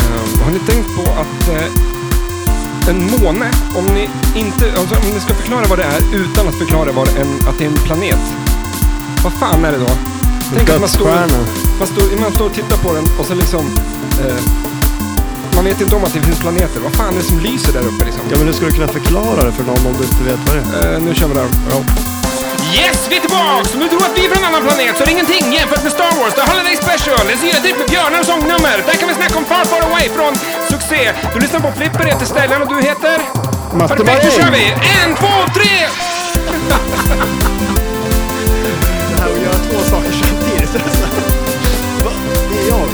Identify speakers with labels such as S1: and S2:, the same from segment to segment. S1: Ehm, har ni tänkt på att eh, en måne, om ni, inte, alltså, om ni ska förklara vad det är utan att förklara vad en, att det är en planet, vad fan är det då? Tänk att man står,
S2: Dödsstjärna.
S1: man, står, man står och tittar på den och så liksom... Eh, man vet inte om att det finns planeter. Vad fan är det som lyser där uppe liksom?
S2: Ja, men du skulle kunna förklara det för någon om du inte vet vad det är.
S1: Eh, nu kör vi där. Yes, vi är tillbaks! Om du tror att vi är från en annan planet så är det ingenting jämfört med Star Wars The Holiday Special. En syradripp med björnar och sångnummer. Där kan vi snacka om Far Far Away från succé. Du lyssnar på Flipper heter Stellan och du heter?
S2: Matte
S1: Perfekt, då
S2: Maräng!
S1: kör vi! En, två, tre!
S3: Det här att göra två saker samtidigt. Va? Det är jag.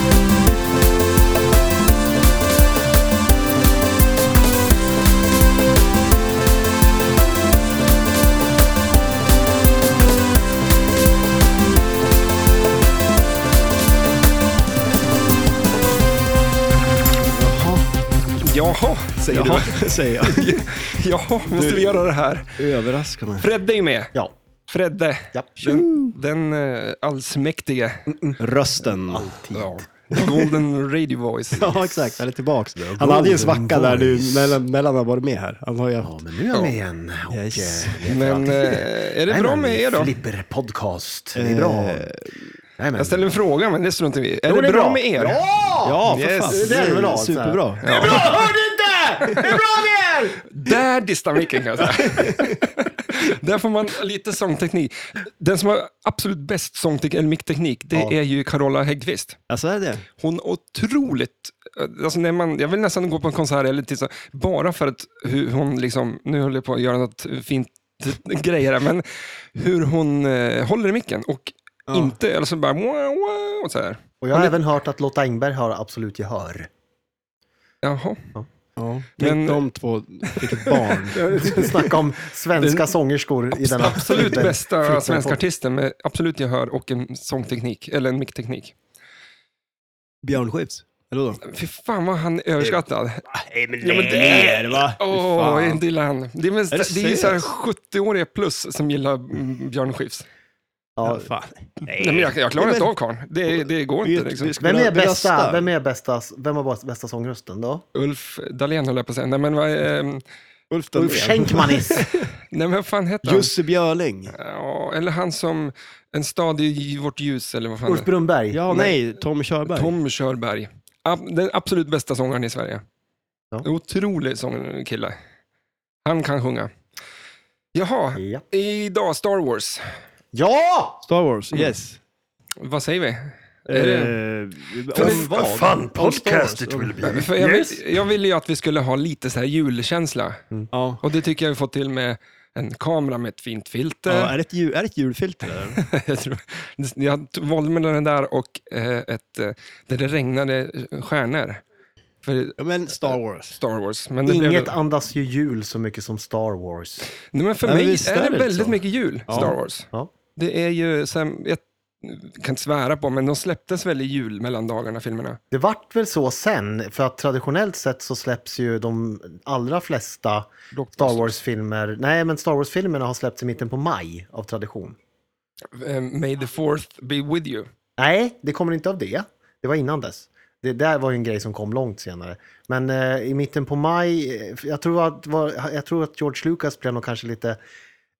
S1: Jaha, säger
S2: Jaha, säger jag.
S1: du. Jaha, måste vi göra det här?
S2: Överraska mig.
S1: Fredde är ju med.
S3: Ja.
S1: Fredde,
S3: Ja.
S1: den, den eh, allsmäktige.
S2: Rösten.
S1: Ja. Golden Radio Voice.
S3: Ja, exakt. Han är tillbaks. Han hade ju en svacka där nu mellan, mellan han varit med här. Han har ju
S4: Ja,
S3: haft...
S4: men nu är jag med igen. Och,
S3: Yes.
S4: eh, vi heter
S1: Men
S4: alltid
S1: eh,
S4: det.
S1: är det bra
S4: Jajamän,
S1: med er då? Eh,
S4: Flipper podcast. Det är bra. Jajamän.
S1: Jag ställer en fråga, men det struntar vi i. Är
S4: Jo,
S1: det bra med er?
S3: Ja, för
S1: Yes.
S3: fan.
S1: Det
S4: är väl bra, så här.
S3: Superbra.
S4: Det är bra, hör du inte? Det är bra med er!
S1: Där distar micken kan jag säga. Där får man lite sångteknik. Den som har absolut bäst sångteknik, eller mickteknik, det
S3: Ja.
S1: är ju Carola Häggkvist.
S3: Alltså är det?
S1: Hon är otroligt... Alltså när man, jag vill nästan gå på en konsert eller titta, bara för att hur hon liksom... Nu håller jag på att göra något fint grejer här, men hur hon eh, håller i micken och inte, alltså bara... Wow, wow, och så här.
S4: Och jag har även hört att Lotta Engberg har absolut gehör.
S1: Jaha.
S3: Ja.
S1: Men-
S3: Tänk de två fick ett barn.
S4: Snacka om svenska sångerskor i denna
S1: Absolut
S4: Flipper-
S1: bästa
S4: Flipper-
S1: svenska artisten med absolut gehör och en sångteknik, eller en mickteknik.
S3: Björn Skifs. Eller då?
S1: Fy fan vad han är överskattad.
S3: Ja, men det är det va? Fy
S1: Åh,
S3: fan.
S1: en Dylan. Det är, väl-
S3: Är det
S1: det är ju så här
S3: seriöst?
S1: 70-åriga plus som gillar mm, Björn Skifs.
S4: Ja.
S3: Fan.
S1: Nej, men jag, jag klarar
S3: Nej,
S1: inte
S3: men-
S1: av karln. Det, det går
S3: Vi-
S1: inte. Liksom.
S3: vi ska-
S4: Vem är
S3: Vill jag
S4: bästa,
S3: rösta?
S4: vem är bästa, vem har bästa sångrösten då?
S1: Ulf Dahlén höll jag på att säga. Nej, men vad ehm,
S3: Ulf
S4: Ulf
S3: Dahlén.
S4: Schenkmanis.
S1: nej, men vad fan heter han?
S3: Jussi Björling.
S1: Ja, eller han som En stad i vårt ljus, eller vad fan
S4: Ulf
S1: det
S4: Brunnberg.
S3: Ja, nej. Tom
S1: är.
S3: Körberg.
S1: Tom Körberg. Ab- Den absolut bästa sångaren i Sverige.
S4: Ja.
S1: Otrolig sångkille. Han kan sjunga. Jaha,
S4: Ja.
S1: idag Star Wars.
S4: ja!
S3: Star Wars,
S1: Mm.
S3: yes.
S1: Vad säger vi?
S3: Eh,
S1: För-
S3: om vad? Fan, podcast it will be.
S1: För jag,
S3: Yes.
S1: vill, jag ville ju att vi skulle ha lite så här julkänsla.
S3: Ja.
S1: Och det tycker jag vi fått till med en kamera med ett fint
S3: Ja,
S1: filter.
S3: är det ett, jul, är det ett julfilter? där?
S1: jag, tror, jag t- valde mellan den där och eh, ett eh, där det regnade stjärnor. För
S3: Ja, men Star Wars.
S1: Star Wars. Men det
S4: Inget
S1: blev,
S4: andas ju jul så mycket som Star Wars.
S1: Nej, men för
S3: Ja,
S1: mig
S3: visst
S1: är
S3: är
S1: det
S3: det
S1: väldigt
S3: så.
S1: mycket jul,
S3: Ja.
S1: Star Wars.
S4: Ja.
S1: Det är ju, så här, jag kan inte svära på, men de släpptes väl i jul mellan dagarna, filmerna.
S4: Det vart väl så sen, för att traditionellt sett så släpps ju de allra flesta Star Wars-filmer. Nej, men Star Wars-filmerna har släppts i mitten på maj av tradition.
S1: Eh, May the fourth be with you.
S4: Nej, det kommer inte av det. Det var innan dess. Det där var ju en grej som kom långt senare. Men eh, i mitten på maj, eh, jag tror att, var, jag tror att George Lucas blev nog kanske lite...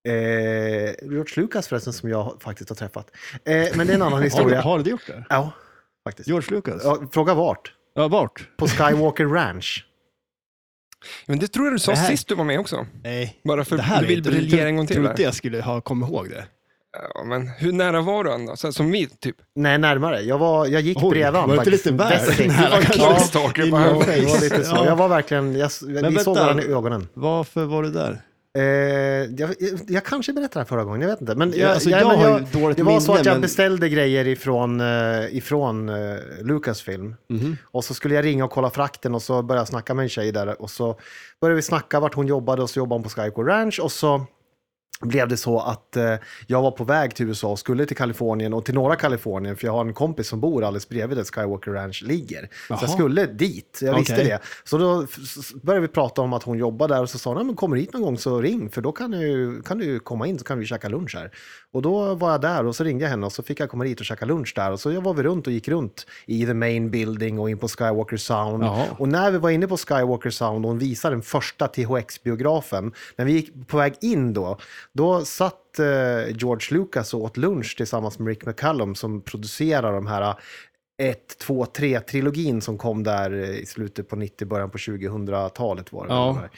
S4: Eh, George Lucas förresten, som jag faktiskt har träffat. Eh, men det är en annan
S3: Har du,
S4: historia.
S3: har du gjort det?
S4: Ja, faktiskt.
S3: George Lucas?
S4: Ja, fråga vart?
S3: Ja, vart?
S4: På Skywalker Ranch.
S1: Men det tror jag du sa
S3: Det här-
S1: sist du var med också.
S3: Nej.
S1: Bara för
S3: Det här
S1: du vill
S3: vet
S1: briljera en gång till.
S3: Jag
S1: där.
S3: trodde jag skulle ha kommit ihåg det.
S1: Ja, men hur nära var du ändå? Så här, som vi, typ.
S4: Nej, närmare. Jag, var, jag gick
S3: Oj,
S4: bredvid
S3: var det inte lite väl
S4: Västring.
S3: nära
S4: Ja,
S3: kanske?
S4: ja,
S1: Stalker på
S3: in your
S1: hand.
S4: det var lite
S3: face.
S4: så.
S3: Ja.
S4: Jag var verkligen, jag, vi
S3: vänta.
S4: såg varandra i ögonen.
S3: Varför var du där?
S4: Eh, jag, jag, jag kanske berättade det här förra gången, jag vet inte. Men jag,
S3: Ja, alltså, jag
S4: men
S3: har ju dåligt
S4: Det var så
S3: minne,
S4: att jag
S3: men-
S4: beställde grejer ifrån, eh, ifrån eh, Lucasfilm.
S3: Mhm.
S4: Och så skulle jag ringa och kolla frakten och så började jag snacka med en tjej där. Och så började vi snacka vart hon jobbade och så jobbade hon på Skyco Ranch. Och så blev det så att eh, jag var på väg till USA och skulle till Kalifornien och till norra Kalifornien för jag har en kompis som bor alldeles bredvid där Skywalker Ranch ligger. Så jag
S2: Jaha.
S4: skulle dit, jag visste
S2: Okej.
S4: det. Så då f- s- började vi prata om att hon jobbar där och så sa hon, "Ja, men kommer du hit någon gång så ring för då kan du, kan du komma in så kan vi käka lunch här. Och då var jag där och så ringde jag henne och så fick jag komma dit och käka lunch där och så jag var vi runt och gick runt i the main building och in på Skywalker Sound.
S2: Jaha.
S4: Och när vi var inne på Skywalker Sound och hon visade den första THX-biografen, när vi gick på väg in då, då satt eh, George Lucas och åt lunch tillsammans med Rick McCallum som producerar de här eh, 1, 2, 3-trilogin som kom där eh, i slutet på 90, början på 2000-talet var det.
S2: Ja.
S4: väl, de här.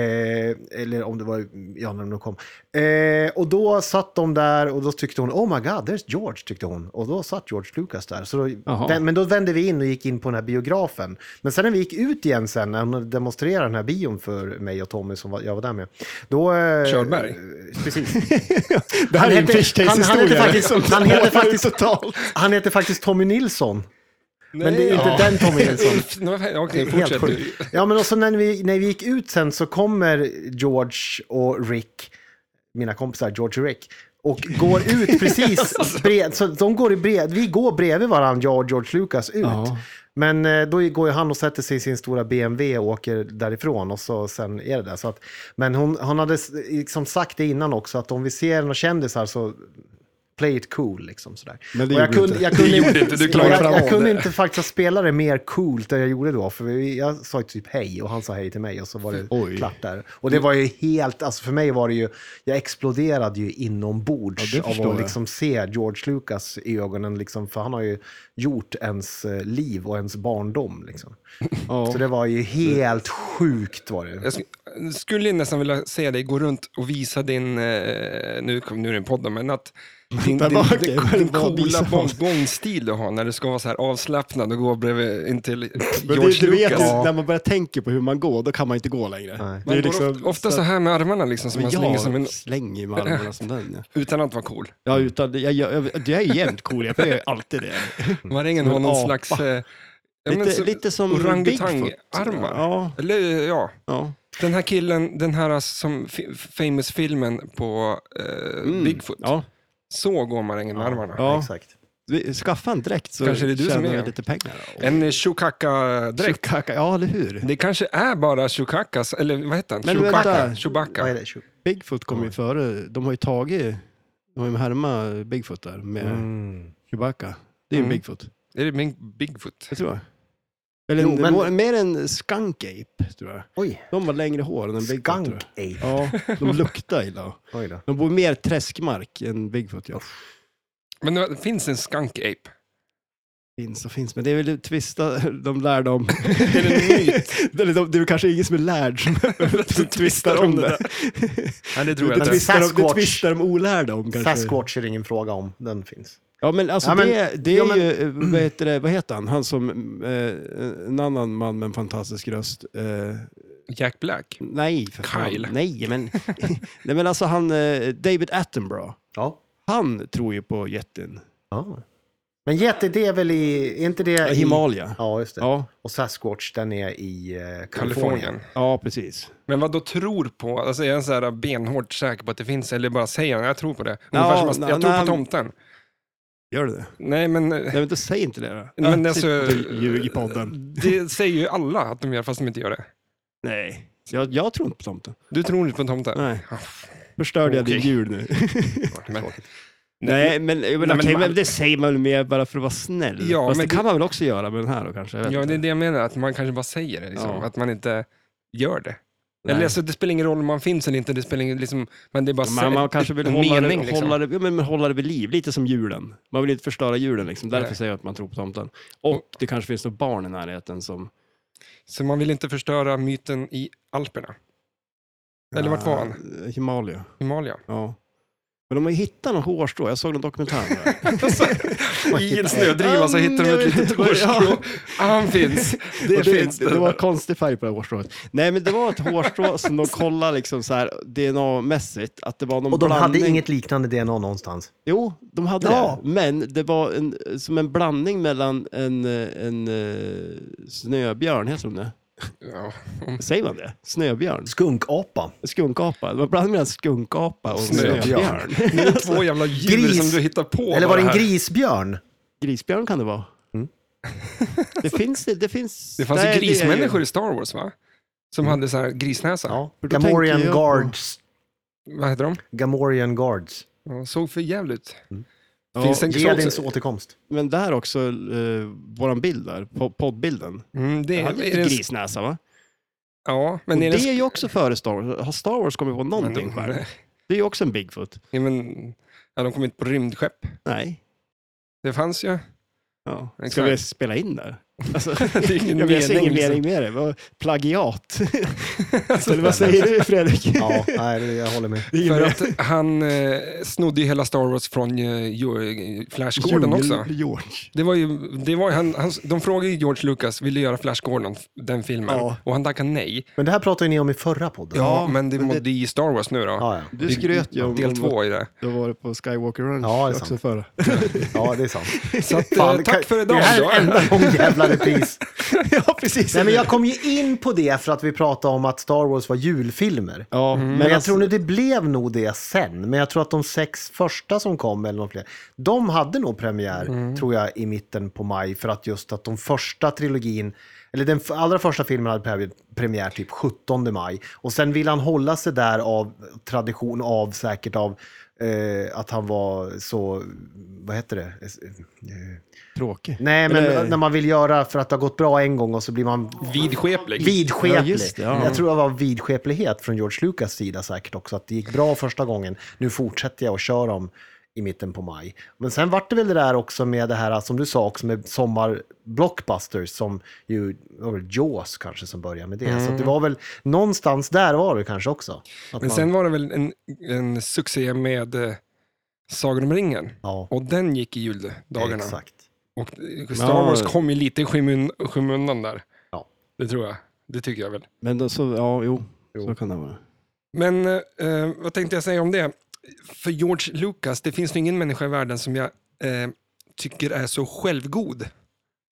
S4: Eh, eller om det var, ja, när de kom. Eh, och då satt de där och då tyckte hon, oh my god, there's George, tyckte hon. Och då satt George Lucas där. Så då,
S2: Jaha.
S4: vä- men då vände vi in och gick in på den här biografen. Men sen när vi gick ut igen sen, när hon demonstrerade den här bion för mig och Tommy som var, jag var där med. Då, eh,
S1: Körberg.
S4: eh, Precis.
S2: Det här är en
S4: heter-
S2: fish
S4: han- han
S2: case-historia.
S4: heter faktiskt-
S2: liksom.
S4: han heter faktiskt-
S2: totalt.
S4: Han heter faktiskt Tommy Nilsson. Men
S1: Nej,
S4: det är inte
S1: ja.
S4: den Tommy Nilsson.
S1: Ulf, nej, Okej,
S4: Helt
S1: fortsätt du.
S4: sjukt. Ja, men också när vi, när vi gick ut sen så kommer George och Rick, mina kompisar George och Rick, och går ut precis
S1: Alltså.
S4: bred, så de går i bred, vi går bredvid varandra, jag och George Lucas, ut.
S2: Ja.
S4: Men eh, då går ju han och sätter sig i sin stora BMW och åker därifrån och så sen är det där. Så att, men hon, hon hade s- liksom sagt det innan också, att om vi ser några kändisar så play it cool. Liksom, sådär.
S2: Men det
S4: Och jag
S2: gjorde du inte.
S4: kunde, jag kunde,
S1: Det gjorde inte, du klarade
S4: jag,
S1: fram
S4: jag
S1: det.
S4: kunde inte faktiskt spela det mer coolt än jag gjorde då. För vi- jag sa ju typ hej och han sa hej till mig och så var det
S2: Oj.
S4: klart där. Och det var ju helt, alltså för mig var det ju, jag exploderade ju inombords
S2: Ja, det förstår
S4: av att
S2: jag.
S4: liksom se George Lucas i ögonen. Liksom, för han har ju gjort ens eh, liv och ens barndom. Liksom.
S2: Ja.
S4: Så det var ju helt sjukt var det.
S1: Jag sk- skulle nästan vilja se dig gå runt och visa din, eh, nu, kom- nu är det en podd, men att din,
S2: Den
S1: din,
S2: var okej,
S1: din,
S2: men
S1: din
S2: vad
S1: coola
S2: visar man?
S1: bong- gångstil du har när du ska vara så här avslappnad och gå bredvid in till
S2: Men
S1: George
S2: det, du vet,
S1: Lucas.
S2: ju, när man börjar tänka på hur man går, då kan man inte gå längre.
S4: Nej.
S1: Man går
S3: liksom-
S2: liksom
S1: of- ofta så här med armarna liksom, som man
S2: ja,
S1: slänger som en,
S2: slänger med armarna som den. Ja.
S1: utan att vara cool.
S2: Ja, utan, jag, jag, jag, jag är jämt cool, jag gör alltid det.
S1: Marängen
S2: Som
S1: har
S2: en
S1: någon
S2: apa.
S1: slags... Eh, ja, men
S2: Lite,
S1: så-
S2: lite som
S1: Orangutang-armar.
S2: Ja,
S1: Eller ja,
S2: ja.
S1: den här killen, den här som fi- famous filmen på eh,
S2: Mm.
S1: Bigfoot.
S2: Ja,
S1: Så går marängen med armarna.
S2: ja.
S4: Exakt.
S2: Vi- Skaffa en dräkt så
S1: Kanske det är du som
S2: tjänar
S1: är. Eh,
S2: vi lite pengar.
S1: En Chukaka-dräkt.
S2: Chewbacca, Ja, eller hur?
S1: Det kanske är bara Chukakas, eller vad heter han?
S2: Men vänta.
S4: Vad är
S1: Chewbacca.
S4: det? Tjo-
S2: Bigfoot kom ju före. De har ju tagit, de har ju härmat Bigfoot där med
S4: Mm.
S2: Chewbacca. Det är ju en
S1: Mm.
S2: Bigfoot,
S1: Är det min Bigfoot?
S2: det tror jag. Eller
S4: Jo,
S2: en,
S4: men-
S2: må- mer en skunk ape, tror jag.
S4: Oj,
S2: De har längre hår än en Bigfoot. tror
S4: skunk
S2: jag.
S4: ape.
S2: Ja, de luktar illa.
S4: Oj då.
S2: De bor i mer träskmark än Bigfoot. Ja.
S1: Men det finns en skunk ape.
S2: Finns och finns, men det är väl tvista de lär dem.
S1: Är det en myt?
S2: Eller de, det är väl kanske ingen som är lärd som twistar om det.
S1: Nej, det tror
S2: Det
S1: jag inte.
S2: twistar de- det
S4: Sasquatch.
S2: twistar de olärda om kanske.
S4: Sasquatch är det ingen fråga om, den finns.
S2: Ja men alltså
S4: Ja, men-
S2: det, det är
S4: ja, men-
S2: ju, eh, vad heter, det, vad heter han, han som, eh, en annan man med en fantastisk röst. Eh,
S1: Jack Black.
S2: nej för fan.
S1: Kyle.
S2: Nej men, nej men alltså han, eh, David Attenborough.
S4: Ja.
S2: Han tror ju på jätten.
S4: Ja. Men jätte, det är väl i... Är inte det i...
S2: Himalaya.
S4: Ja, just det.
S2: Ja,
S4: Och Sasquatch, den är i eh, Kalifornien.
S1: Kalifornien.
S2: ja precis.
S1: Men vad då tror på? Alltså är han så här benhårt säker på att det finns, eller bara säger han jag tror på det?
S2: Ja,
S1: Ungefär som att,
S2: nej,
S1: jag tror
S2: nej.
S1: på tomten.
S2: Gör det det?
S1: Nej, men... eh,
S2: Nej men då säg inte det då.
S1: Men
S2: Ja,
S1: alltså-
S2: sitt och Ljug i podden.
S1: Det säger ju alla att de gör, fast de inte gör det.
S2: Nej, jag, jag tror inte på tomten.
S1: Du tror inte på tomten?
S2: Nej. Förstörde jag din
S1: Okej.
S2: jul nu?
S1: Men,
S2: Nej, men, jag menar,
S1: men
S2: okej,
S1: man-
S2: men det säger man väl mer bara för att vara snäll.
S1: Ja,
S2: Fast
S1: men
S2: det kan
S1: det-
S2: man väl också göra med den här då kanske? Jag vet
S1: ja,
S2: inte.
S1: det är det jag menar, att man kanske bara säger det. Liksom,
S2: Ja.
S1: Att man inte gör det.
S2: Nej.
S1: Eller alltså, det spelar ingen roll om man finns eller inte, det spelar ingen, liksom, men det är bara
S2: man, man kanske vill
S1: en
S2: hålla,
S1: mening,
S2: det,
S1: liksom.
S2: hålla, det, ja, men, men hålla det vid liv, lite som julen. Man vill inte förstöra julen, liksom. därför
S1: Nej.
S2: säger jag att man tror på tomten. Och det kanske finns något barn i närheten som...
S1: Så man vill inte förstöra myten i Alperna. Eller vart var han?
S2: Ja, eh, Himalaya,
S1: Himalaya.
S2: ja. Men de har ju hittat någon hårstrå, jag såg en dokumentär om det.
S1: I en snödriva så hittar de ett litet hårstrå. Han finns.
S2: Och
S1: Det
S2: det,
S1: finns.
S2: det, det var konstig färg på det här hårstrået. Nej, men det var ett hårstrå som de kollade liksom så här DNA-mässigt. Att det var någon
S4: Och de
S2: blandning.
S4: hade inget liknande DNA någonstans.
S2: Jo, de hade
S4: Ja.
S2: det. Men det var en, som en blandning mellan en, eh, en, eh, snöbjörn, heter de det?
S1: Ja.
S2: Säger man det? Snöbjörn?
S4: Skunkapa.
S2: Skunkapa? Det var bland annat skunkapa och
S1: Snöbjörn.
S2: snöbjörn.
S1: Det är två jävla djur
S4: Gris.
S1: som du hittar på.
S4: Eller var
S1: bara
S4: det en
S1: här.
S4: grisbjörn?
S2: Grisbjörn kan det vara.
S4: Mm.
S2: Det finns det. Det, finns,
S1: Det fanns ju
S2: Nej, är Mm.
S1: grismänniskor i Star Wars, va? Som hade så här grisnäsa.
S4: Ja.
S2: För då
S4: Gamorrean
S2: tänker jag på-
S4: guards.
S1: Vad heter de?
S4: Gamorrean guards.
S1: Ja, såg för jävligt ut.
S2: Ja,
S1: Finns det en
S4: Jedins återkomst.
S2: Men där också, eh, våran bild där, po- poddbilden.
S1: Mm, det,
S2: Jag hade
S1: är
S2: lite
S1: det en,
S2: grisnäsa va?
S1: Ja, men
S2: och
S1: är
S2: det
S1: det...
S2: är ju också före Star Wars. Har Star Wars kommit på någonting själv?
S1: men,
S2: Det är ju också en Bigfoot.
S1: ja, men, ja, de kom inte på rymdskepp.
S2: Nej.
S1: Det fanns ju.
S2: Ja. Ska
S1: Exakt.
S2: vi spela in där? Alltså,
S1: Det är ingen
S2: jag vet ingen
S1: mening. liksom.
S2: mening med det. Vad- Plagiat. Eller vad säger du Fredrik?
S4: Ja, nej, det- jag håller med.
S2: Det är ingen
S1: För
S2: mening.
S1: att han eh, snodde ju hela Star Wars från eh, Jo- Flashgården också.
S2: Jul- George.
S1: Det var ju, det var ju han, han, de frågade ju George Lucas, vill du göra Flashgården, den filmen?
S2: Ja.
S1: Och han tackade nej.
S4: Men det här pratade ni om i förra podden.
S1: Ja, men det
S2: men
S1: mådde i Star Wars nu då.
S4: Ja, ja.
S2: Du skröt ju om,
S1: Del
S2: om att
S1: två i det.
S2: du var på Skywalker Ranch
S4: Ja, det är
S2: också
S4: sant.
S2: förra.
S4: ja det är sant.
S1: Så att, eh,
S4: Fan,
S1: tack
S4: kan-
S1: för idag.
S4: Det här
S1: då.
S4: är enda gången jävla repris.
S2: ja, precis.
S4: Nej, men jag kom ju in på det för att vi pratade om att Star Wars var julfilmer.
S2: Ja,
S4: Men jag
S2: alltså-
S4: tror nu det blev nog det sen. Men jag tror att de sex första som kom, eller de fler, de hade nog premiär, tror jag, i mitten på maj. För att just att de första trilogin, eller den f- allra första filmen hade premiär- premiär typ 17 maj. Och sen ville han hålla sig där av tradition, av säkert av eh, att han var så, vad heter det? Eh,
S2: Tråkig.
S4: Nej, men
S2: Eller-
S4: när man vill göra för att det har gått bra en gång och så blir man
S1: Vidskeplig.
S4: vidskeplig.
S2: Ja, just det, ja.
S4: Jag tror det var vidskeplighet från George Lucas sida säkert också, att det gick bra första gången. Nu fortsätter jag och kör dem i mitten på maj. Men sen vart det väl det där också med det här som du sa också med sommarblockbusters som ju, det var väl Jaws kanske som började med det. Så att det var väl någonstans där var det kanske också. Att
S1: Men
S4: man-
S1: sen var det väl en, en succé med eh, Sagan om ringen.
S4: ja,
S1: Och den gick i juldagarna.
S4: exakt.
S1: Och eh,
S2: Ja.
S1: Star Wars kom ju lite i skymun, skymundan där.
S4: Ja.
S1: Det tror jag. Det tycker jag väl.
S2: Men då, så, ja, jo,
S4: Jo.
S2: så kan det vara.
S1: Men eh, vad tänkte jag säga om det? För George Lucas, det finns ju ingen människa i världen som jag eh, tycker är så självgod.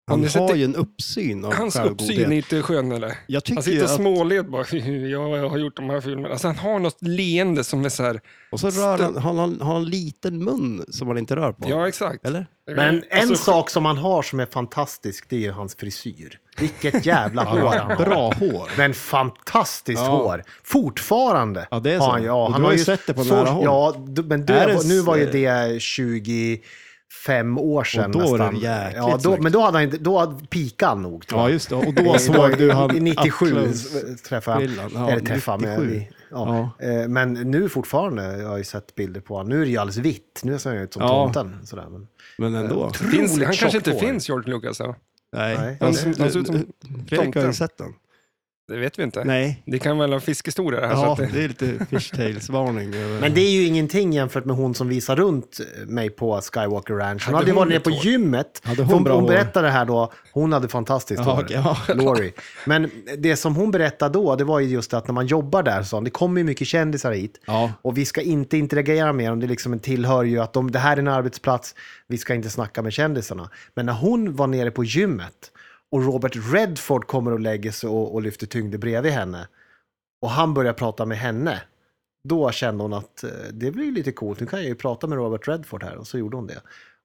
S2: Han
S1: ni
S2: har
S1: sätter-
S2: ju en uppsyn av
S1: Hans
S2: självgodhet.
S1: uppsyn är inte skön eller?
S2: Jag tycker
S1: Han
S2: ju
S1: sitter och
S2: att,
S1: småled bara, jag har gjort de här filmerna. Alltså han har något leende som är så här,
S2: och så rör han, han, han har en liten mun som han inte rör på.
S1: ja exakt.
S2: Eller?
S4: Men Mm. en
S1: Alltså,
S4: sak som han har som är fantastisk, det är ju hans frisyr. Vilket jävla hår han har.
S2: Bra hår.
S4: Men fantastiskt
S2: Ja.
S4: hår. Fortfarande.
S2: Ja, det är
S4: har
S2: så.
S4: Han,
S2: Och
S4: ja,
S2: du
S4: han
S2: har ju
S4: ju
S2: sett det på
S4: så-
S2: nära håll.
S4: Ja, d- men
S2: Är
S4: det,
S2: det
S4: var- nu var ju
S2: s-
S4: det 25 år sedan
S2: då var det
S4: nästan.
S2: jäkligt
S4: ja, då,
S2: snyggt.
S4: men då hade han inte, då hade pikan nog. tror
S2: Ja,
S4: jag.
S2: just det. Och
S4: Det
S2: då
S4: är-
S2: såg du han...
S4: I 97
S2: Atlas.
S4: träffade
S2: Brillan,
S4: han.
S2: ja,
S4: eller träffade med,
S2: 97.
S4: vi- ja. Eh, Men nu fortfarande, jag har ju sett bilder på honom. Nu är det ju alldeles vitt. Nu ser han ut som
S2: Ja.
S4: tomten. Sådär, men,
S2: Men ändå.
S1: finns, han
S4: otroligt
S1: kanske
S4: tjockt
S1: inte
S4: hår.
S1: finns George Lucas. Ja.
S2: Nej.
S4: Nej.
S1: Han, ser- han ser ut som,
S2: Fredrik har ju
S1: tomten.
S2: sett den.
S1: det vet vi inte.
S2: Nej.
S1: Det kan väl vara fiskhistoria det här. så
S2: Ja,
S1: att det,
S2: det är lite fishtails-varning. över-
S4: Men det är ju ingenting jämfört med hon som visar runt mig på Skywalker Ranch. Hon
S1: Hade
S4: hade ju
S1: hon
S4: varit nere
S1: ett
S4: på
S1: hår?
S4: gymmet.
S2: Hade hon
S4: hon
S2: bra
S4: hon
S2: hår?
S4: berättade det här då. Hon hade fantastiskt
S2: Ja,
S4: hår,
S2: okej, ja.
S4: Lori. Men det som hon berättade då, det var ju just att när man jobbar där, så det kommer ju mycket kändisar hit.
S2: Ja.
S4: Och vi ska inte interagera med dem. Det är liksom en tillhör ju att de, det här är en arbetsplats. Vi ska inte snacka med kändisarna. Men när hon var nere på gymmet och Robert Redford kommer och lägger sig och, och lyfter tyngder bredvid henne och han börjar prata med henne. Då kände hon att eh, det blir lite coolt. Nu kan jag ju prata med Robert Redford här och så gjorde hon det.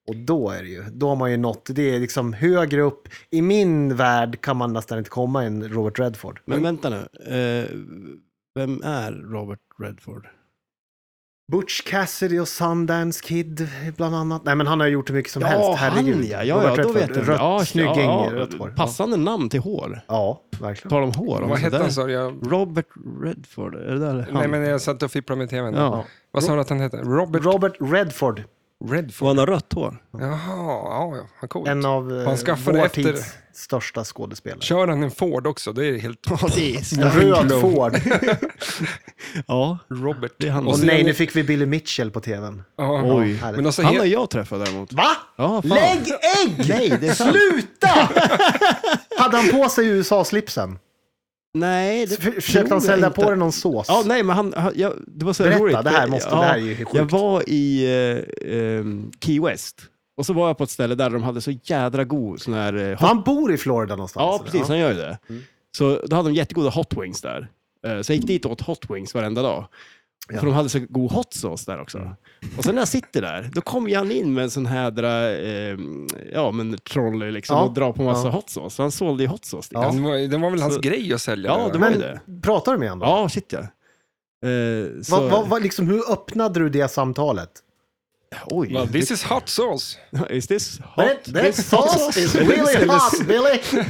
S4: Och då är det ju, då har man ju nått, det är liksom högre upp. I min värld kan man nästan inte komma än Robert Redford.
S2: Men vänta nu. Eh, vem är Robert Redford?
S4: Butch Cassidy och Sundance Kid bland annat. Nej men han har ju gjort hur mycket som helst, herregud.
S2: han ja. Ja,
S4: Robert
S2: ja, då
S4: Redford,
S2: vet jag.
S4: Rött,
S2: ja,
S4: snygging,
S2: ja,
S4: rött hår.
S2: Passande namn till hår.
S4: Ja, verkligen.
S2: Tal om hår. Om
S1: vad
S2: så
S1: hette
S2: där.
S1: han sa du? jag,
S2: Robert Redford, är det där han?
S1: Nej, men jag satt och fipplade med tvn.
S2: ja.
S1: Vad sa du att han hette? Robert
S4: Robert Redford,
S1: Redford?
S2: Och han har rött hår.
S1: Jaha, ja, ja, vad coolt.
S4: en av eh,
S1: Han skaffade
S4: vår
S1: efter-
S4: tids största skådespelare.
S1: Kör han en Ford också? Det är helt...
S2: Ja, det är
S4: En röd Ford.
S2: Ja.
S1: Robert.
S2: Det är han.
S1: Och
S4: Och
S1: sen-
S4: nej, nu fick vi Billy Mitchell på tvn.
S1: Ja, ja.
S2: Oj.
S4: Härligt.
S1: Men de sa
S2: Han har
S1: he-
S2: jag träffat däremot.
S4: Va?
S2: Ja, fan.
S4: Lägg ägg!
S2: Nej, det är sant.
S4: Sluta! Hade han på sig USA-slipsen?
S2: Nej, det
S4: För-
S2: tror
S4: Försökte
S2: jag
S4: han sälja
S2: inte.
S4: på dig någon sås?
S2: Ja, nej, men han, han jag, det var så
S4: Berätta,
S2: roligt.
S4: det här måste-
S2: ja,
S4: det här är ju sjukt.
S2: Jag var i eh, ehm, Key West och så var jag på ett ställe där de hade så jädra god sån här eh,
S4: Han bor i Florida någonstans?
S2: Ja,
S4: eller?
S2: precis. Han gör ju det. Så då hade de jättegoda hot wings där. Eh, Så jag gick dit och åt hot wings varenda dag.
S4: Ja. Mm.
S2: För de hade så god hot sauce där också. Och sen när jag sitter där, då kommer han in med en sån här eh, ja, men trolley liksom,
S4: Ja.
S2: och drar på massa
S4: Ja.
S2: hot sauce. Så han sålde ju hot sauce. dit.
S4: Ja.
S1: Den var, den var väl hans
S2: Så-
S1: grej att sälja?
S2: Ja,
S1: det
S2: det
S1: var...
S2: var-
S4: Men
S2: det.
S4: pratar du med honom då?
S2: Ja, shit ja. Eh, så,
S4: Vad- vad- vad- liksom, hur öppnade du det samtalet?
S2: Oj,
S1: Well, this is hot sauce.
S2: is this hot?
S4: That, that
S2: Is hot
S4: sauce is
S2: Eller-
S4: really
S2: eller-
S4: hot, Billy!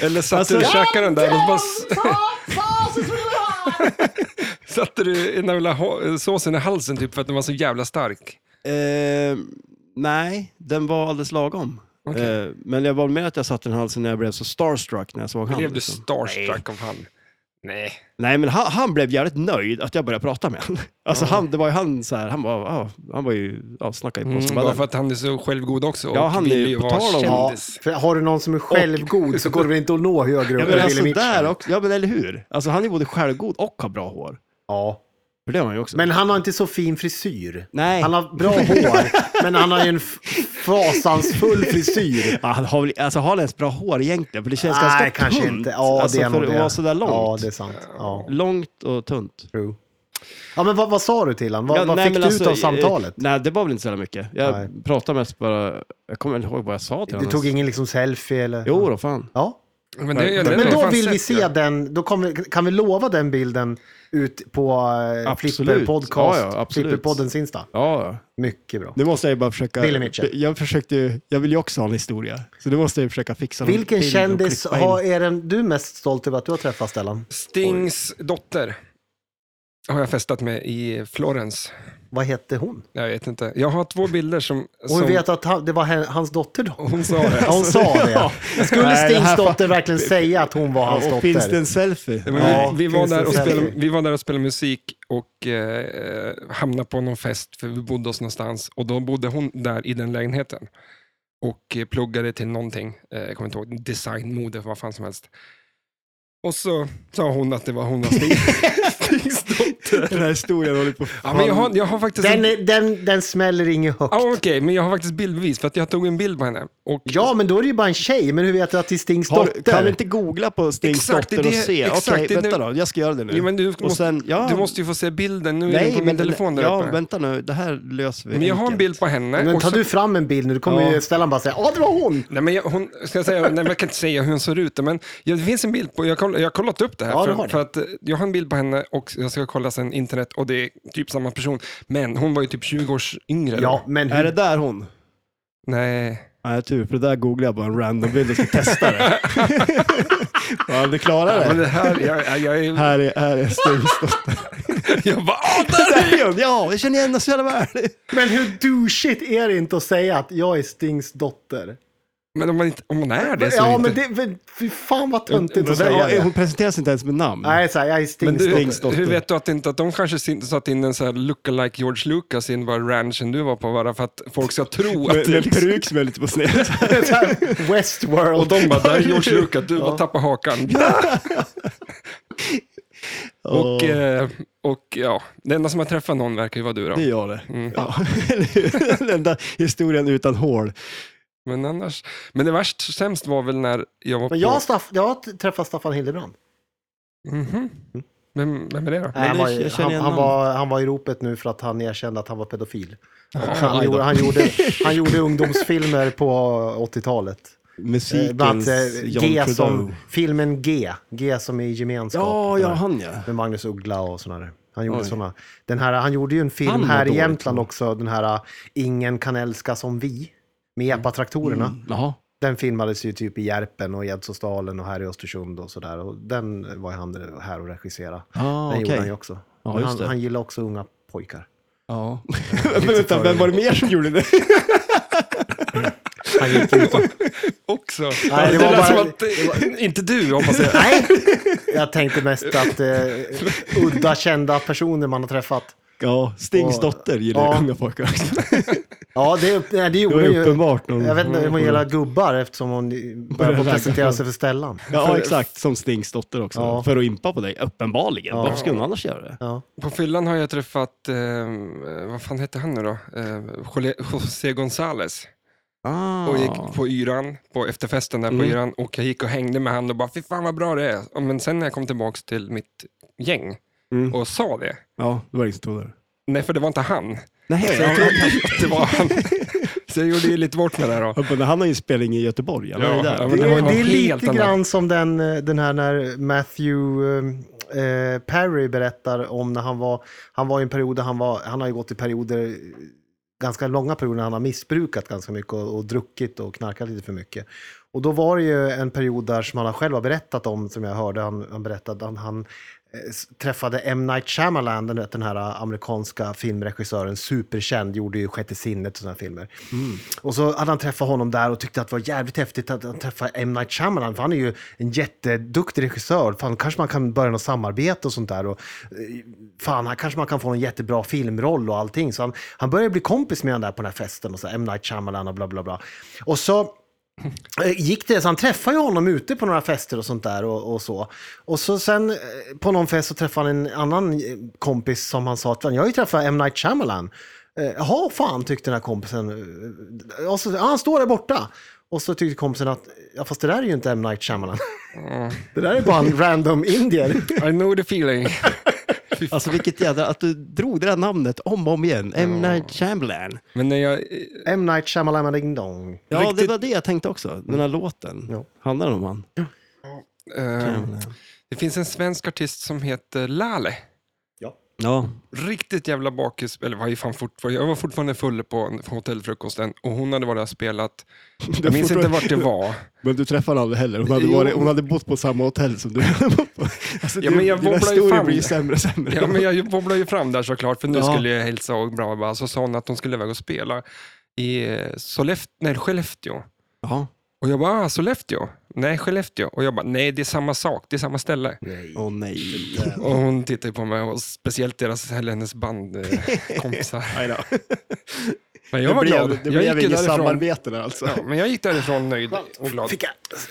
S1: Eller satt
S2: Alltså-
S1: du och käkade den där och bara... Satte du den där lilla ho- såsen i halsen typ för att den var så jävla stark?
S2: Eh, nej, den var alldeles lagom.
S1: Okej.
S2: Eh, men jag var med att jag satte den i halsen när jag blev så starstruck när jag såg honom.
S1: Blev du starstruck av han? Nej.
S2: Nej, men han, han blev jävligt nöjd att jag började prata med honom. Alltså han, det var ju han så här, han var, ah, han var ju, ja, snackade ju på
S1: Mm,
S2: som
S1: bara
S2: bara
S1: för att han är så självgod också och
S2: Ja, han är
S1: vill
S2: ju
S1: ju
S2: på
S1: vara
S2: tal om-
S4: Ja,
S1: kändis.
S4: för har du någon som är självgod så går det väl inte att nå högre
S2: Ja,
S4: upp än
S2: men
S4: Billy
S2: alltså
S4: Mitchell?
S2: där också, ja men eller hur? Alltså han är både självgod och har bra hår.
S4: Ja.
S2: För det har han ju också.
S4: Men han har inte så fin frisyr.
S2: nej.
S4: Han har bra hår, men han har ju en f- fasansfull frisyr.
S2: Ja, han har, väl- alltså, har han ens bra hår egentligen? För det känns ganska
S4: Nej, kanske
S2: tunt.
S4: inte. Ja,
S2: alltså,
S4: det är
S2: för
S4: nog
S2: att
S4: det.
S2: vara sådär långt.
S4: Ja, det är sant. Ja,
S2: Långt och tunt.
S4: true. Ja, men vad, vad sa du till honom? Vad,
S2: Ja,
S4: vad
S2: nej,
S4: fick
S2: men
S4: du ut
S2: alltså,
S4: av samtalet?
S2: eh, Nej, det var väl inte så jävla mycket. Jag
S4: Nej.
S2: pratade mest bara, jag kommer inte ihåg vad jag sa till
S4: Du
S2: honom.
S4: tog ingen liksom selfie eller?
S2: eh, Jo då, fan.
S4: Ja.
S1: Men, det, den har
S4: Men då
S1: fan
S4: vill vi
S1: sett,
S4: se
S1: ja.
S4: den, då kommer, kan vi lova den bilden ut på eh,
S2: Absolut.
S4: Flipper Podcast,
S2: Ja, ja, absolut.
S4: Flipperpoddens Insta.
S2: Ja, ja.
S4: Mycket bra.
S2: Nu måste jag ju bara försöka.
S4: Billy Mitchell.
S2: Jag försökte ju- jag vill ju också ha en historia. Så nu måste jag ju försöka fixa någon
S4: Vilken
S2: bild och
S4: kändis
S2: klippa in.
S4: har, är den du mest stolt över att du har träffat, Stellan?
S1: Stings dotter har jag festat med i Florens.
S4: Vad hette hon?
S1: Jag vet inte. Jag har två bilder som...
S4: Och
S1: som
S4: vi vet att han, det var hen- hans dotter då?
S1: Hon sa det. Alltså,
S4: Ja, hon sa det.
S2: Alltså,
S4: Skulle
S2: Nej, det här
S4: Stings
S2: fan-
S4: dotter verkligen säga att hon var hans
S2: och finns det
S4: dotter?
S2: en selfie?
S1: Men
S4: Ja,
S1: vi, vi, var
S4: finns
S1: där
S4: det
S1: och spelade,
S4: selfie?
S1: vi var där och spelade musik och eh, hamnade på någon fest, för vi bodde oss någonstans. Och då bodde hon där i den lägenheten. Och eh, pluggade till någonting, eh, jag kommer inte ihåg, design, mode, vad fan som helst. Och så sa hon att det var hon och Stig. Stings dotter.
S2: Den här historien håller på...
S1: Ja, men jag, har, jag har faktiskt...
S4: Den,
S1: en-
S4: är- den, den smäller inget högt.
S1: Ja, Okej, men jag har faktiskt bildbevis för att jag tog en bild på henne. Och
S4: Ja, men då är det ju bara en tjej. Men hur vet du att det är Stings
S2: Har,
S4: dotter?
S2: kan vi inte googla på Stings
S1: Exakt, det är
S2: dotter och
S1: det-
S2: se?
S1: exakt,
S2: Okej,
S1: det är
S2: vänta
S1: nu-
S2: då. Jag ska göra det nu.
S1: Jo, men du,
S2: och
S1: måste,
S2: sen, ja,
S1: du måste ju få se bilden. Nu är
S2: Nej,
S1: den på min
S2: men-
S1: telefon där
S2: Ja,
S1: uppe. Men,
S2: vänta nu. Det här löser vi
S1: jag har en
S2: enkelt.
S1: bild på henne.
S4: Men
S1: och
S4: tar
S1: så-
S4: du fram en bild nu, då kommer
S2: Ja.
S4: ju Stellan bara säga ja, det var hon.
S1: Nej, men jag, hon, ska jag, säga, nej, men jag kan inte säga hur hon ser ut, men jag, det finns en bild på, jag, koll, jag har kollat upp det här,
S4: Ja, du
S1: för,
S4: har det.
S1: för att eh, jag har en bild på henne och jag ska kolla sen internet och det är typ samma person. Men hon var ju typ 20 års yngre. eller?
S4: Ja, men
S2: Är det
S4: hur,
S2: där hon?
S1: Nej.
S2: Nej, tur, för det där googlar jag bara en random bild och ska testa det. ja, du klarar
S1: Ja, men
S2: det.
S1: det här, jag, jag, jag, är-
S2: Här är, här är Stings
S1: jag bara, "Ah, där!
S2: dotter. Ja, jag känner igen den så jävla väl.
S4: men hur douchigt är det inte att säga att jag är Stings dotter?
S1: Men om man, inte, om man är det så är
S4: Ja,
S1: det
S4: men
S1: inte...
S4: det, men fy fan vad töntigt
S2: Men
S4: att
S2: det-
S4: säga
S2: ja, Hon
S4: det.
S2: presenteras inte ens med namn.
S4: Nej, så här, jag är
S1: Men
S4: Stings
S1: du,
S4: dotter.
S2: Stingsdotter.
S1: hur vet du att inte att de kanske sin- satt in en så här look-alike George Lucas in var ranchen du var på bara för att folk ska tro att
S2: Med,
S1: det
S2: med en
S1: liksom,
S2: peruk som är lite på sned.
S4: Så här, Westworld.
S1: och de bara, där är George Lucas, du bara tappar hakan. och, eh, och ja, det enda som har träffat någon verkar ju vara du då.
S2: Det gör det.
S1: Mm.
S2: Ja, eller hur? Den enda historien utan
S1: Eh,
S2: hål.
S1: Men annars, men det värst sämst var väl när jag var
S4: Men jag, har
S1: på...
S4: Staff, jag har träffat Staffan Hildebrand.
S1: Mhm. Vem, vem är det då?
S4: Nej, han,
S2: det-
S4: var, ju-
S2: jag känner
S4: han,
S2: igen
S4: han,
S2: honom.
S4: var, han var i ropet nu för att han erkände att han var pedofil. Och
S2: aj
S4: han,
S2: då.
S4: gjorde, han, gjorde, han gjorde ungdomsfilmer på 80-talet. Eh, Bland annat
S2: Musikens
S4: eh,
S2: John
S4: G
S2: Trudeau.
S4: som, filmen G, G som i gemenskap.
S2: Ja,
S4: och
S2: ja,
S4: sådär.
S2: han ja.
S4: Med Magnus Uggla och sådana där. Han gjorde
S2: Oj.
S4: såna. Den här, han gjorde ju en
S2: Han
S4: film
S2: var
S4: här i
S2: dålig, tror
S4: Jämtland
S2: jag.
S4: också, den här eh, Ingen kan älska som vi, med epatraktorerna.
S2: Jaha.
S4: Den filmades ju typ i Järpen och Gäddsåsdalen och här i Östersund och sådär. Och den var han här och regisserade.
S2: Ah,
S4: Den gjorde han ju
S2: okej.
S4: också.
S2: Ja,
S4: Men
S2: just
S4: han,
S2: det.
S4: han gillar också unga pojkar.
S2: Ja. Men Vänta, vem var det mer som gjorde det?
S4: Han gick ut och...
S1: Också.
S4: Nej,
S1: det,
S4: det var
S1: lät
S4: bara-
S1: som att, eh, inte du hoppas jag.
S4: Nej! Jag tänkte mest att eh, udda kända personer man har träffat.
S2: Ja, Stings
S4: Och-
S2: dotter gillar
S4: ja.
S2: unga pojkar också.
S4: Ja, det, nej, det
S2: Det
S4: gjorde
S2: var
S4: hon
S2: ju
S4: ju.
S2: uppenbart. Mm. någon-
S4: Jag vet inte hur man gillar gubbar eftersom hon börjar på att presentera sig för Stellan.
S2: Ja, exakt. Som Stings dotter också.
S4: Ja.
S2: För att impa på dig, uppenbarligen.
S4: Ja.
S2: Varför skulle hon annars göra det?
S4: Ja.
S1: På fyllan har jag träffat, eh, vad fan hette han nu då? Eh, Jole- José González.
S2: Ah.
S1: och gick på yran, på efterfesten där på
S2: Mm.
S1: yran. Och jag gick och hängde med han och bara, fy fan vad bra det är. Och Men sen när jag kom tillbaka till mitt gäng
S2: Mm.
S1: och sa det,
S2: Ja, det var ingen som tog det.
S1: nej för det var inte han.
S2: Nej,
S1: Så jag trodde ju att det var han. Så jag gjorde ju lite bort med det här då.
S2: men han har ju spelning i Göteborg. Han
S1: Ja,
S2: var ju
S1: ja,
S2: där.
S1: men
S4: Det,
S1: det var ju
S4: är-
S1: något
S4: det är
S1: helt
S4: lite
S1: annat.
S4: grann som den, eh, den här när Matthew eh, eh, Perry berättar om när han var, han var i en period där han var, han har ju gått i perioder, eh, ganska långa perioder när han har missbrukat ganska mycket och, och druckit och knarkat lite för mycket. Och då var det ju en period där som han själv har berättat om, som jag hörde han, han berättade, han, han eh, s- träffade M. Night Shyamalan, den, den här eh, amerikanska filmregissören, superkänd, gjorde ju Sjätte sinnet och sådana filmer.
S1: Mm.
S4: Och så hade han träffat honom där och tyckte att det var jävligt häftigt att han träffade M. Night Shyamalan, för han är ju en jätteduktig regissör. Fan, kanske man kan börja något samarbete och sånt där. Och, eh, fan, här kanske man kan få en jättebra filmroll och allting. Så han, han började bli kompis med honom där på den här festen, och så här, M. Night Shyamalan och bla bla bla. Och så eh, gick det, så han träffade ju honom ute på några fester och sånt där och, och så. Och så sen eh, på någon fest så träffade han en annan eh, kompis som han sa att jag har ju träffat M. Night Shyamalan. Eh, Jaha, fan tyckte den här kompisen. Eh, Och så, ja, han står där borta. Och så tyckte kompisen att, ja fast det där är ju inte M. Night Shyamalan. Det där är bara en random indier.
S1: I know the feeling.
S2: Alltså vilket jävla, att du drog det där namnet om och om igen. M. Night Shyamalan.
S1: Men när jag, eh,
S4: M. Night Shyamalan Ding Dong.
S2: Ja, det
S1: Riktigt-
S2: var det jag tänkte också. Den här låten.
S4: Ja.
S2: Handlar den om han?
S1: eh, det finns en svensk artist som heter Lale.
S2: Ja.
S1: Riktigt jävla bakis, eller var ju fan fortfarande, jag var fortfarande full på, en- på hotellfrukosten och hon hade varit där och spelat. Jag minns inte vart det var.
S2: Men du träffade aldrig heller. Hon hade,
S1: Jo.
S2: varit, hon hade bott på samma hotell som du hade bott på. Alltså,
S1: Ja,
S2: du-
S1: men jag
S2: dina
S1: wobblar ju
S2: historier
S1: fan.
S2: blir ju sämre och sämre.
S1: Ja, men jag bobblade ju fram där såklart, för nu
S2: Ja.
S1: skulle jag hälsa och bla bla bla. Så sa hon att hon skulle iväg och spela i eh, Solleft- nej, Skellefteå.
S2: Ja.
S1: Och jag bara, ah, Sollefteå? Nej, Skellefteå. Och jag bara, nej det är samma sak, det är samma ställe.
S2: Åh nej.
S1: Och hon tittar ju på mig, och speciellt deras, eller hennes bandkompisar.
S2: I know.
S1: Men jag var
S2: det blev,
S1: glad.
S2: Det
S1: jag
S2: blev
S1: gick ju
S2: inget
S1: därifrån.
S2: samarbete där alltså.
S1: Ja, men jag gick därifrån nöjd och glad.
S4: Fick jag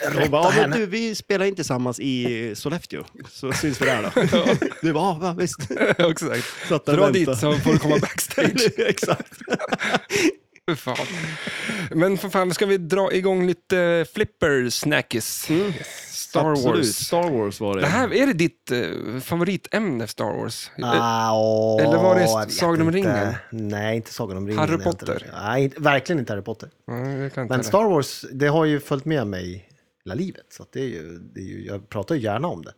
S2: Hon
S4: rätta
S2: bara, ja, men
S1: typ-
S4: henne?
S2: du, vi spelar in tillsammans i Sollefteå, så syns vi där då. Du bara, ja, va, visst.
S1: Exakt.
S2: Satt där och
S1: Dra
S2: väntade.
S1: dit så får du komma backstage.
S2: Exakt.
S1: För fan. Men för fan, ska vi dra igång lite flipper-snackis?
S2: Mm.
S1: Star
S2: Absolut.
S1: Wars.
S2: Star Wars var det.
S1: Det här, är det ditt eh, favoritämne, Star Wars? Eh,
S4: Ah, åh,
S1: Eller var det
S4: jag vet
S1: Sagan om
S4: inte.
S1: ringen?
S4: Nej, inte Sagan om ringen.
S1: Harry
S4: är inte
S1: Potter?
S4: det. Nej, inte- verkligen inte Harry Potter.
S1: nej, jag kan inte
S4: Men
S1: det.
S4: Star Wars, det har ju följt med mig hela livet. Så att det är ju, det är ju, jag pratar ju gärna om det.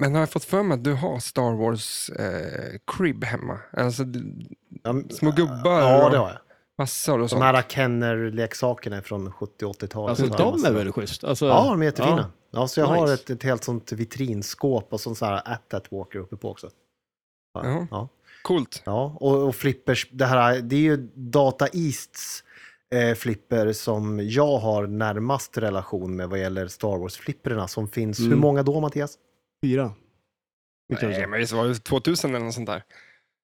S1: Men har jag fått för mig att du har Star Wars eh, crib hemma? Alltså d-
S2: Mm,
S4: Jag,
S1: små gubbar
S4: ja,
S1: och
S4: det har jag.
S1: massor och
S4: De
S1: sånt.
S4: här Kenner-leksakerna från 70 och 80-talet.
S2: Alltså
S4: Så har jag
S2: de
S4: massa-
S2: är väl schysst? Alltså,
S4: Ja, de är jättefina. Ja. så jag
S2: Nice.
S4: har ett, ett helt sånt vitrinskåp och sån så här at walker uppe på också.
S1: Jaha.
S4: Ja.
S1: Coolt.
S4: Ja, och, och flippers, det här, det är ju Data Easts eh, flipper som jag har närmast relation med vad gäller Star Wars-flipperna som finns.
S2: Mm.
S4: Hur många då, Mattias?
S2: Fyra. Vilka är det
S1: Nej,
S2: så?
S1: men det var ju 2000 eller något sånt där.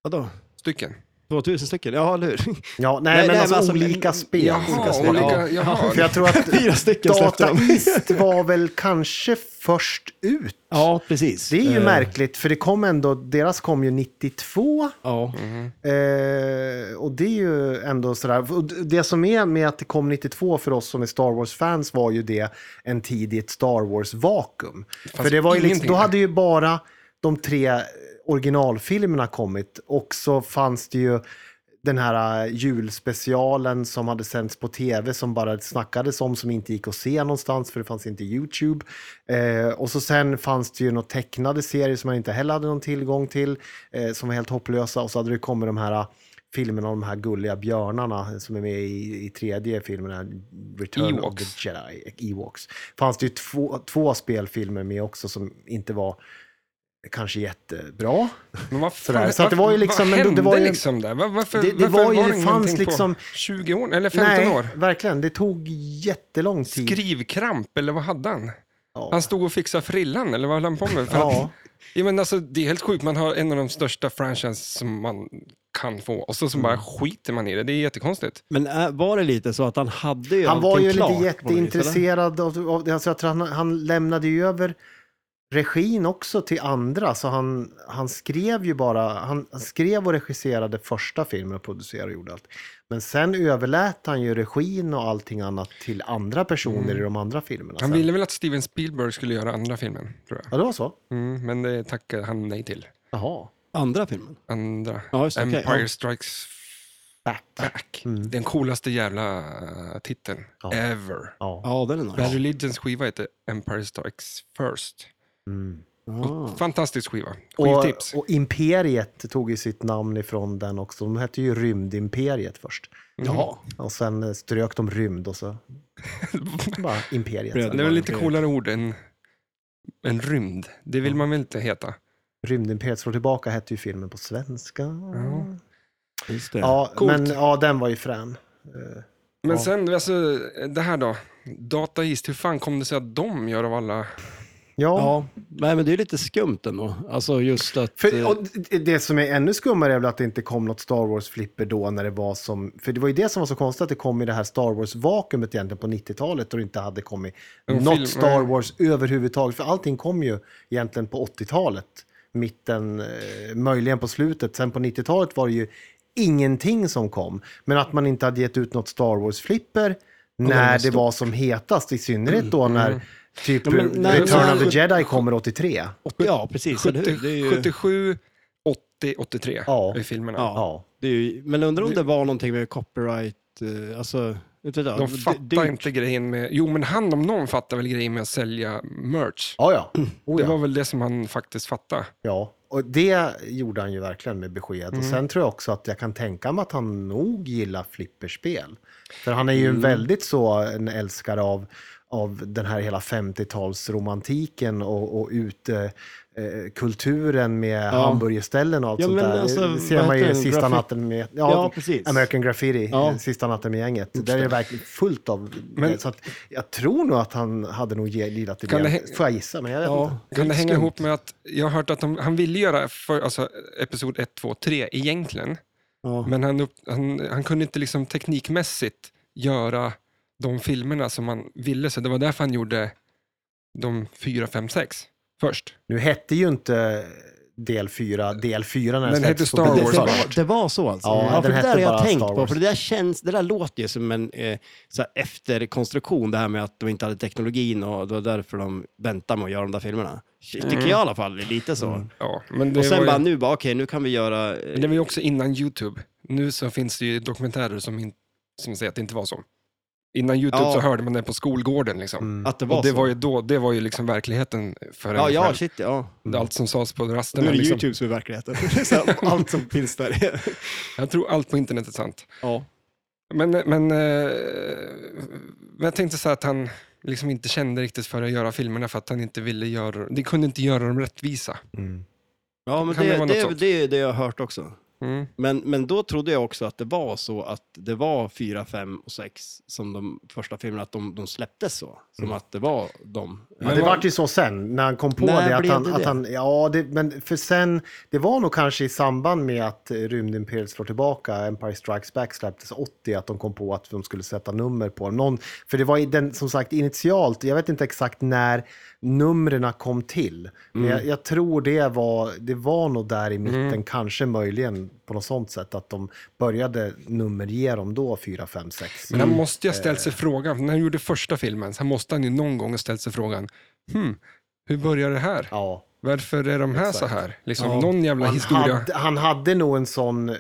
S2: Vadå?
S1: Stycken.
S2: 2000 stycken? Ja, eller hur?
S4: Ja, nej, men alltså olika spel.
S1: Jaha,
S4: olika spel.
S1: olika-
S4: Ja.
S1: jaha.
S4: För jag tror att
S2: Fyra stycken släppte
S4: Data
S2: de.
S4: East var väl kanske först ut.
S2: Ja, precis.
S4: Det är ju
S2: Eh,
S4: märkligt, för det kom ändå, deras kom ju 92.
S2: Ja.
S1: Mhm.
S4: Eh, och det är ju ändå sådär. och Det som är med att det kom 92 för oss som är Star Wars-fans var ju det en tid i ett Star Wars-vakuum. För det var ju liksom,
S1: ingenting
S4: då
S1: där.
S4: hade ju bara de tre originalfilmerna kommit och så fanns det ju den här eh, julspecialen som hade sänts på tv som bara snackades om som inte gick att se någonstans för det fanns inte Youtube. Eh, och så sen fanns det ju några tecknade serier som man inte heller hade någon tillgång till eh, som var helt hopplösa och så hade det kommit de här eh, filmerna om de här gulliga björnarna eh, som är med i, i tredje filmen, här, Return of the
S1: Ewoks.
S4: Jedi, Ewoks. fanns det ju två, två spelfilmer med också som inte var kanske jättebra.
S1: Men vad fan,
S4: Sådär, så att det var ju
S1: vad
S4: liksom- men det-
S1: hände
S4: det var ju-
S1: liksom där? Var, varför,
S4: Det- det
S1: varför
S4: var
S1: var,
S4: ju- det
S1: det
S4: fanns
S1: ingenting
S4: liksom-
S1: på 20 år, eller 15
S4: Nej,
S1: år?
S4: verkligen. Det tog jättelång tid.
S1: Skrivkramp, eller vad hade han?
S4: Ja.
S1: Han stod och fixade frillan, eller vad höll han på med? För
S4: Ja.
S1: att, ja, men alltså, det är helt sjukt, man har en av de största franchises som man kan få och så, så bara
S4: Mm.
S1: skiter man i det, det är jättekonstigt.
S2: Men äh, var det lite så att han hade ju
S4: Han var
S2: allting
S4: ju
S2: klart,
S4: lite
S2: på något vis,
S4: jätteintresserad av, av det. Alltså jag tror han, han lämnade ju över regin också till andra, så han, han skrev ju bara, han, han skrev och regisserade första filmen och producerade och gjorde allt. Men sen överlät han ju regin och allting annat till andra personer
S1: Mm.
S4: i de andra filmerna.
S1: Han
S4: sen.
S1: ville väl att Steven Spielberg skulle göra andra filmen, tror jag.
S4: Ja, det var så?
S1: Mm, men det tackade han nej till.
S4: Jaha.
S2: Andra filmen?
S1: Andra.
S2: Ja, just det. okej,
S1: Empire
S2: ja.
S1: Strikes
S4: Back.
S1: Back.
S4: Mm.
S1: Den coolaste jävla eh, titeln
S4: Ja.
S1: ever.
S4: Ja.
S2: ja, den är nice.
S1: Bad Religions skiva heter Empire Strikes First.
S4: Mm.
S2: Ah.
S1: Fantastisk skiva.
S4: Och,
S1: Skivtips.
S4: och Imperiet tog ju sitt namn ifrån den också. De hette ju Rymdimperiet först.
S2: Jaha.
S4: Och sen eh, strök de rymd och så bara Imperiet.
S2: Bröd.
S4: sen.
S1: Det var lite
S2: Imperiet.
S1: coolare ord än, än rymd. Det vill man väl inte heta?
S4: Rymdimperiet slår tillbaka hette ju filmen på svenska. Ja,
S2: Just det.
S1: Coolt.
S4: men ja, den var ju frän. Eh,
S1: Men
S4: Ja.
S1: sen, alltså, det här då. Dataist, hur fan kom det sig att de gör av alla...
S4: ja.
S2: Ja, nej, men det är lite skumt ändå. Alltså just att... eh,
S4: För, och det- det som är ännu skummare är väl att det inte kom något Star Wars-flipper då när det var som... För det var ju det som var så konstigt, att det kom i det här Star Wars-vakuumet egentligen på 90-talet då det inte hade kommit
S1: En film,
S4: något
S1: nej.
S4: Star Wars överhuvudtaget. För allting kom ju egentligen på 80-talet, mitten, eh, möjligen på slutet. Sen på 90-talet var det ju ingenting som kom. Men att man inte hade gett ut något Star Wars-flipper när det var som hetast, i synnerhet då när typ
S2: Mm. Ja, men när-
S4: Return of the
S2: när-
S4: Jedi kommer 83.
S2: ja, precis. eller hur?
S1: 70,
S2: Det är ju...
S1: 77, 80, 83
S4: Ja.
S1: i filmerna.
S2: Ja.
S4: Ja.
S2: Det är ju, men undrar om det var någonting med copyright, eh, alltså... Inte vet
S1: De
S2: jag,
S1: fattar
S2: det,
S1: inte grejen med... Jo, men han om någon fattar väl grejen med att sälja merch.
S4: Ja, ja. Oh,
S1: Det
S4: ja.
S1: var väl det som han faktiskt fattade.
S4: Ja, och det gjorde han ju verkligen med besked.
S2: Mm.
S4: Och sen tror jag också att jag kan tänka mig att han nog gillar flipperspel. För han är ju en
S2: Mm.
S4: väldigt så en älskare av, av den här hela 50-talsromantiken och, och utekulturen med hamburgerställen och allt
S2: Ja,
S4: sånt
S2: men
S4: där.
S2: alltså,
S4: det
S2: vad
S4: ser man ju
S2: heter
S4: i
S2: den?
S4: Sista
S2: Graffi-
S4: natten med...
S2: Ja, precis.
S4: American Graffiti,
S2: Ja.
S4: eh, Sista natten med gänget. Där är det verkligen fullt av...
S1: Men-
S4: så att jag tror nog att han hade nog gillat det.
S1: Kan det
S4: mer.
S1: hä-
S4: Får jag gissa, men jag vet inte.
S2: ja,
S1: Kan det
S2: är
S1: hänga
S2: skumt.
S1: ihop med att jag har hört att de, han ville göra för, alltså, episod 1, 2, 3 egentligen,
S2: Ja.
S1: men han, upp, han, han kunde inte liksom teknikmässigt göra de filmerna som han ville, så det var därför han gjorde de 4, 5, 6 först.
S4: Nu hette ju inte del 4 del 4 när den
S1: Den hette
S4: släpptes på
S1: Star
S4: bio
S2: Det,
S1: Wars
S2: det,
S4: först.
S2: var, det var så alltså?
S4: Ja,
S2: Ja,
S4: den
S2: för det
S4: hette
S2: där har jag
S4: bara
S2: tänkt
S4: Star
S2: på.
S4: Wars.
S2: För det där, känns, det där låter ju som en eh, så här efterkonstruktion, det här med att de inte hade teknologin och det var därför de väntade med att göra de där filmerna. Tycker
S4: Mm.
S2: jag i alla fall, det är lite så.
S1: Ja, men Mm. det,
S2: Och sen
S1: var
S2: bara
S1: ju,
S2: nu, bara, okej nu kan vi göra... eh,
S1: men det var ju också innan YouTube. Nu så finns det ju dokumentärer som, in, som säger att det inte var så. Innan YouTube
S2: Ja.
S1: så hörde man det på skolgården. Liksom.
S4: Mm.
S2: eh, Att det var
S1: Och det
S2: så.
S1: var ju då, det var ju liksom verkligheten för en
S2: ja, ja,
S1: själv.
S2: shit ja.
S1: Allt som sades på rasterna.
S2: Nu är det
S1: liksom.
S2: YouTube som är verkligheten. Så här, Allt som finns där. är-
S1: Jag tror allt på internet är sant.
S2: ja.
S1: Men, men, eh, men jag tänkte så här att han liksom inte kände riktigt för att göra filmerna för att han inte ville göra, det kunde inte göra dem rättvisa.
S4: Mm.
S2: ja, men
S1: Kan
S2: det,
S1: det
S2: det,
S1: vara något
S2: det,
S1: sånt?
S2: är det jag har hört också.
S1: Mm.
S2: Men, men då trodde jag också att det var så att det var fyra, fem och sex som de första filmerna, att de, de släpptes så. Som
S1: Mm.
S2: att det var de.
S4: Men det vart ju så sen, när han kom på
S2: När
S4: det. Att
S2: blev
S4: han,
S2: det
S4: att
S2: det?
S4: han, ja, det, men för sen, det var nog kanske i samband med att eh, Rymdimperiet slår tillbaka, Empire Strikes Back släpptes 80, att de kom på att de skulle sätta nummer på någon. För det var i den, som sagt initialt, jag vet inte exakt när numren kom till. Men
S2: Mm.
S4: jag, jag tror det var, det var nog där i mitten, kanske möjligen på något sånt sätt, att de började nummerge dem då, 4, 5, 6.
S1: Men han
S2: Mm.
S1: måste ju ha
S2: Eh.
S1: ställt sig frågan, när han gjorde första filmen, så måste han ju någon gång ha ställt sig frågan, hmm, hur börjar det här?
S4: Ja.
S1: Varför är de här så
S4: Exakt.
S1: här? Liksom, Någon jävla
S4: han,
S1: historia.
S4: hade, han hade nog en sån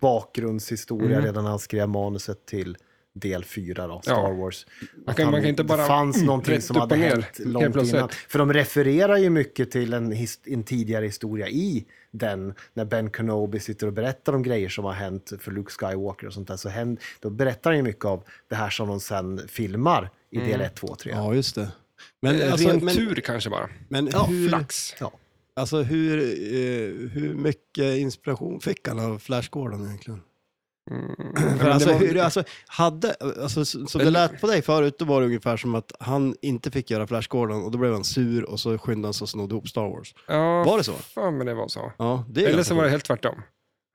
S4: bakgrundshistoria redan när han skrev manuset till del 4 då, Star
S1: Mm. Ja.
S4: Wars. Att
S1: kan- man
S4: han-
S1: kan inte bara
S4: det fanns någonting
S1: rätt
S4: som
S1: upp
S4: hade
S1: och ner,
S4: hänt
S1: helt
S4: långt
S1: plötsligt.
S4: innan. För de refererar ju mycket till en, his, en tidigare historia i den, när Ben Kenobi sitter och berättar om grejer som har hänt för Luke Skywalker och sånt där, så händ, då berättar han ju mycket av det här som de sen filmar i
S1: Mm.
S4: del 1, 2, 3.
S2: Ja, just det. Men,
S1: Eh,
S2: alltså,
S1: Ren
S2: men,
S1: tur kanske bara.
S2: men
S4: Ja,
S2: hur,
S1: Flax.
S4: Ja.
S2: alltså, hur, eh, hur mycket inspiration fick han av Flash Gordon egentligen? För
S1: men
S2: alltså,
S1: det var-
S2: hur, alltså, hade, alltså, s- som det
S1: Eller-
S2: lät på dig förut, då var det ungefär som att han inte fick göra Flash Gordon och då blev han sur och så skyndade han sig och snodde ihop Star Wars.
S1: Ja,
S2: Var det så?
S1: Fan, men det var så.
S2: Ja, det är
S1: Eller
S2: ganska
S1: så var det
S2: sjukt.
S1: helt tvärtom.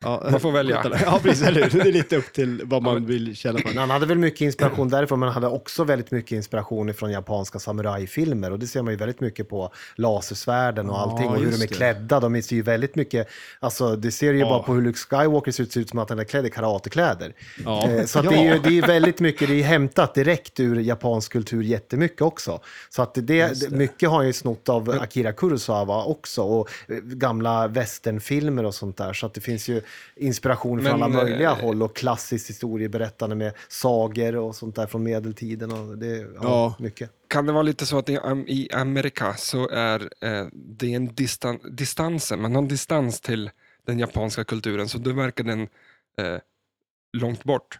S2: Ja,
S1: Man får välja.
S2: skit i det. Ja, precis. Eller hur? Det är lite upp till vad man vill känna på.
S4: Men han hade väl mycket inspiration därifrån, men han hade också väldigt mycket inspiration från japanska samurajfilmer. Och det ser man ju väldigt mycket på lasersvärden och
S2: Ja,
S4: allting. och hur
S2: just
S4: de är
S2: det.
S4: klädda. De ser ju väldigt mycket... Alltså, det ser ju
S2: Ja.
S4: bara på hur Luke Skywalker ser ut, ser ut som att han är klädd i karatekläder.
S2: Ja.
S4: Eh, Så att det, är ju, det är ju väldigt mycket, det är hämtat direkt ur japansk kultur jättemycket också. Så att det, det, mycket har han ju snott av Akira Kurosawa också och eh, gamla westernfilmer och sånt där. Så att det finns ju inspiration från
S1: Men,
S4: alla möjliga
S1: eh,
S4: håll och klassiskt historieberättande med sagor och sånt där från medeltiden och det, ja,
S2: Ja.
S4: mycket.
S1: Kan det vara lite så att i, Am- i Amerika så är eh, det en distan, distansen, man har en distans till den japanska kulturen, så då verkar den eh, långt bort.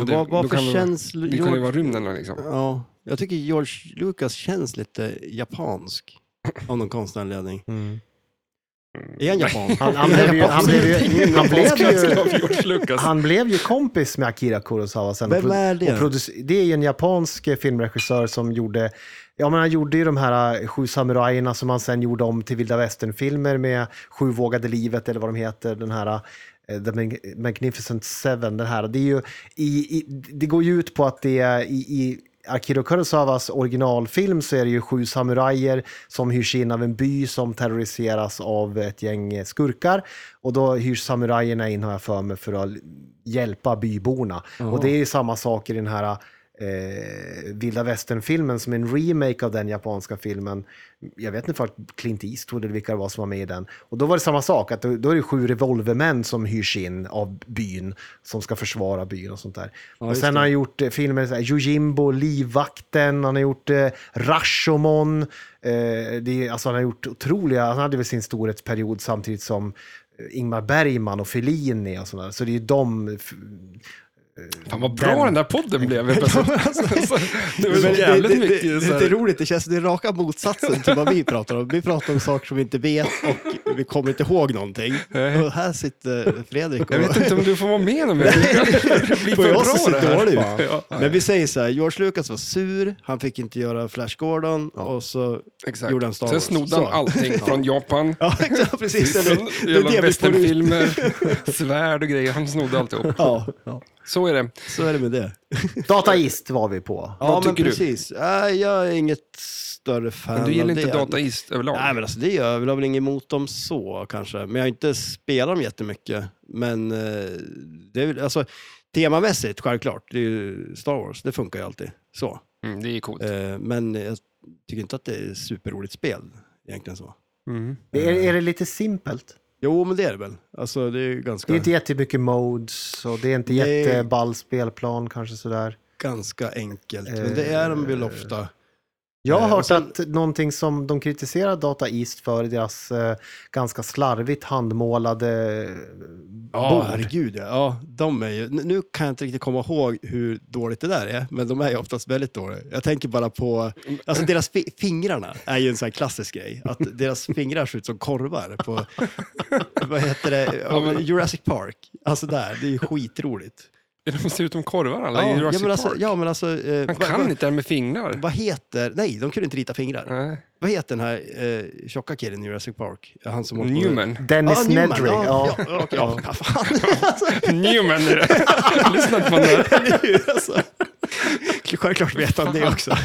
S1: Och det-
S2: Vad,
S1: då
S2: vad för
S1: kan det vara-
S2: känns...
S1: Det kan ju vara rymden då, liksom.
S2: Ja, jag tycker George Lucas känns lite japansk. Av någon konstig anledning. Är han japan?
S4: Han, han blev ju, han blev ju, han blev ju,
S1: George Lucas.
S4: han blev ju kompis med Akira Kurosawa sen.
S2: Vem
S4: Och
S2: är det?
S4: och produc- det är ju en japansk eh, filmregissör som gjorde, ja men han gjorde ju de här eh, Sju samurajerna som han sen gjorde om till vilda västern-filmer med Sju vågade livet eller vad de heter, den här eh, The Mag- Magnificent Seven, den här. Det, är ju, i, i, det går ju ut på att det är i, i Akira Kurosawas originalfilm så är det ju sju samurajer som hyrs in av en by som terroriseras av ett gäng eh, skurkar. Och då hyrs samurajerna in, har jag för mig, för att hjälpa byborna. Och det är ju samma sak i den här eh, vilda västern-filmen som är en remake av den japanska filmen. Jag vet inte om Clint Eastwood eller vilka det var som var med i den. Och då var det samma sak, att då, då är det sju revolvermän som hyrs in av byn, som ska försvara byn och sånt där. och
S2: just
S4: sen
S2: det.
S4: har han gjort eh, filmer, så här, Yojimbo, Livvakten, han har gjort eh, Rashomon. Eh, det är, alltså, han har gjort otroliga, han hade väl sin storhetsperiod samtidigt som eh, Ingmar Bergman och Fellini och sådär. Så det är ju de f-
S1: Fan vad bra
S4: Den-
S1: den, där podden blev. helt plötsligt. Så- det
S2: alltså- Men
S1: var
S2: det-
S1: jävligt
S2: det, det,
S1: mycket
S2: det,
S1: så
S2: det är
S1: här.
S2: roligt, det känns det är raka motsatsen till vad vi pratar om. Vi pratar om saker som vi inte vet och vi kommer inte ihåg någonting. Och här sitter Fredrik och...
S1: Jag vet inte om du får vara med om det. Det blir
S2: För oss
S1: för
S2: ser
S1: bra det
S2: det
S1: här.
S2: dåligt
S1: Ja.
S2: ut. Men vi säger så här, George Lucas var sur, han fick inte göra Flash Gordon och så
S1: Exakt.
S2: gjorde han Star
S1: Sen
S2: Wars.
S1: snodde
S2: Så.
S1: han allting från Japan.
S2: Ja, exakt, precis. Eller,
S1: Från
S2: det är
S1: jävla
S2: det vi får ut.
S1: westernfilmer, svärd och grejer. Han snodde alltihop.
S2: Ja, ja,
S1: Så är det.
S2: så är det med det.
S4: Dataist var vi på.
S2: Ja,
S1: Vad
S2: men
S1: tycker du?
S2: precis. Nej, jag är inget större fan
S1: Men du gillar
S2: av
S1: inte
S2: det.
S1: dataist överlag?
S2: Nej, men alltså det gör jag väl. Jag har väl inget emot dem så kanske. Men jag har inte spelat dem jättemycket. Men eh, det är väl, alltså temamässigt självklart. Det är ju Star Wars, det funkar ju alltid. Så.
S1: Mm, det är coolt.
S2: Eh, men jag tycker inte att det är superroligt spel egentligen så.
S1: Mm.
S4: Är, är det lite simpelt?
S2: Jo, men det är det väl. Alltså det är ju ganska,
S4: Det är inte jättemycket modes och det är inte
S2: Nej.
S4: jätteball spelplan kanske sådär.
S2: ganska enkelt. Men det är de väl ofta.
S4: Jag har
S2: Eh, och
S4: hört
S2: sen-
S4: att någonting som de kritiserar Data East för är deras eh, ganska slarvigt handmålade eh,
S2: Ja,
S4: bord.
S2: herregud ja. ja. De är ju, n- nu kan jag inte riktigt komma ihåg hur dåligt det där är, men de är ju oftast väldigt dåliga. Jag tänker bara på, alltså deras fi- fingrarna är ju en sån här klassisk grej, att deras fingrar ser ut som korvar på, vad heter det, Jurassic Park. Alltså där, det är ju skitroligt.
S1: De ser ut som korvar alla i
S2: Ja, ja,
S1: Jurassic
S2: men alltså,
S1: Park.
S2: ja, men alltså
S1: Man
S2: eh, vad-
S1: kan
S2: vad-
S1: inte det här med fingrar.
S2: Vad heter, nej de kunde inte rita fingrar.
S1: Nej.
S2: Vad heter den här eh, tjocka killen i Jurassic Park? Han som håller på-
S1: Newman.
S4: Dennis
S2: Ah, Newman,
S4: Nedry.
S2: Ja,
S4: Ja.
S2: ja, ja, ja, ja, fan. Alltså,
S1: Newman är det. Lyssna inte på den där.
S2: Eller hur? Alltså. Självklart vet han det också.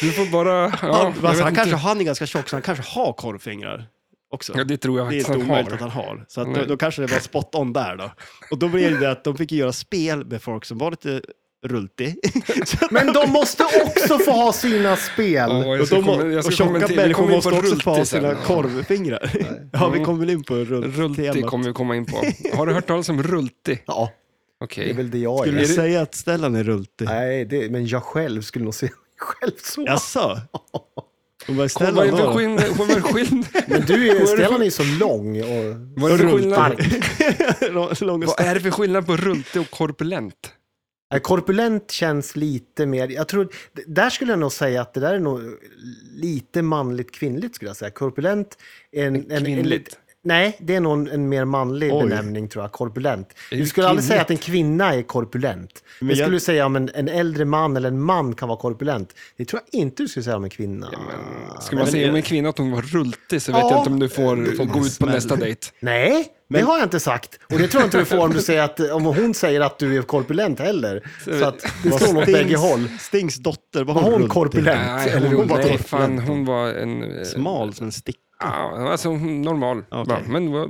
S1: Du får bara... Ja,
S2: han
S1: jag
S2: alltså,
S1: vet
S2: han,
S1: inte.
S2: kanske, han är ganska tjock så han kanske har korvfingrar också.
S1: Ja, det tror jag
S2: det är
S1: faktiskt
S2: inte
S1: han
S2: omöjligt
S1: har.
S2: att han har. Så att då,
S1: Nej.
S2: då kanske det var spot on där då. Och då blev det det att de fick ju göra spel med folk som var lite rultig. Så att-
S4: Men de måste också få ha sina spel.
S1: Ja, jag
S2: och,
S1: ska
S2: de,
S1: komma- jag
S2: och
S1: ska
S2: tjocka
S1: kommentera- vi
S2: människor
S1: kommer in
S2: måste
S1: på
S2: också få ha
S1: Rulti
S2: sina
S1: sen.
S2: korvfingrar. Ja, vi
S1: Mm.
S2: kommer väl in på
S1: Rulti
S2: rulltemat.
S1: kommer vi komma in på. Har du hört talas om Rulti?
S4: Ja, det
S1: Okej.
S4: är väl det jag
S2: Skulle
S4: är.
S2: du säga att Stellan är rultig?
S4: Nej, det, men jag själv skulle nog se mig själv så.
S2: Jaså? Och vad
S1: Kom,
S2: är Stellan
S1: Vad är det
S2: då?
S1: för skill- vad är det för skill-
S4: Men du, är-
S1: det för-
S4: Stellan är ju så lång och
S1: vad är det för skillnad?
S2: Lång- Lång och
S1: Vad är det för skillnad på Rulti och korpulent?
S4: Nej, Korpulent känns lite mer... Jag tror, d- där skulle jag nog säga att det där är nog lite manligt kvinnligt skulle jag säga. Korpulent är en, en, en,
S1: Kvinnligt.
S4: lit- Nej, det är nog en, en mer manlig
S2: Oj.
S4: benämning tror jag, korpulent. Du
S1: det
S4: skulle aldrig
S1: kvinnligt?
S4: säga att en kvinna är korpulent.
S2: Men
S4: du
S2: jag-
S4: skulle säga om en, en äldre man eller en man kan vara korpulent. Det tror jag inte du skulle säga om en kvinna.
S1: Ska man säga om Alltså, en kvinna att hon var rultig så vet
S4: Ja.
S1: jag inte om du får,
S2: Du får
S1: gå ut på
S2: smäll.
S1: nästa dejt.
S4: Nej, det har jag inte sagt. Och det tror jag inte du får om, du säger att, om hon säger att du är korpulent heller. Så att det
S2: Vad
S4: slår åt bägge håll.
S2: Stings dotter, var
S4: Var
S2: hon,
S4: hon
S2: runt i?
S4: korpulent?
S1: Nej,
S4: Eller
S1: hon,
S4: hon var
S1: nej
S4: korpulent.
S1: fan, hon var en... eh,
S2: Smal som en stick.
S1: Ja, alltså hon- normal.
S2: Okej.
S1: bara, men var,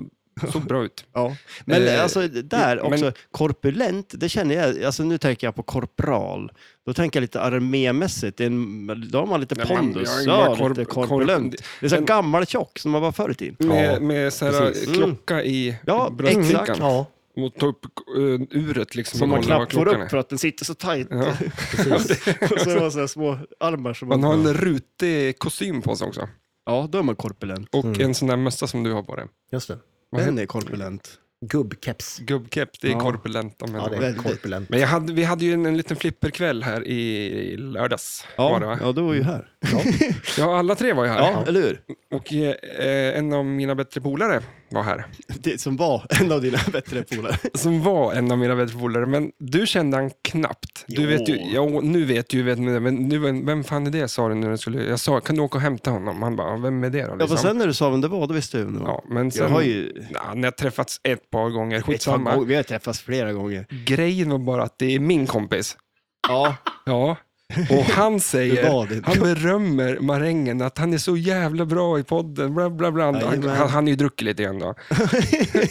S1: såg bra ut.
S2: Ja. Men
S1: Eh,
S2: alltså där också, korpulent, det känner jag, alltså nu tänker jag på korpral. Då tänker jag lite armémässigt, det är en, då har man lite
S1: Nej, man-
S2: pondus,
S1: jag är
S2: ja,
S1: bara korp-
S2: lite korpulent.
S1: korp-
S2: det är så här
S1: men-
S2: gammal tjock som man var förr i tiden.
S1: Med,
S2: Ja.
S1: med så här, eh,
S2: precis. Mm.
S1: klocka i
S2: Ja, exakt.
S1: bröstfickan.
S4: Ja.
S1: Och ta upp uh, uret liksom.
S2: Som
S1: och
S2: man
S1: kolla vad
S2: knappt får
S1: klockan
S2: upp
S1: är.
S2: för att den sitter så tajt.
S1: Ja.
S2: Och så har man så här små armar som
S1: Man har
S2: man...
S1: en rutig kostym på sig också.
S2: Ja, då är man korpulent.
S1: Och en sån där mössa som du har på dig.
S4: Just det.
S1: Vad
S2: Den är korpulent.
S4: Gubbkeps.
S1: Gubbkepp, det är
S2: Ja.
S1: korpulent om
S4: Ja,
S1: jag
S4: det
S1: ja,
S4: är
S2: Väldigt.
S4: korpulent.
S1: Men jag hade, vi hade ju en, en liten flipperkväll här i, i lördags. var det,
S2: Ja,
S1: va?
S2: ja, du var ju här.
S1: ja, alla tre var ju här.
S2: Ja, eller hur?
S1: Och eh, en av mina bättre polare var här.
S2: Det som var en av dina bättre polare.
S1: Som var en av mina bättre polare, men du kände han knappt. Du
S2: Jo.
S1: vet ju, ja, nu vet du ju, vet ni det, men nu, vem fan är det sa du när du skulle... Jag sa, kan du åka och hämta honom? Han bara, vem är det då?
S2: Ja, för
S1: Liksom.
S2: sen när du sa vem det var, då visste du vem det var.
S1: Ja, men sen,
S2: jag har ju...
S1: Ja, ni har träffats ett par gånger,
S2: Ett par
S1: skitsamma.
S2: gånger- Vi har träffats flera gånger.
S1: Grejen var bara att det är min kompis.
S2: Ja,
S1: Ja, och han
S2: Det var
S1: säger,
S2: det.
S1: han berömmer Marängen att han är så jävla bra i podden, bla bla bla. Han,
S2: Jajamän.
S1: han, han är ju druckit lite grann då.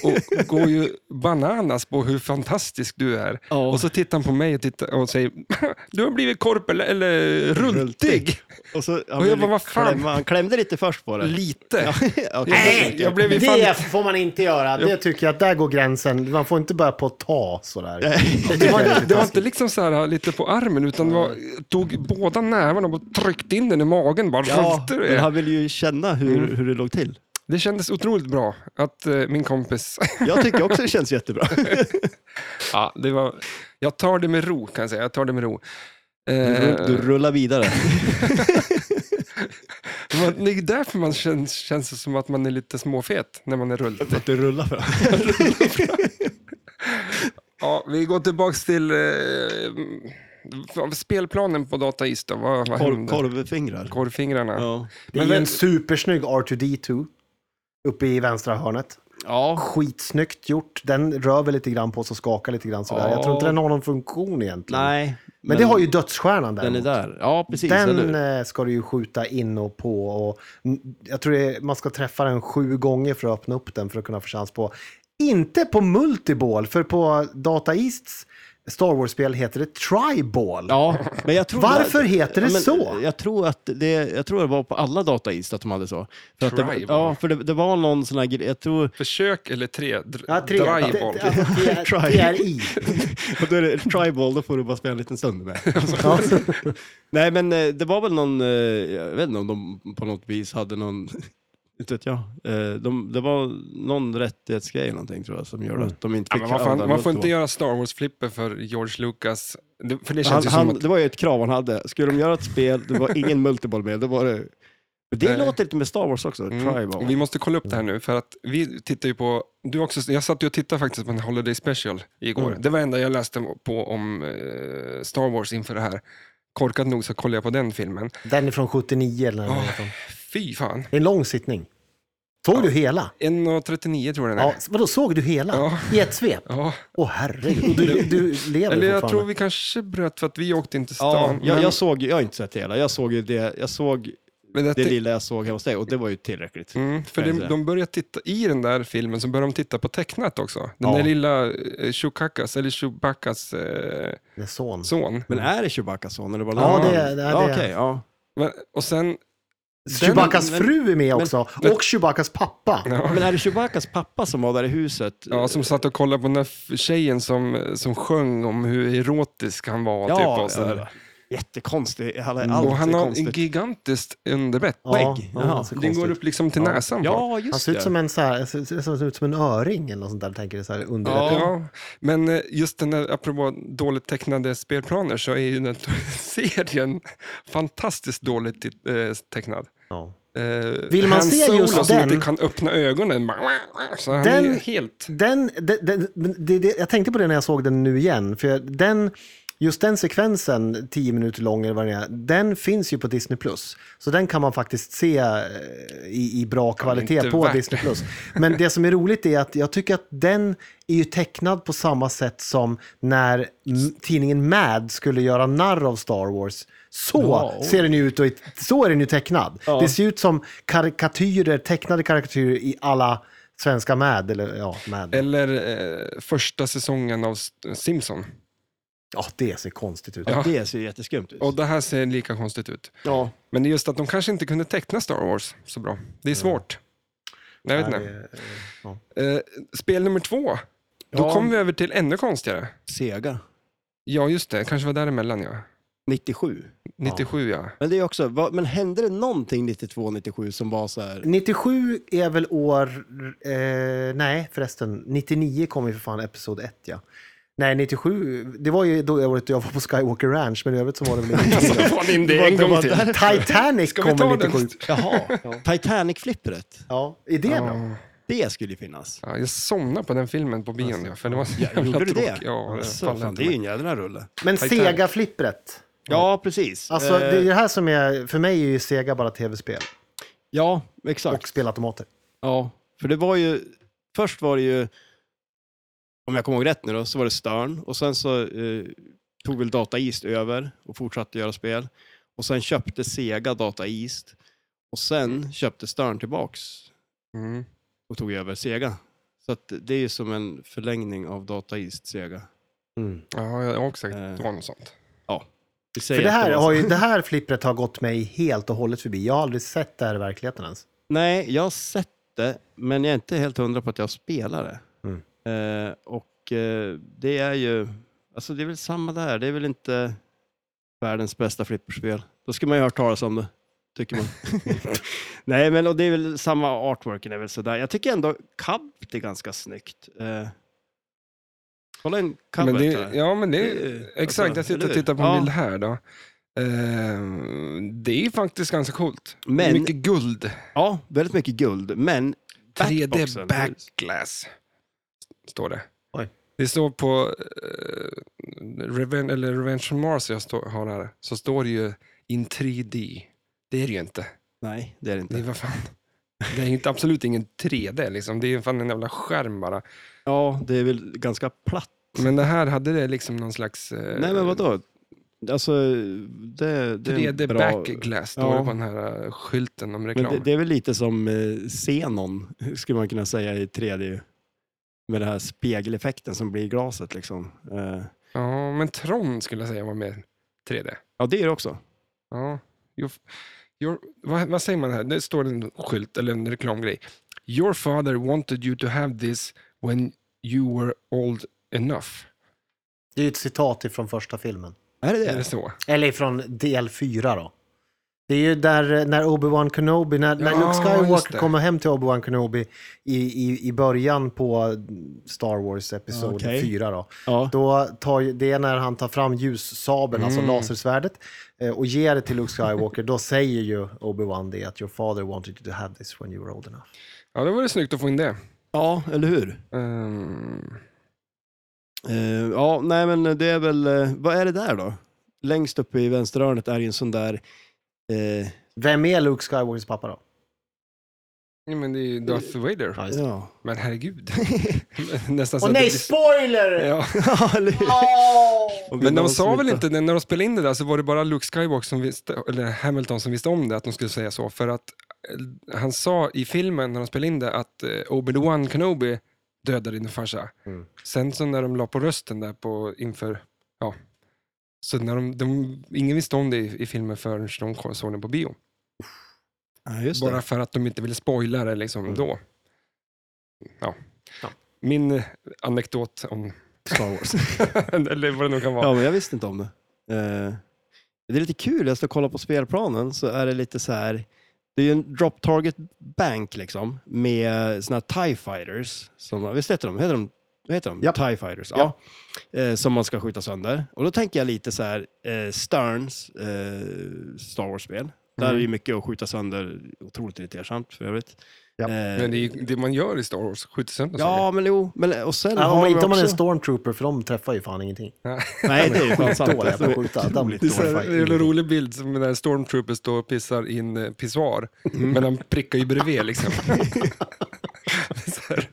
S1: Och går ju bananas på hur fantastisk du är.
S2: Ja.
S1: Och så tittar han på mig och, tittar, och säger, du har blivit korp eller, eller rultig.
S2: Rultig. och så, han,
S1: Och jag
S2: ville
S1: bara, vad fan?
S2: klämma- han klämde lite först på det.
S1: Lite.
S2: Ja, ja,
S1: Nej, jag blev ju fan...
S4: Det får man inte göra. Det tycker jag, där går gränsen. Man får inte börja på att ta sådär.
S1: Det var, det var inte liksom så här lite på armen, utan det var, tog båda nävarna och tryckte in den i magen. Bara,
S2: Ja,
S1: "Rultig du Mm. är."
S2: men han ville ju känna hur, hur det låg till.
S1: Det kändes otroligt bra att eh, min kompis
S2: Jag tycker också det känns jättebra.
S1: Ja, det var... Jag tar det med ro, kan jag säga. Jag tar det med ro. Eh,
S2: Du, du rullar vidare.
S1: man- det är därför man känns, känns det som att man är lite småfet när man är rull.
S2: Att du rullar fram.
S1: Ja, vi går tillbaka till eh, spelplanen på Data East. Då. Vad, vad
S2: Korv,
S1: hände?
S2: korvfingrar.
S1: Korvfingrarna.
S2: Ja.
S4: Det är ju en supersnygg R2D2 uppe i vänstra hörnet.
S2: ja,
S4: Skitsnyggt gjort. Den rör väl lite grann på sig och skakar lite grann sådär.
S2: Ja.
S4: Jag tror inte den har någon funktion egentligen.
S2: nej.
S4: men, det har ju dödsstjärnan där.
S2: Den är där. Ja, precis. eller
S4: Den
S2: hur?
S4: eh, ska du ju skjuta in och på. Och n- jag tror det är, man ska träffa den sju gånger för att öppna upp den för att kunna få chans på. Inte på multiball, för på Data Easts Star Wars-spel heter det triball.
S2: Ja, men jag tror
S4: Varför heter det så?
S2: Jag tror att det, jag tror det var på alla data East att de hade så. För att det,
S1: Tribal.
S2: ja, för det, det var någon sån här grej, jag tror,
S1: Försök eller tre? Dr-
S4: Ja, tre.
S1: Dryball.
S4: Det- Alltså, T-
S2: Tri-
S4: TRI.
S2: och då är det tribal, då får du bara spela en liten stund med. Nej, men eh, det var väl någon, eh, jag vet inte om de på något vis hade någon, inte vet jag, eh, de, det var någon rättighetsgrej eller någonting tror jag som gör att de inte
S1: Mm. Ja, men
S2: fick
S1: vad fan,
S2: använda
S1: man får inte
S2: det.
S1: göra Star Wars-flipper för George Lucas. Det, för det
S2: han,
S1: känns ju som
S2: han,
S1: att...
S2: Det var ju ett krav han hade. Skulle de göra ett spel, det var ingen multiball med, då var det... Det
S1: Nej.
S2: låter lite med Star Wars också,
S1: Mm.
S2: tribal.
S1: och Vi måste kolla upp det här nu, för att vi tittar ju på... Du också, jag satt ju och tittade faktiskt på en Holiday Special igår.
S2: Mm.
S1: Det var det enda jag läste på om eh, Star Wars inför det här. Korkat nog så kollade jag på den filmen.
S4: Den är från 79 eller
S1: Åh.
S4: något. Oh.
S1: Fy fan.
S4: Det är en lång sittning. Såg du hela?
S1: 1.39 tror jag den är.
S4: Ja, vadå, såg du hela?
S1: Ja.
S4: I ett svep?
S1: Ja.
S4: Åh herregud, du, du lever
S1: Eller jag
S4: fortfarande.
S1: tror vi kanske bröt för att vi åkte inte till
S2: Ja,
S1: stan.
S2: jag,
S1: men-
S2: jag såg, jag har inte sett hela, jag såg ju det, jag såg
S1: men jag
S2: det
S1: tänkte-
S2: lilla jag såg hemma hos dig och det var ju tillräckligt.
S1: Mm, för
S2: Nej,
S1: de,
S2: så.
S1: de börjar titta, i den där filmen så börjar de titta på tecknat också. Den
S2: Ja.
S1: där lilla eh, Chewbacca's, eller Chewbaccas eh,
S4: Det är son.
S1: son.
S2: Men är det Chewbaccas son eller bara
S4: Ja,
S2: någon
S4: det är-
S2: annan?
S4: det är-
S2: ja,
S4: det är-
S2: okej, ja.
S1: Men, och sen...
S4: Chewbaccas
S2: men-
S4: fru är med också, och Chewbaccas pappa.
S1: Ja.
S2: Men är det Chewbaccas pappa som var där i huset?
S1: Ja, som satt och kollade på den där f- tjejen som, som sjöng om hur erotisk han var. typ,
S2: ja,
S1: och, så
S2: ja,
S1: här.
S2: ja. jättekonstig. Alla,
S4: Mm.
S2: allt
S1: och han
S2: är
S1: har en
S2: konstigt.
S1: gigantisk underbett.
S4: Ja,
S2: Skägg.
S4: ja,
S2: Jaha.
S4: han ser
S1: Den
S4: konstig
S1: går
S4: ut.
S1: upp liksom till näsan. på.
S2: Ja, just
S4: Han ser ut
S2: det.
S4: som en, så här, ser- ser- ser ut som en öring eller något sånt där, tänker du, så här under.
S2: Ja.
S1: Ja, men eh, just den där, apropå dåligt tecknade spelplaner, så är ju den här serien fantastiskt dåligt eh, tecknad.
S4: Ja.
S1: Eh,
S4: Vill man se just
S1: som
S4: den-
S1: inte kan öppna ögonen. bara- Så han
S4: Den-
S1: är helt...
S4: Den, den, den, det, det, jag tänkte på det när jag såg den nu igen. För jag- den, just den sekvensen, 10 minuter lång eller vad det är, den finns ju på Disney+. Plus. Så den kan man faktiskt se eh, i, i bra kvalitet
S1: inte
S4: på
S1: värt
S4: Disney+. Plus. Men det som är roligt är att jag tycker att den är ju tecknad på samma sätt som när m- tidningen Mad skulle göra narr av Star Wars. Så
S2: Ja.
S4: ser den ju ut och i- så är den ju tecknad.
S2: Ja.
S4: Det ser ut som karikatyrer, tecknade karikatyrer i alla svenska Mad. Eller, ja, Mad.
S1: Eller eh, första säsongen av S- Simpson.
S4: Ja, det ser konstigt ut.
S1: Ja.
S2: Det ser ju jätteskumt ut.
S1: Och det här ser lika konstigt ut.
S2: Ja.
S1: Men det är just att de kanske inte kunde teckna Star Wars så bra.
S2: Mm.
S1: Det är svårt. Jag vet
S4: Nej,
S1: inte.
S4: det-
S1: Eh, spel nummer två. Då
S2: Ja.
S1: kommer vi över till ännu konstigare.
S2: Sega.
S1: Ja, just det. Kanske var däremellan, ja.
S2: 97.
S1: 97, ja.
S2: Men det är också, vad, men hände det någonting 92, 97 som var så här,
S4: 97 är väl år... Eh, nej, förresten. 99 kom ju för fan episod 1, ja. Nej, 97, det var ju då året jag var på Skywalker Ranch, men i övrigt så var det väl
S1: Så
S4: inte.
S1: får in Alltså, det
S2: Vad
S1: en
S2: det
S1: gång
S2: var
S1: till.
S2: där.
S4: Titanic
S1: Ska vi ta
S4: kommer
S1: den?
S4: 97.
S2: jaha, Titanic-flippret,
S4: Ja, är det bra?
S1: Ja.
S2: det skulle ju finnas.
S1: Ja, jag somnade på den filmen på bion, ja, för det var så
S2: Ja,
S1: jävla
S2: gjorde du det?
S1: tråkigt. Ja, det
S2: Alltså,
S1: faller
S2: fan,
S1: inte
S2: det är ju
S1: mig.
S2: en jädra rulle.
S4: Men
S1: Titanic.
S4: Sega-flippret.
S2: Ja, precis.
S4: Alltså, det är
S2: Eh,
S4: det här som är... För mig är ju Sega bara tv-spel
S2: Ja, exakt.
S4: och spelautomater.
S2: Ja, för det var ju, först var det ju, om jag kommer ihåg rätt nu då, så var det Stern och sen så eh, tog väl Data East över och fortsatte göra spel. Och sen köpte Sega Data East och sen köpte Stern tillbaks
S1: Mm.
S2: och tog över Sega. Så att det är ju som en förlängning av Data East Sega.
S1: Ja, jag har också sagt
S2: Eh.
S1: det var något sånt.
S2: Vi säger
S4: För det
S2: att
S4: här,
S2: var
S4: har
S2: så.
S4: ju, det här flippret har gått mig helt och hållet förbi. Jag har aldrig sett det här i verkligheten ens.
S2: Nej, jag har sett det, men jag är inte helt hundra på att jag spelar det.
S4: Mm.
S2: Eh, och eh, det är ju, alltså det är väl samma där, det är väl inte världens bästa flipperspel. Då ska man ju ha hört talas om det, tycker man. Nej, men och det är väl samma artworken är väl sådär. Jag tycker ändå Cub är ganska snyggt. Eh, kolla en
S1: Men
S2: covert
S1: det,
S2: där.
S1: ja, men det
S2: Det är-
S1: är, exakt.
S2: alltså,
S1: Jag sitter
S2: eller
S1: och
S2: hur?
S1: tittar på en
S2: Ja.
S1: bild här. Då. Eh, det är faktiskt ganska coolt.
S2: Men-
S1: Mycket guld.
S2: Ja, väldigt mycket guld, men
S1: 3D
S2: backboxen.
S1: backglass, står det.
S4: Oj.
S1: Det står på eh, Reven, eller Revenge on Mars, jag står, har här, så står det ju in 3D. Det är det ju inte.
S2: Nej, det är det
S1: Det är,
S2: inte.
S1: vad fan. Det är inte, absolut ingen 3D, liksom. det är fan en jävla skärm bara.
S2: Ja, det är väl ganska platt
S1: Men det här hade det liksom någon slags eh,
S2: Nej, men vadå? Alltså, det, det är en
S1: 3D
S2: bra...
S1: backglass, står
S2: Ja.
S1: det på den här eh, skylten om
S2: Men
S1: reklam.
S2: det, det är väl lite som eh, Xenon, skulle man kunna säga i 3D. Med den här spegeleffekten som blir i glaset liksom. Eh,
S1: Ja, men Tron skulle jag säga var mer 3D.
S2: ja, det är det också.
S1: Ja. Your, your, vad, vad säger man här? Det står en skylt eller en reklamgrej. Your father wanted you to have this when you were old enough.
S4: Det är ju ett citat ifrån första filmen.
S2: Är det
S1: Är det
S2: det?
S1: så?
S4: Eller från del 4 då. Det är ju där eh, när Obi-Wan Kenobi, när, när
S1: Ja,
S4: Luke
S1: just
S4: Skywalker
S1: det.
S4: kommer hem till Obi-Wan Kenobi i, i, i början på Star Wars Episod
S2: Okej.
S4: 4 då.
S2: Ja.
S4: Då tar, ju- det är när han tar fram ljussabeln, alltså
S2: Mm.
S4: lasersvärdet, eh, och ger det till Luke Skywalker. då säger ju Obi-Wan det att your father wanted you to have this when you were old enough.
S1: Ja, då var det snyggt att få in det.
S2: ja, eller hur?
S1: Ehm,
S2: Eh, ja, nej men det är väl... eh, vad är det där då? Längst uppe i vänsterhörnet är ju en sån där... eh,
S4: Vem är Luke Skywalkers pappa då?
S1: ja, men det är ju Darth Vader.
S4: Ja, just det.
S2: ja.
S1: Men herregud. Nästan så
S4: Åh
S1: att det
S4: nej,
S1: blir-
S4: spoiler!
S1: Ja.
S2: ja, eller hur? Och
S1: Men de
S2: någon
S1: sa
S2: som
S1: väl inte, när de spelade in det där så var det bara Luke Skywalker som visste, eller Hamilton som visste om det, att de skulle säga så. För att eh, han sa i filmen när de spelade in det att eh, Obi-Wan Kenobi dödade din farsa.
S4: Mm.
S1: Sen så när de la på rösten där på, inför, ja. Så när de, de, ingen visste om det i, i filmen förrän de kom- såg den på bio.
S2: Ja, just
S1: Bara
S2: det. Mm.
S1: för att de inte ville spoila det liksom då. Ja.
S4: Ja.
S1: Min eh, anekdot om,
S2: Star Wars.
S1: eller vad det nu kan vara.
S2: Ja, men jag visste inte om det. Eh, det är lite kul, jag står och kollar på spelplanen så är det lite så här. Det är ju en drop target bank liksom med såna här TIE fighters. Som, visst heter de? Heter de vad heter de?
S4: Japp.
S2: TIE fighters. Ja. Eh, som man ska skjuta sönder. Och då tänker jag lite så här eh, Sterns eh, Star Wars-spel. Där
S4: Mm.
S2: är ju mycket att skjuta sönder, otroligt irritersamt för övrigt.
S4: Ja.
S2: Eh,
S1: Men det är ju det man gör i Star Wars, skjuter sönder
S2: ja, men jo. Men, och sen
S4: Ja,
S2: har
S4: om,
S2: de
S4: inte om man är en
S2: också...
S4: stormtrooper, för de träffar ju fan ingenting.
S2: Nej, det är ju fan sant.
S4: Dåliga på att skjuta. De
S2: Otroligt
S1: Det är, så här,
S4: träffar
S1: det är en
S4: ingenting.
S1: rolig bild som när Stormtroopers står och pissar in eh, pissoar,
S4: Mm.
S1: men han prickar ju bredvid liksom. så här,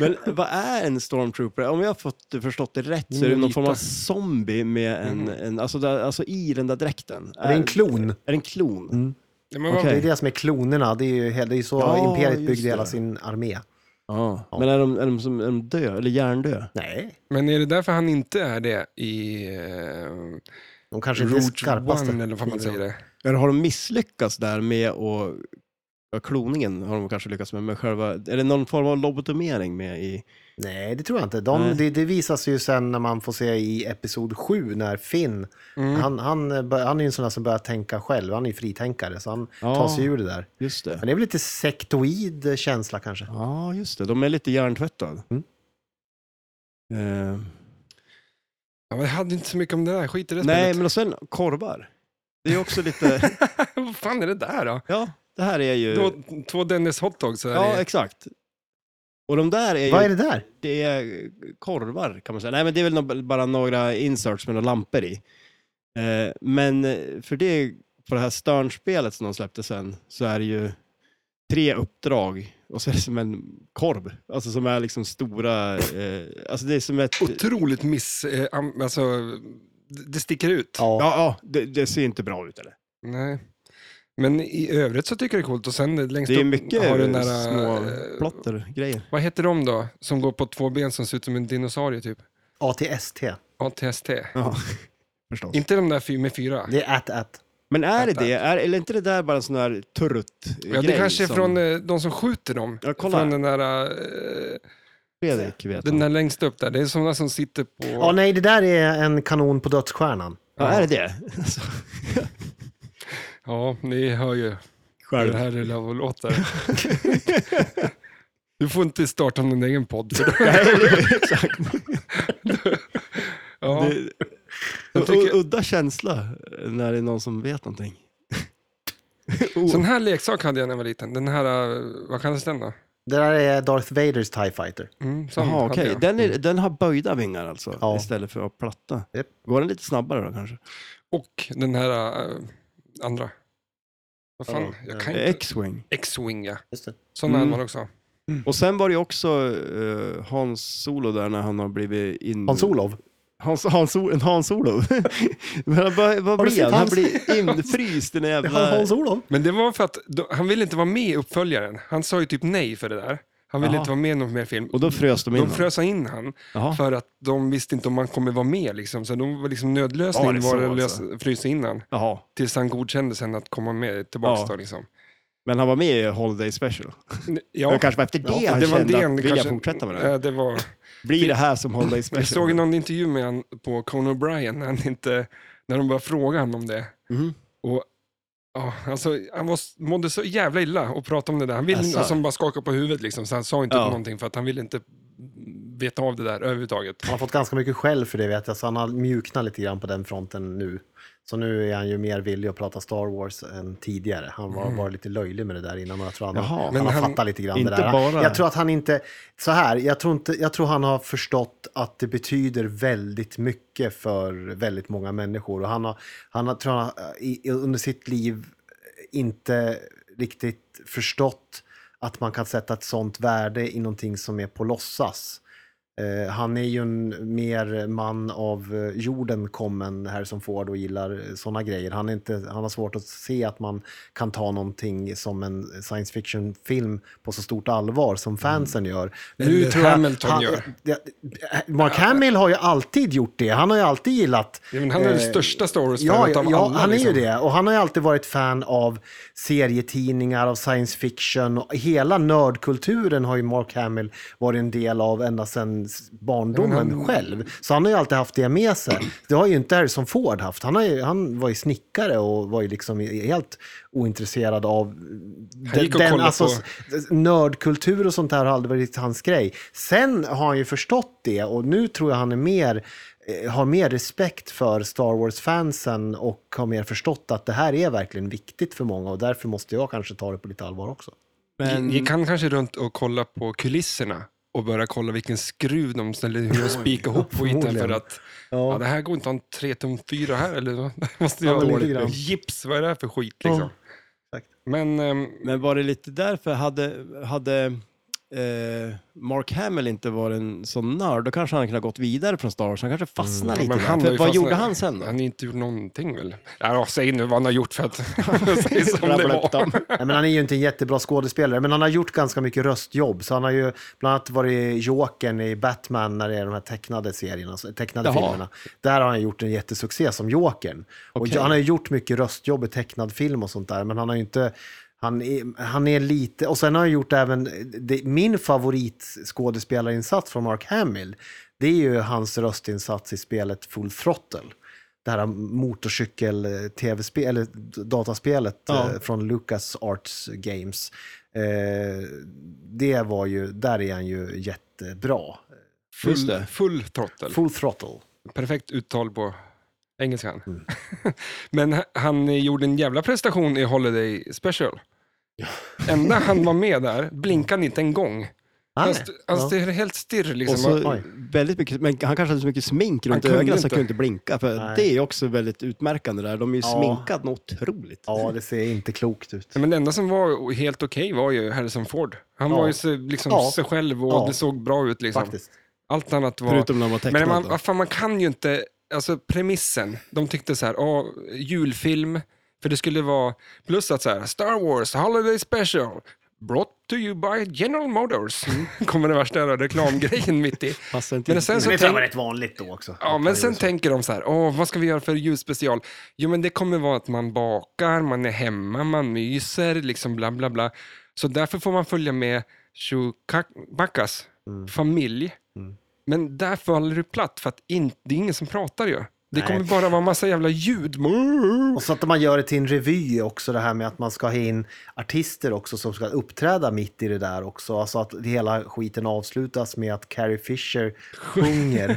S2: Men vad är en stormtrooper? Om jag har fått, förstått det rätt så är det
S1: Mm,
S2: någon form av
S1: lite.
S2: zombie med en, en alltså, där, alltså i den där dräkten.
S4: Det är en Mm. klon.
S2: Är det en klon?
S1: ja, men vad-
S2: Okej.
S4: Det är det som är klonerna. Det är ju, he- det är ju så
S2: Ja,
S4: imperiet
S2: just
S4: byggde hela
S2: det.
S4: sin armé.
S2: Ja. Ah. Men är de, är, de som, är de dö eller hjärndö?
S4: Nej,
S1: Men är det därför han inte är det i eh,
S4: de kanske inte är
S1: Route
S4: skarpaste.
S1: One eller vad man säger det?
S2: Eller har de misslyckats där med att ja, kloningen har de kanske lyckats med, men själva, är det någon form av lobotomering med i?
S4: Nej, det tror jag inte. De,
S2: Nej.
S4: det, det visas ju sen när man får se i episod 7 när Finn,
S1: Mm.
S2: Mm.
S4: han, han, eh, bör- han är ju en sån där som börjar tänka själv. Han är ju fritänkare, så han
S2: Ja.
S4: tar sig ur det där.
S2: Just det.
S4: Men det är väl lite sektoid känsla kanske.
S2: Ja, just det. De är lite hjärntvättade.
S4: Mm.
S2: Eh,
S1: Ja, men jag hade inte så mycket om det där, skit i det
S2: nej,
S1: spelet.
S2: men och sen korvar. Det är ju också lite,
S1: Vad fan är det där då?
S2: ja, det här är
S4: Eh.
S2: ju...
S1: Då, två Dennis hotdogs.
S2: Ja,
S1: Ja,
S2: exakt. Och de där är ju,
S4: Vad är det där?
S2: det är korvar kan man säga. Nej, men det är väl no- bara några inserts med några lampor i. Eh, men eh, för det, på det här Stern-spelet som de släppte sen, så är det ju tre uppdrag och så är det som en korv. Alltså som är liksom stora, eh, alltså det är som ett...
S1: Otroligt miss... Eh, am- alltså, det- det sticker ut.
S2: Ja, ja det, det ser inte bra ut eller?
S1: Nej. Men i övrigt så tycker jag det är coolt. Och sen längst
S2: Det är
S1: upp
S2: mycket
S1: har du den där...
S2: små
S1: eh,
S2: plotter-grejer.
S1: Vad heter de då? Som går på två ben som ser ut som en dinosaurie typ?
S4: ATST.
S1: ATST.
S2: Ja, förstås.
S1: Inte de där fy- med fyra?
S4: Det är at at.
S2: Men är det
S1: Fattar.
S2: det? Är, eller inte det där bara en sån där turrut-grej? liksom?
S1: ja, det kanske är
S2: som-
S1: från eh, de som skjuter dem.
S2: Ja, kolla.
S1: Från den där, eh,
S2: Fredrik vet
S1: den
S2: han.
S1: där längst upp där. Det är sådana som sitter på...
S4: Ja, nej, det där är en kanon på dödsstjärnan.
S2: Ja, är det det? Alltså,
S1: ja, ni hör ju hur
S2: Själv.
S1: det här lilla och låter. du får inte starta någon egen podd. För det.
S2: Nej, eller- Exakt.
S1: Ja.
S2: Det-
S1: Jag tycker-
S2: U- Udda känsla när det är någon som vet någonting. O-
S1: Sån här leksak hade jag när jag var liten. Den här, eh, vad kallas den då?
S4: Det där är Darth Vaders TIE Fighter.
S1: Mm, sån
S2: Jaha,
S1: hade
S2: okej.
S1: jag.
S2: Den, är- den har böjda vingar alltså,
S4: Ja.
S2: istället för att vara platta.
S4: Japp.
S2: Går den lite snabbare då kanske?
S1: Och den här eh, andra. Vad fan,
S4: Ja,
S1: jag
S4: ja.
S1: kan inte...
S2: X-Wing.
S1: X-Wing, ja.
S4: Just det.
S1: Sån
S2: Mm.
S1: hade man också.
S2: Och sen var det ju också eh, Hans Solo där när han har blivit in...
S4: Hans Olof.
S2: Hans, Hans, Ol- en Hans Olof. Men han, bara- vad
S4: du
S2: blir
S4: sett
S2: han? Han
S4: Hans-
S2: blir infryst i den
S4: Det är
S2: jävla...
S4: han Hans Olof.
S1: Men det var för att då, han ville inte vara med i uppföljaren. Han sa ju typ nej för det där. Han ville
S2: Jaha.
S1: inte vara med i någon mer film.
S2: Och då frös de in
S1: De
S2: honom.
S1: frös in han
S2: Jaha.
S1: för att de visste inte om han kommer vara med. Liksom. Så de var liksom
S2: Var
S1: nödlösningen
S2: det
S1: var
S2: så
S1: att lös,
S2: alltså?
S1: frysa in han
S2: Jaha.
S1: tills han godkände sen att komma med tillbaka.
S2: Ja.
S1: Då, liksom.
S2: Men han var med i Holiday Special.
S1: ja,
S2: Det kanske var efter det
S1: Ja,
S2: han
S1: var
S2: kände
S1: det
S2: att
S1: han
S2: vill jag
S1: kanske-
S2: fortsätta med det här?
S1: Ja, det var,
S2: Blir det här som Holiday Special?
S1: Jag såg någon intervju med han på Conan O'Brien när, han inte, när de började fråga honom om det.
S2: Mhm.
S1: Och, ja, alltså, han var, mådde så jävla illa och pratade om det där. Han ville,
S2: Asså.
S1: alltså, han bara skakade på huvudet, liksom, så han sa inte
S2: Ja.
S1: någonting för att han ville inte veta av det där överhuvudtaget.
S4: Han har fått ganska mycket skäll för det vet jag, så han har mjuknat lite grann på den fronten nu. Så nu är han ju mer villig att prata Star Wars än tidigare. Han var bara lite löjlig med det där innan, men jag tror han,
S2: Mm. Jaha,
S4: han
S1: men
S4: har
S1: han-
S4: fattat lite grann
S2: inte
S4: det där.
S2: bara-
S4: Jag tror att han inte, så här, jag tror, inte, jag tror han har förstått att det betyder väldigt mycket för väldigt många människor. Och han har, han har tror jag, i, under sitt liv inte riktigt förstått att man kan sätta ett sånt värde i någonting som är på låtsas. Eh, han är ju en mer man av eh, jorden kommen här som Ford och gillar sådana grejer. Han, är inte, han har svårt att se att man kan ta någonting som en science fiction-film på så stort allvar som fansen gör.
S1: Mm. Eller Hamilton gör.
S4: det- Mark Hamill har ju alltid gjort det. Han har ju alltid gillat
S1: Ja, men han är den
S4: Eh,
S1: största Star
S4: Ja,
S1: Wars-fanet
S4: ja,
S1: av
S4: ja
S1: alla.
S4: han är
S1: liksom.
S4: ju det. Och han har ju alltid varit fan av serietidningar, av science fiction. Och hela nördkulturen har ju Mark Hamill varit en del av ända sedan s- barndomen
S1: Ja, men han-
S4: själv. Så han har ju alltid haft det med sig. Det har ju inte Harrison Ford haft. Han, har ju, han var ju snickare och var ju liksom helt ointresserad av
S1: Han gick och kollade på-
S4: alltså nördkultur och sånt där har aldrig varit hans grej. Sen har han ju förstått det och nu tror jag han är mer eh, har mer respekt för Star Wars-fansen och har mer förstått att det här är verkligen viktigt för många och därför måste jag kanske ta det på lite allvar också.
S2: Men,
S1: Gick han kanske runt och kolla på kulisserna och börja kolla vilken skruv de ställde, hur de spikade ihop skiten för
S4: förmodligen.
S1: att ja. det här går inte att ha en 3 tum 4 här eller vad? Det måste ju
S4: Ja,
S1: vara
S4: men lite
S1: dåligt.
S4: grann.
S1: Gips, vad är det här för skit liksom?
S4: Ja, exakt.
S1: Men ehm,
S2: men var det lite därför, hade, hade eh, Mark Hamill inte varit en sån nörd, då kanske han kunde ha gått vidare från Star Wars. Han kanske fastnade
S1: Mm. men
S2: lite.
S1: han
S2: Han
S1: har
S2: för,
S1: ju
S2: vad
S1: fastnat-
S2: gjorde han sen då?
S1: han har inte gjort någonting väl? Ja, säg nu vad han har gjort för att... säg som det
S2: Rabbla upp
S1: var.
S2: dem.
S4: Nej, men han är ju inte en jättebra skådespelare, men han har gjort ganska mycket röstjobb. Så han har ju bland annat varit Jokern i Batman när det är de här tecknade serierna, så- tecknade
S2: Jaha.
S4: filmerna. Där har han gjort en jättesuccé som Jokern. Och
S2: Okej.
S4: han har ju gjort mycket röstjobb i tecknad film och sånt där, men han har ju inte... Han är, han är lite... Och sen har han gjort även... Det, min favoritskådespelarinsats från Mark Hamill, det är ju hans röstinsats i spelet Full Throttle. Det här motorcykel-tv-spel, eller dataspelet
S2: Ja.
S4: eh, från Lucas Arts Games. Eh, det var ju, där är han ju jättebra.
S2: Just
S1: Full,
S2: det.
S1: full trottel.
S4: Full throttle.
S1: perfekt uttal på engelskan.
S2: Mm.
S1: Men h- han eh, gjorde en jävla prestation i Holiday Special. Enda han var med där blinkade han inte en gång. Han, st- han
S4: Ja.
S1: st- helt stirr liksom.
S2: Och så,
S4: Oj.
S2: väldigt mycket, men han kanske hade så mycket smink runt
S1: kunde
S2: ögonen så
S1: inte.
S2: han kunde inte blinka. För
S4: Nej.
S2: det är ju också väldigt utmärkande där. De är ju
S4: Ja.
S2: sminkade något otroligt.
S4: Ja, det ser inte klokt ut.
S1: Men det enda som var helt okej var ju Harrison Ford. Han
S4: Ja.
S1: var ju så, liksom,
S4: Ja.
S1: sig själv och
S4: Ja.
S1: det såg bra ut. Liksom.
S4: Faktiskt.
S1: Allt annat var...
S2: Förutom när de var
S1: Men
S2: tecknade.
S1: man, vad fan, man kan ju inte, alltså premissen, de tyckte så här, ja, julfilm, för det skulle vara, plus att så här, Star Wars Holiday Special, brought to you by General Motors, kommer den värsta reklamgrejen mitt i.
S2: Mm. Passar inte
S1: Men
S2: in.
S1: sen så
S4: Men det tror jag var
S1: tänk-
S4: rätt vanligt då också.
S1: Ja, men sen tänker de så här, åh, vad ska vi göra för julspecial? Jo, men det kommer vara att man bakar, man är hemma, man myser, liksom bla bla bla. Så därför får man följa med Chewbacca's familj. Men där faller du platt, för att in, det är ingen som pratar ju. Det
S4: Nej.
S1: kommer bara vara massa jävla ljud.
S4: Och så att man gör det till en revy också, det här med att man ska ha in artister också som ska uppträda mitt i det där också. Alltså att det hela skiten avslutas med att Carrie Fisher sjunger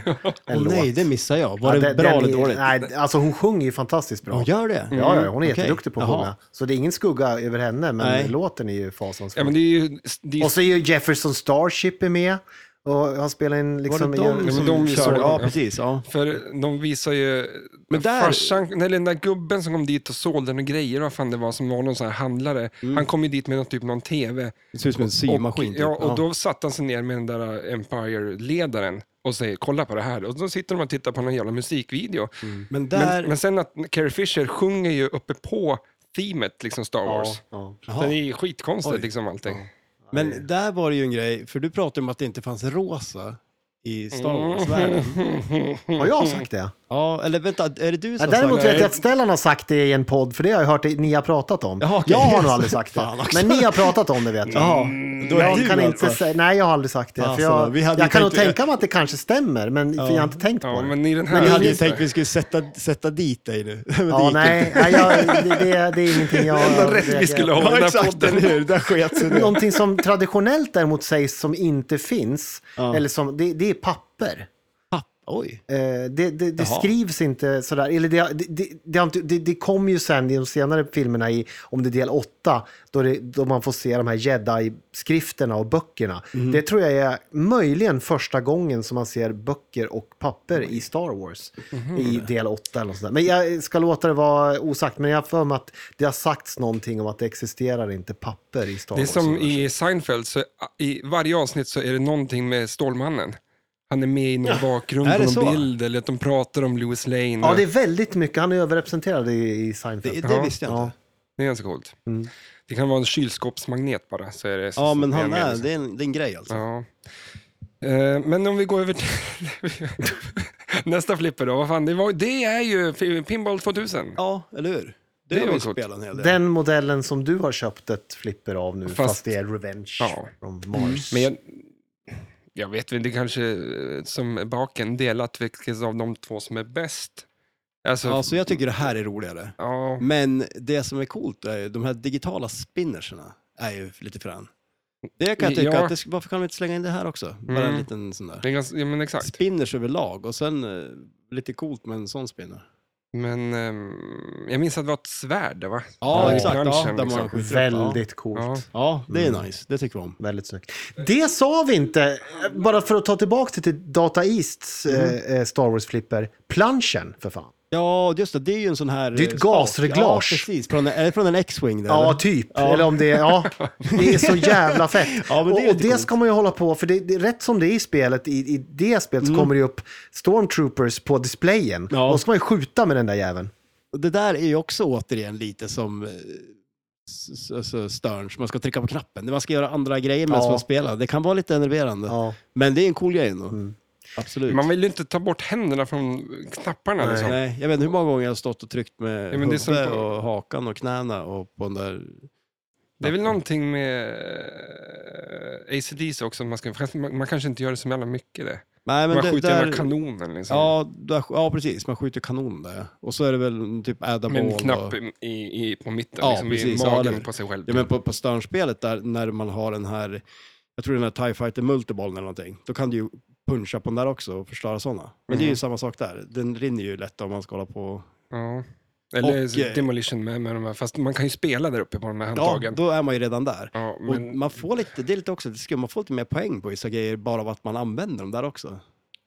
S4: en
S2: Åh,
S4: låt.
S2: nej, det missar jag. Var det
S4: den-
S2: bra
S4: den
S2: eller
S4: är-
S2: dåligt?
S4: Nej, alltså hon sjunger ju fantastiskt bra.
S2: De gör det? Mm,
S4: Ja, ja, hon är
S2: Okej.
S4: jätteduktig på att
S2: Jaha.
S4: sjunga. Så det är ingen skugga över henne, men
S2: Nej.
S4: låten är ju
S1: Ja,
S4: fasansfull.
S1: men det är ju... Det är,
S4: Och så är ju Jefferson Starship är med. Och han spelar in liksom...
S2: var det de
S1: men
S2: som
S1: de vi
S2: körde?
S1: såg,
S2: Ja,
S1: ja.
S2: precis. Ja.
S1: för de visar ju
S2: Men där-
S1: farsan, eller den där gubben som kom dit och sålde några grejer, vad fan det var, som var någon sån här handlare. Han kom ju dit med någon, typ någon tv.
S2: Det ser ut som en symaskin.
S1: Och,
S2: typ.
S1: ja, och då satte han sig ner med den där eh, Empire-ledaren och säger kolla på det här. Och då sitter de och tittar på någon jävla musikvideo.
S2: Men där...
S1: Men, men sen att Carrie Fisher sjunger ju uppe på teamet, liksom Star
S4: Ja,
S1: Wars.
S4: ja.
S1: Det är ju skitkonstigt
S2: Oj.
S1: liksom allting.
S2: Men där var det ju en grej, för du pratade om att det inte fanns rosa i Star Wars-världen.
S4: Har jag sagt det?
S2: Ja, eller vänta, är det du
S4: Ja,
S2: som
S4: däremot
S2: sa
S4: vet jag att Stellan har sagt det i en podd, för det har jag hört att ni har pratat om.
S2: Jaha, okej.
S4: Jag har nog aldrig sagt det,
S2: Fan också.
S4: men ni har pratat om det vet jag.
S2: Ja,
S1: Mm,
S2: då är
S4: jag
S2: du
S4: kan
S2: alltså.
S4: inte säga, nej, jag har aldrig sagt det.
S2: Alltså,
S4: för jag
S2: vi hade ju
S4: jag kan nog
S2: tänkt-
S4: tänka mig att det kanske stämmer, men för jag har inte tänkt på
S1: Ja,
S4: det.
S1: men i den här...
S2: Vi hade ju
S1: listan-
S2: tänkt att vi skulle sätta, sätta dit dig nu. Men det
S4: ja,
S2: gick inte.
S4: nej, nej jag, det, det, det är ingenting jag...
S1: Enda rätt vi skulle ha i den
S2: Ja,
S1: här
S2: exakt,
S1: podden.
S2: eller hur? Det där sket sig nu.
S4: Någonting som traditionellt däremot sägs som inte finns, eller som, det, det är papper.
S2: Ah, Oj.
S4: Eh, det det, det
S2: Jaha.
S4: skrivs inte sådär. Eller det, det, det, det, har inte- det, det kom ju sen i de senare filmerna, i, om det är del åtta, då, det, då man får se de här jedi-skrifterna och böckerna.
S1: Mhm.
S4: Det tror jag är möjligen första gången som man ser böcker och papper i Star Wars.
S1: Mhm.
S4: I del åtta eller något sånt där. Men jag ska låta det vara osagt, men jag har för mig att det har sagts någonting om att det existerar inte papper i Star
S1: Det är
S4: Wars.
S1: som i Seinfeld, så i varje avsnitt så är det någonting med Stålmannen. Han är med i någon bakgrund,
S2: är
S1: på
S2: det
S1: någon
S2: så?
S1: bild, eller att de pratar om Louis Lane.
S4: Ja, det är väldigt mycket. Han är överrepresenterad i, i Seinfeld.
S2: Det, det
S1: Ja,
S2: visste jag
S4: ja.
S2: inte.
S1: Det är ganska coolt. Det kan vara en kylskåpsmagnet bara. Så är det
S2: Mm. Ja, men han
S1: med,
S2: är,
S1: liksom.
S2: det är en, det är en grej alltså.
S1: Ja. Eh, Men om vi går över till nästa flipper då. Vad fan, det, var, det är ju fi- Pinball 2000.
S2: Ja, eller hur? Det,
S1: Det
S2: har
S1: var
S2: vi
S1: coolt.
S2: spelat en hel del.
S4: Den modellen som du har köpt ett flipper av nu, fast,
S1: Fast-
S4: det är Revenge
S1: Ja.
S4: från Mars.
S1: Men jag, jag vet väl, det kanske eh, som baken delat vilket av de två som är bäst. Alltså,
S2: Ja, så jag tycker det här är roligare.
S1: ja.
S2: Men det som är coolt är ju de här digitala spinnerserna är ju lite frän. Det kan jag tycka,
S1: Ja.
S2: att det, sk- varför kan de inte slänga in det här också? Bara en
S1: Mm.
S2: liten sån där.
S1: Det är ganska, ja, men exakt.
S2: Spinners överlag och sen eh, lite coolt med en sån spinner.
S1: Men ehm, jag minns att det var ett svärd, va?
S2: Ja,
S1: i liksom.
S2: exakt. Ja,
S1: planschen,
S2: där man skjuter upp,
S4: Väldigt coolt.
S1: Ja.
S2: Mm. Ja, det
S4: Mm.
S2: är nice. Det tycker vi om.
S4: Väldigt snyggt. Det sa vi inte, bara för att ta tillbaka det till Data Easts
S2: Mm.
S4: eh, eh, Star Wars-flipper. Planschen, för fan.
S2: Ja, just det. Det är ju en sån här...
S4: Det är ett
S2: eh, spak.
S4: gasreglage.
S2: Ja, precis. Från, är det från en X-Wing? där,
S4: Ja,
S2: eller?
S4: typ.
S2: Ja.
S4: Eller om det är, ja. Det är så jävla fett.
S2: Ja, men det är
S4: och,
S2: lite
S4: och det
S2: coolt.
S4: ska man ju hålla på, för det, det är rätt som det är i spelet, i, i det spelet så kommer det ju upp stormtroopers på displayen.
S2: Mm. Ja.
S4: Och då ska man ju skjuta med den där jäveln.
S2: Och Det där är ju också återigen lite som eh, s- s- s- Sterns. Man ska trycka på knappen. Man ska göra andra grejer medan
S4: Ja.
S2: man spelar. Det kan vara lite enerverande.
S4: Ja. Mm.
S2: Men det är en cool grej ändå. Absolut.
S1: Man vill ju inte ta bort händerna från knapparna.
S4: Nej.
S1: liksom.
S2: Nej, jag vet inte hur många gånger jag har stått och tryckt med
S1: Ja, men det är
S2: huvudet
S1: som på-
S2: och hakan och knäna och på den där...
S1: Det är väl någonting med eh, ACDC också. Man, ska, fast man, man kanske inte gör det så jävla mycket det.
S2: Nej, men
S1: man
S2: det,
S1: skjuter
S2: där...
S1: med kanonen liksom.
S2: Ja, där, ja, precis. Man skjuter kanon där. ja. Och så är det väl typ Adam
S1: med en
S2: Ball
S1: knapp
S2: och...
S1: i, i, på mitten,
S2: Ja,
S1: liksom, i
S2: precis. Ja,
S1: magen
S2: eller-
S1: på sig själv.
S2: Ja, men på, på Sternspelet där, när man har den här, jag tror den här TIE Fighter Multibollen eller någonting, då kan du ju puncha på den där också och förstöra sådana. Men det är ju
S1: Mhm.
S2: samma sak där, den rinner ju lätt om man ska hålla på.
S1: Ja. Eller
S2: Och, eh,
S1: Demolition med, med de här, fast man kan ju spela där uppe på de här
S2: Ja,
S1: handtagen.
S2: då är man ju redan där.
S1: Ja,
S2: Och
S1: men,
S2: man får lite, det är lite också lite skumt, man får lite mer poäng på vissa grejer bara av att man använder dem där också.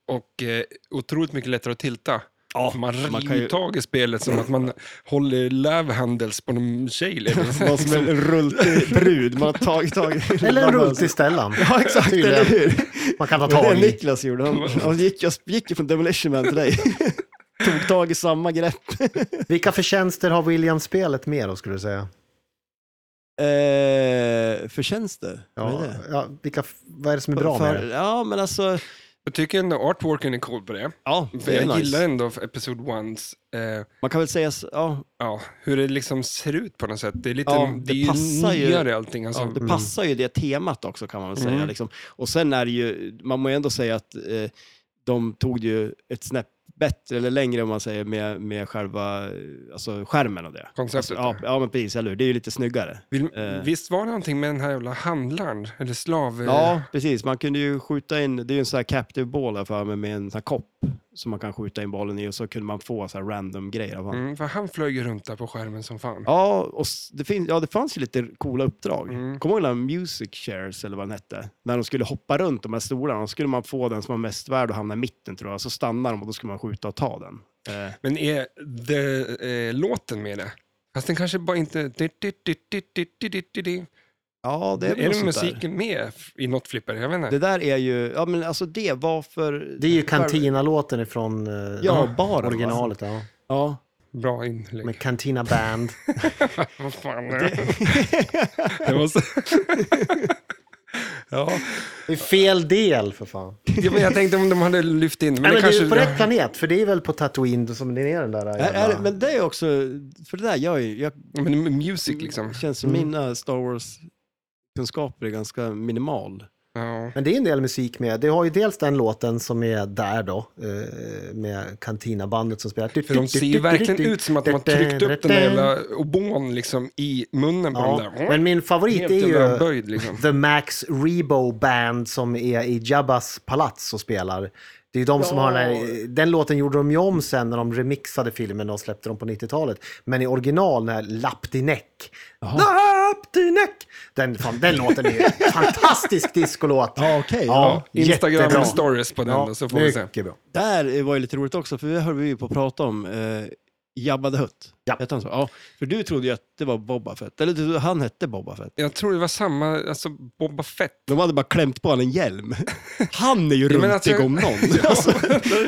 S1: och eh, otroligt mycket lättare att tilta.
S2: Ja,
S1: man
S2: man
S1: river
S2: kan ju-
S1: tag i spelet som att man håller love handles på någon tjej. liksom.
S2: Vad som en rultig brud, man har tagit tag i-
S4: Eller en
S2: man
S4: runt i ställan.
S2: Ja, exakt,
S4: Tydligen.
S2: eller hur?
S4: Man kan ta
S2: Det var
S4: tag
S2: det
S4: i.
S2: Niklas gjorde, han, han gick, jag gick ju från Demolition Man till dig. Tog tag i samma grepp.
S4: Vilka förtjänster har Williams-spelet med då, skulle du säga?
S2: Eh, förtjänster?
S4: Ja,
S2: Vad är det?
S4: ja, vilka, f- vad är det som är bra
S2: För-
S4: med det?
S2: Ja, men alltså...
S1: Jag tycker ändå artworken är cool på det.
S2: Ja,
S1: För
S2: det är
S1: jag
S2: nice.
S1: gillar ändå Episod 1s eh,
S2: Man kan väl säga... s- Ja,
S1: ja, hur det liksom ser ut på något sätt. Det är lite
S2: Ja,
S1: det
S2: det
S1: är
S2: passar
S1: ju
S2: ju-
S1: nyare allting. Alltså.
S2: ja, det passar ju det temat också kan man väl säga.
S1: Mm.
S2: Liksom. Och sen är det ju... Man må ju ändå säga att eh, de tog det ju ett snäpp bättre eller längre om man säger med, med själva eh, alltså, skärmen och det. Alltså,
S1: Konceptet Mm.
S2: Ja,
S1: där.
S2: ja, men precis, eller hur? Det är ju lite snyggare.
S1: Vill,
S2: eh.
S1: Visst var det någonting med den här jävla handlaren, eller slav... eh,
S2: Ja, precis. Man kunde ju skjuta in, det är ju en sån här captive ball här för mig med en sån här kopp som man kan skjuta in bollen i och så kunde man få så här random grejer av honom.
S1: Mm, för han flög ju runt där på skärmen som fan.
S2: Ja, och s- det, fin- ja, det fanns ju lite coola uppdrag.
S1: Mm.
S2: Kommer du ihåg den här Music Chairs eller vad den hette? När de skulle hoppa runt de här stolarna, då skulle man få den som var mest värd och hamna i mitten tror jag. Så stannar de och då skulle man skjuta och ta den. Eh,
S1: Men är the, eh, låten med det? Fast den kanske bara inte... Är,
S2: ja, det är, väl något
S1: den
S2: sånt där.
S1: musiken med f- i något flipper? Jag vet inte.
S2: Det där är ju, ja men alltså det var för...
S4: Det är ju Cantina-låten ifrån eh,
S2: Ja, baren. Va?
S4: originalet. Ja.
S2: Ja.
S1: Bra inlägg.
S4: Med Cantina Band.
S1: Vad fan är det? det var så... ja.
S4: Det är fel del, för fan.
S1: Ja, men Jag tänkte om de hade lyft in... Men
S4: Nej,
S1: det
S4: men
S1: kanske...
S4: Det är ju på rätt planet, för det är väl på Tatooine som det är den där
S2: Är, är,
S4: jävla...
S2: det- men det är också, för det där gör ju, jag
S1: Men med music liksom.
S2: Det känns som mina Star Wars-kunskaper är ganska minimal.
S1: Ja.
S4: Men det är en del musik med. Det har ju dels den låten som är där då, eh, med Cantina-bandet som spelar.
S1: För de ser ju verkligen ut som att de har tryckt upp den där jävla obon liksom i munnen på
S4: Ja,
S1: den där.
S4: men min favorit
S1: Helt
S4: är
S1: jävla
S4: ju
S1: böjd liksom.
S4: The Max Rebo Band som är i Jabbas palats och spelar. Det är ju de som
S2: Ja.
S4: har den, här, den låten gjorde de ju om sen när de remixade filmen och släppte dem på 90-talet. Men i original, den här Lapp din näck. Lapp din näck! Den, fan, den låten är ju en fantastisk discolåt.
S2: Ja, okej.
S4: Ja, jättebra.
S1: Instagram stories på den
S4: Ja,
S1: då, så får vi se.
S4: Mycket bra.
S2: Där var ju lite roligt också, för det höll vi ju på att prata om eh, Jabba the Hutt.
S4: Ja.
S2: Hette han så? Ja. För du trodde ju att det var Boba Fett, eller du, han hette Boba Fett.
S1: Jag tror det var samma, alltså Boba Fett.
S2: De hade bara klämt på honom en hjälm. Han är ju
S1: Ja,
S2: runtig
S1: men alltså-
S2: om någon. Alltså,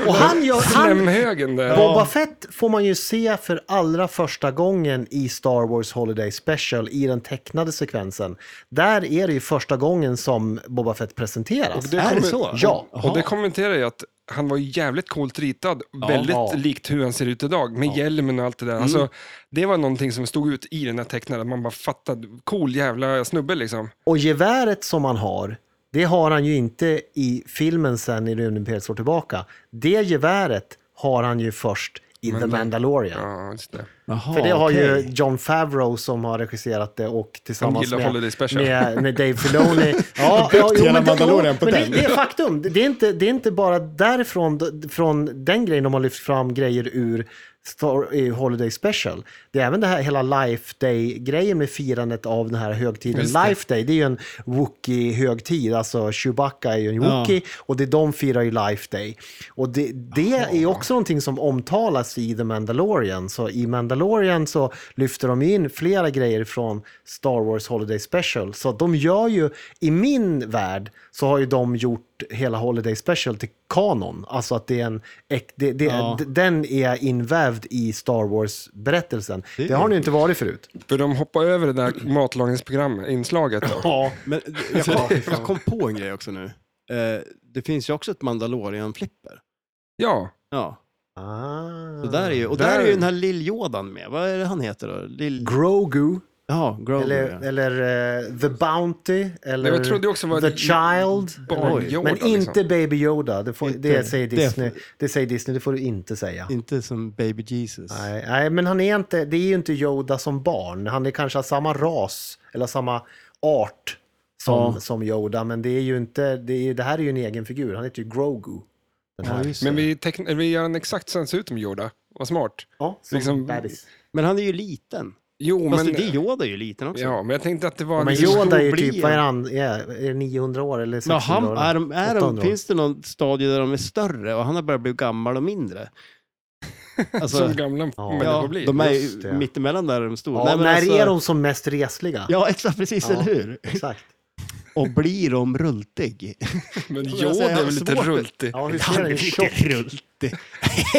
S4: Och han gör... Han,
S1: Slemhögen där.
S4: Boba Fett får man ju se för allra första gången i Star Wars Holiday Special i den tecknade sekvensen. Där är det ju första gången som Boba Fett presenteras.
S1: det
S2: är det
S1: kommer-
S2: så?
S4: Ja.
S2: Jaha.
S1: Och det kommenterar jag att han var ju jävligt coolt ritad,
S2: Ja.
S1: väldigt
S4: Ja.
S1: likt hur han ser ut idag, med hjälmen och allt det
S4: Mm.
S1: där. Alltså, det var någonting som stod ut i den här tecknaren, man bara fattade, cool jävla snubbe liksom.
S4: Och geväret som han har, det har han ju inte i filmen sen i Rymdimperiet slår tillbaka. Det geväret har han ju först i
S1: Men
S4: The
S1: det-
S4: Mandalorian.
S1: Ja, just det.
S2: Jaha,
S4: För det har ju
S2: okej.
S4: John Favreau som har regisserat det och
S1: De
S4: tillsammans
S1: gillar
S4: med,
S1: Holiday Special.
S4: med, med Dave Filoni. Ja,
S2: döpt hela
S4: men, det, jo,
S2: Mandalorian på
S4: men det,
S2: den.
S4: det är faktum. Det är, inte, det är inte bara därifrån, d- från den grejen de har lyft fram grejer ur Star, i Holiday Special. Det är även det här hela Life Day-grejen med firandet av den här högtiden.
S1: Just det.
S4: Life Day, det är ju en Wookie-högtid. Alltså Chewbacca är ju en
S2: Ja.
S4: Wookie och det, de firar ju Life Day. Och det, det är också någonting som omtalas i The Mandalorian. Så i Mandalorian så lyfter de in flera grejer från Star Wars Holiday Special. Så de gör ju, i min värld, så har ju de gjort hela Holiday Special till kanon. Alltså att det är en, ek- det, det,
S2: Ja.
S4: d- den är invävd i Star Wars-berättelsen. Det har ni inte varit förut.
S1: För de hoppar över det där matlagningsprogrammet, inslaget. Då.
S4: Ja.
S2: Men jag kom, jag kom på en grej också nu. Eh, det finns ju också ett Mandalorian-flipper.
S1: Ja,
S2: Ja,
S4: Ah.
S2: så där är ju, och där,
S1: Där-
S2: är ju den här Lill-Yodan med. Vad är det han heter då? Lill...
S4: Grogu.
S2: Ja, Grogu.
S4: Eller,
S2: ja.
S4: eller eh, The Bounty, eller
S1: jag trodde också det var
S4: The
S1: ett
S4: Child.
S1: barn
S4: Oj.
S1: Yoda,
S4: men
S1: liksom.
S4: inte Baby Yoda, det, får,
S2: Inte-
S4: det, säger
S2: det-
S4: Disney. Det, säger Disney, det får du inte säga.
S2: Inte som Baby Jesus.
S4: Nej, nej, men han är inte, det är ju inte Yoda som barn. Han är kanske av samma ras, eller samma art som,
S2: Ja.
S4: som Yoda. Men det är ju inte, det, är, det här är ju en egen figur, han heter ju Grogu. Den
S2: Ja,
S4: här.
S2: just det.
S1: men vi, teckn- vi gör en exakt så han ser ut som Yoda. Vad smart.
S4: Ja, som
S1: liksom-
S4: bebis.
S2: men han är ju liten.
S1: Jo,
S2: Fast
S1: men,
S2: det är Yoda är ju liten också.
S1: ja, men jag tänkte att det var...
S4: Men
S1: liksom-
S4: Yoda är ju
S2: stor blir
S4: typ, vad är
S2: han?
S4: han, är, är det 900 år eller
S2: Men
S4: 600
S2: han,
S4: år?
S2: är de, är de,
S4: 800 år.
S2: finns det någon stadie där de är större och han har börjat bli gammal och mindre? Alltså,
S1: Som gamla
S4: Ja.
S1: människor
S2: ja,
S1: blir.
S2: de är
S4: Just
S2: ju
S4: det.
S2: mittemellan där de stod.
S4: Ja,
S2: Nej, men
S4: när
S2: alltså-
S4: är de som mest resliga?
S2: Ja, exakt, precis,
S4: Ja.
S2: eller hur?
S4: Exakt.
S2: Och blir de rultig?
S1: Men
S2: jag
S1: Yoda
S2: säger,
S1: är väl lite
S2: svårt.
S1: rultig?
S4: Ja, hur
S2: Han
S4: ser
S2: är
S4: den ut?
S2: lite rultig.
S1: Jo,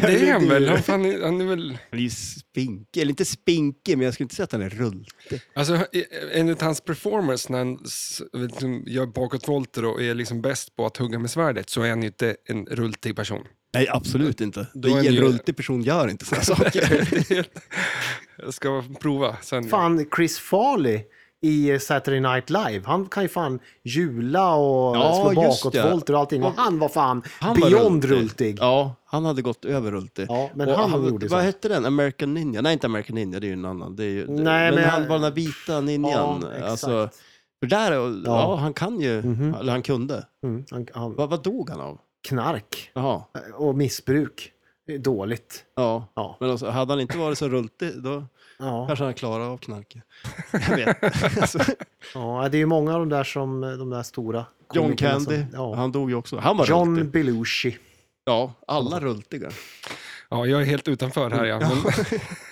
S1: Det är han väl? Han, fan är, han är väl...
S2: Han är ju spinkig, eller inte spinkig, men jag skulle inte säga att han är rultig.
S1: Alltså, enligt hans performance när han s- vet du, gör bakåtvolter och är liksom bäst på att hugga med svärdet så är han ju inte en rultig person.
S2: Nej, absolut inte.
S1: Då är
S2: en
S1: han ju-
S2: rultig person gör inte sådana saker.
S1: Jag ska prova sen.
S4: Fan, Chris Farley i Saturday Night Live, han kan ju fan jula och
S2: Ja,
S4: slå
S2: just det.
S4: bakåtvolter och allting. Och han var fan
S2: Han var
S4: beyond rultig. Ja.
S2: Ja, han hade gått över rultig.
S4: men
S2: Och
S4: han, gjorde så.
S2: Vad hette den? American Ninja? Nej, inte American Ninja, det är ju en annan. Det är ju,
S4: Nej,
S2: men
S4: men-
S2: han var den där vita ninjan.
S4: Ja, exakt. Mhm.
S2: alltså, för där, ja. ja, han kan ju, eller han kunde.
S4: Mm, han, han,
S2: Vad, vad dog han av?
S4: knark
S2: Jaha,
S4: och missbruk. Det är Dåligt.
S2: ja.
S4: Ja.
S2: Men alltså, hade han inte varit så rultig, då
S4: Ja.
S2: kanske han klarat av knarket. Jag vet. Alltså,
S4: ja, det är ju många av de där som, de där stora.
S2: John
S4: komikerna som-
S2: Candy,
S4: Ja.
S2: han dog ju också. Han var
S4: John
S2: rultig.
S4: Belushi.
S2: Ja, alla rultiga.
S1: Ja, jag är helt utanför här. Ja.
S2: Mm.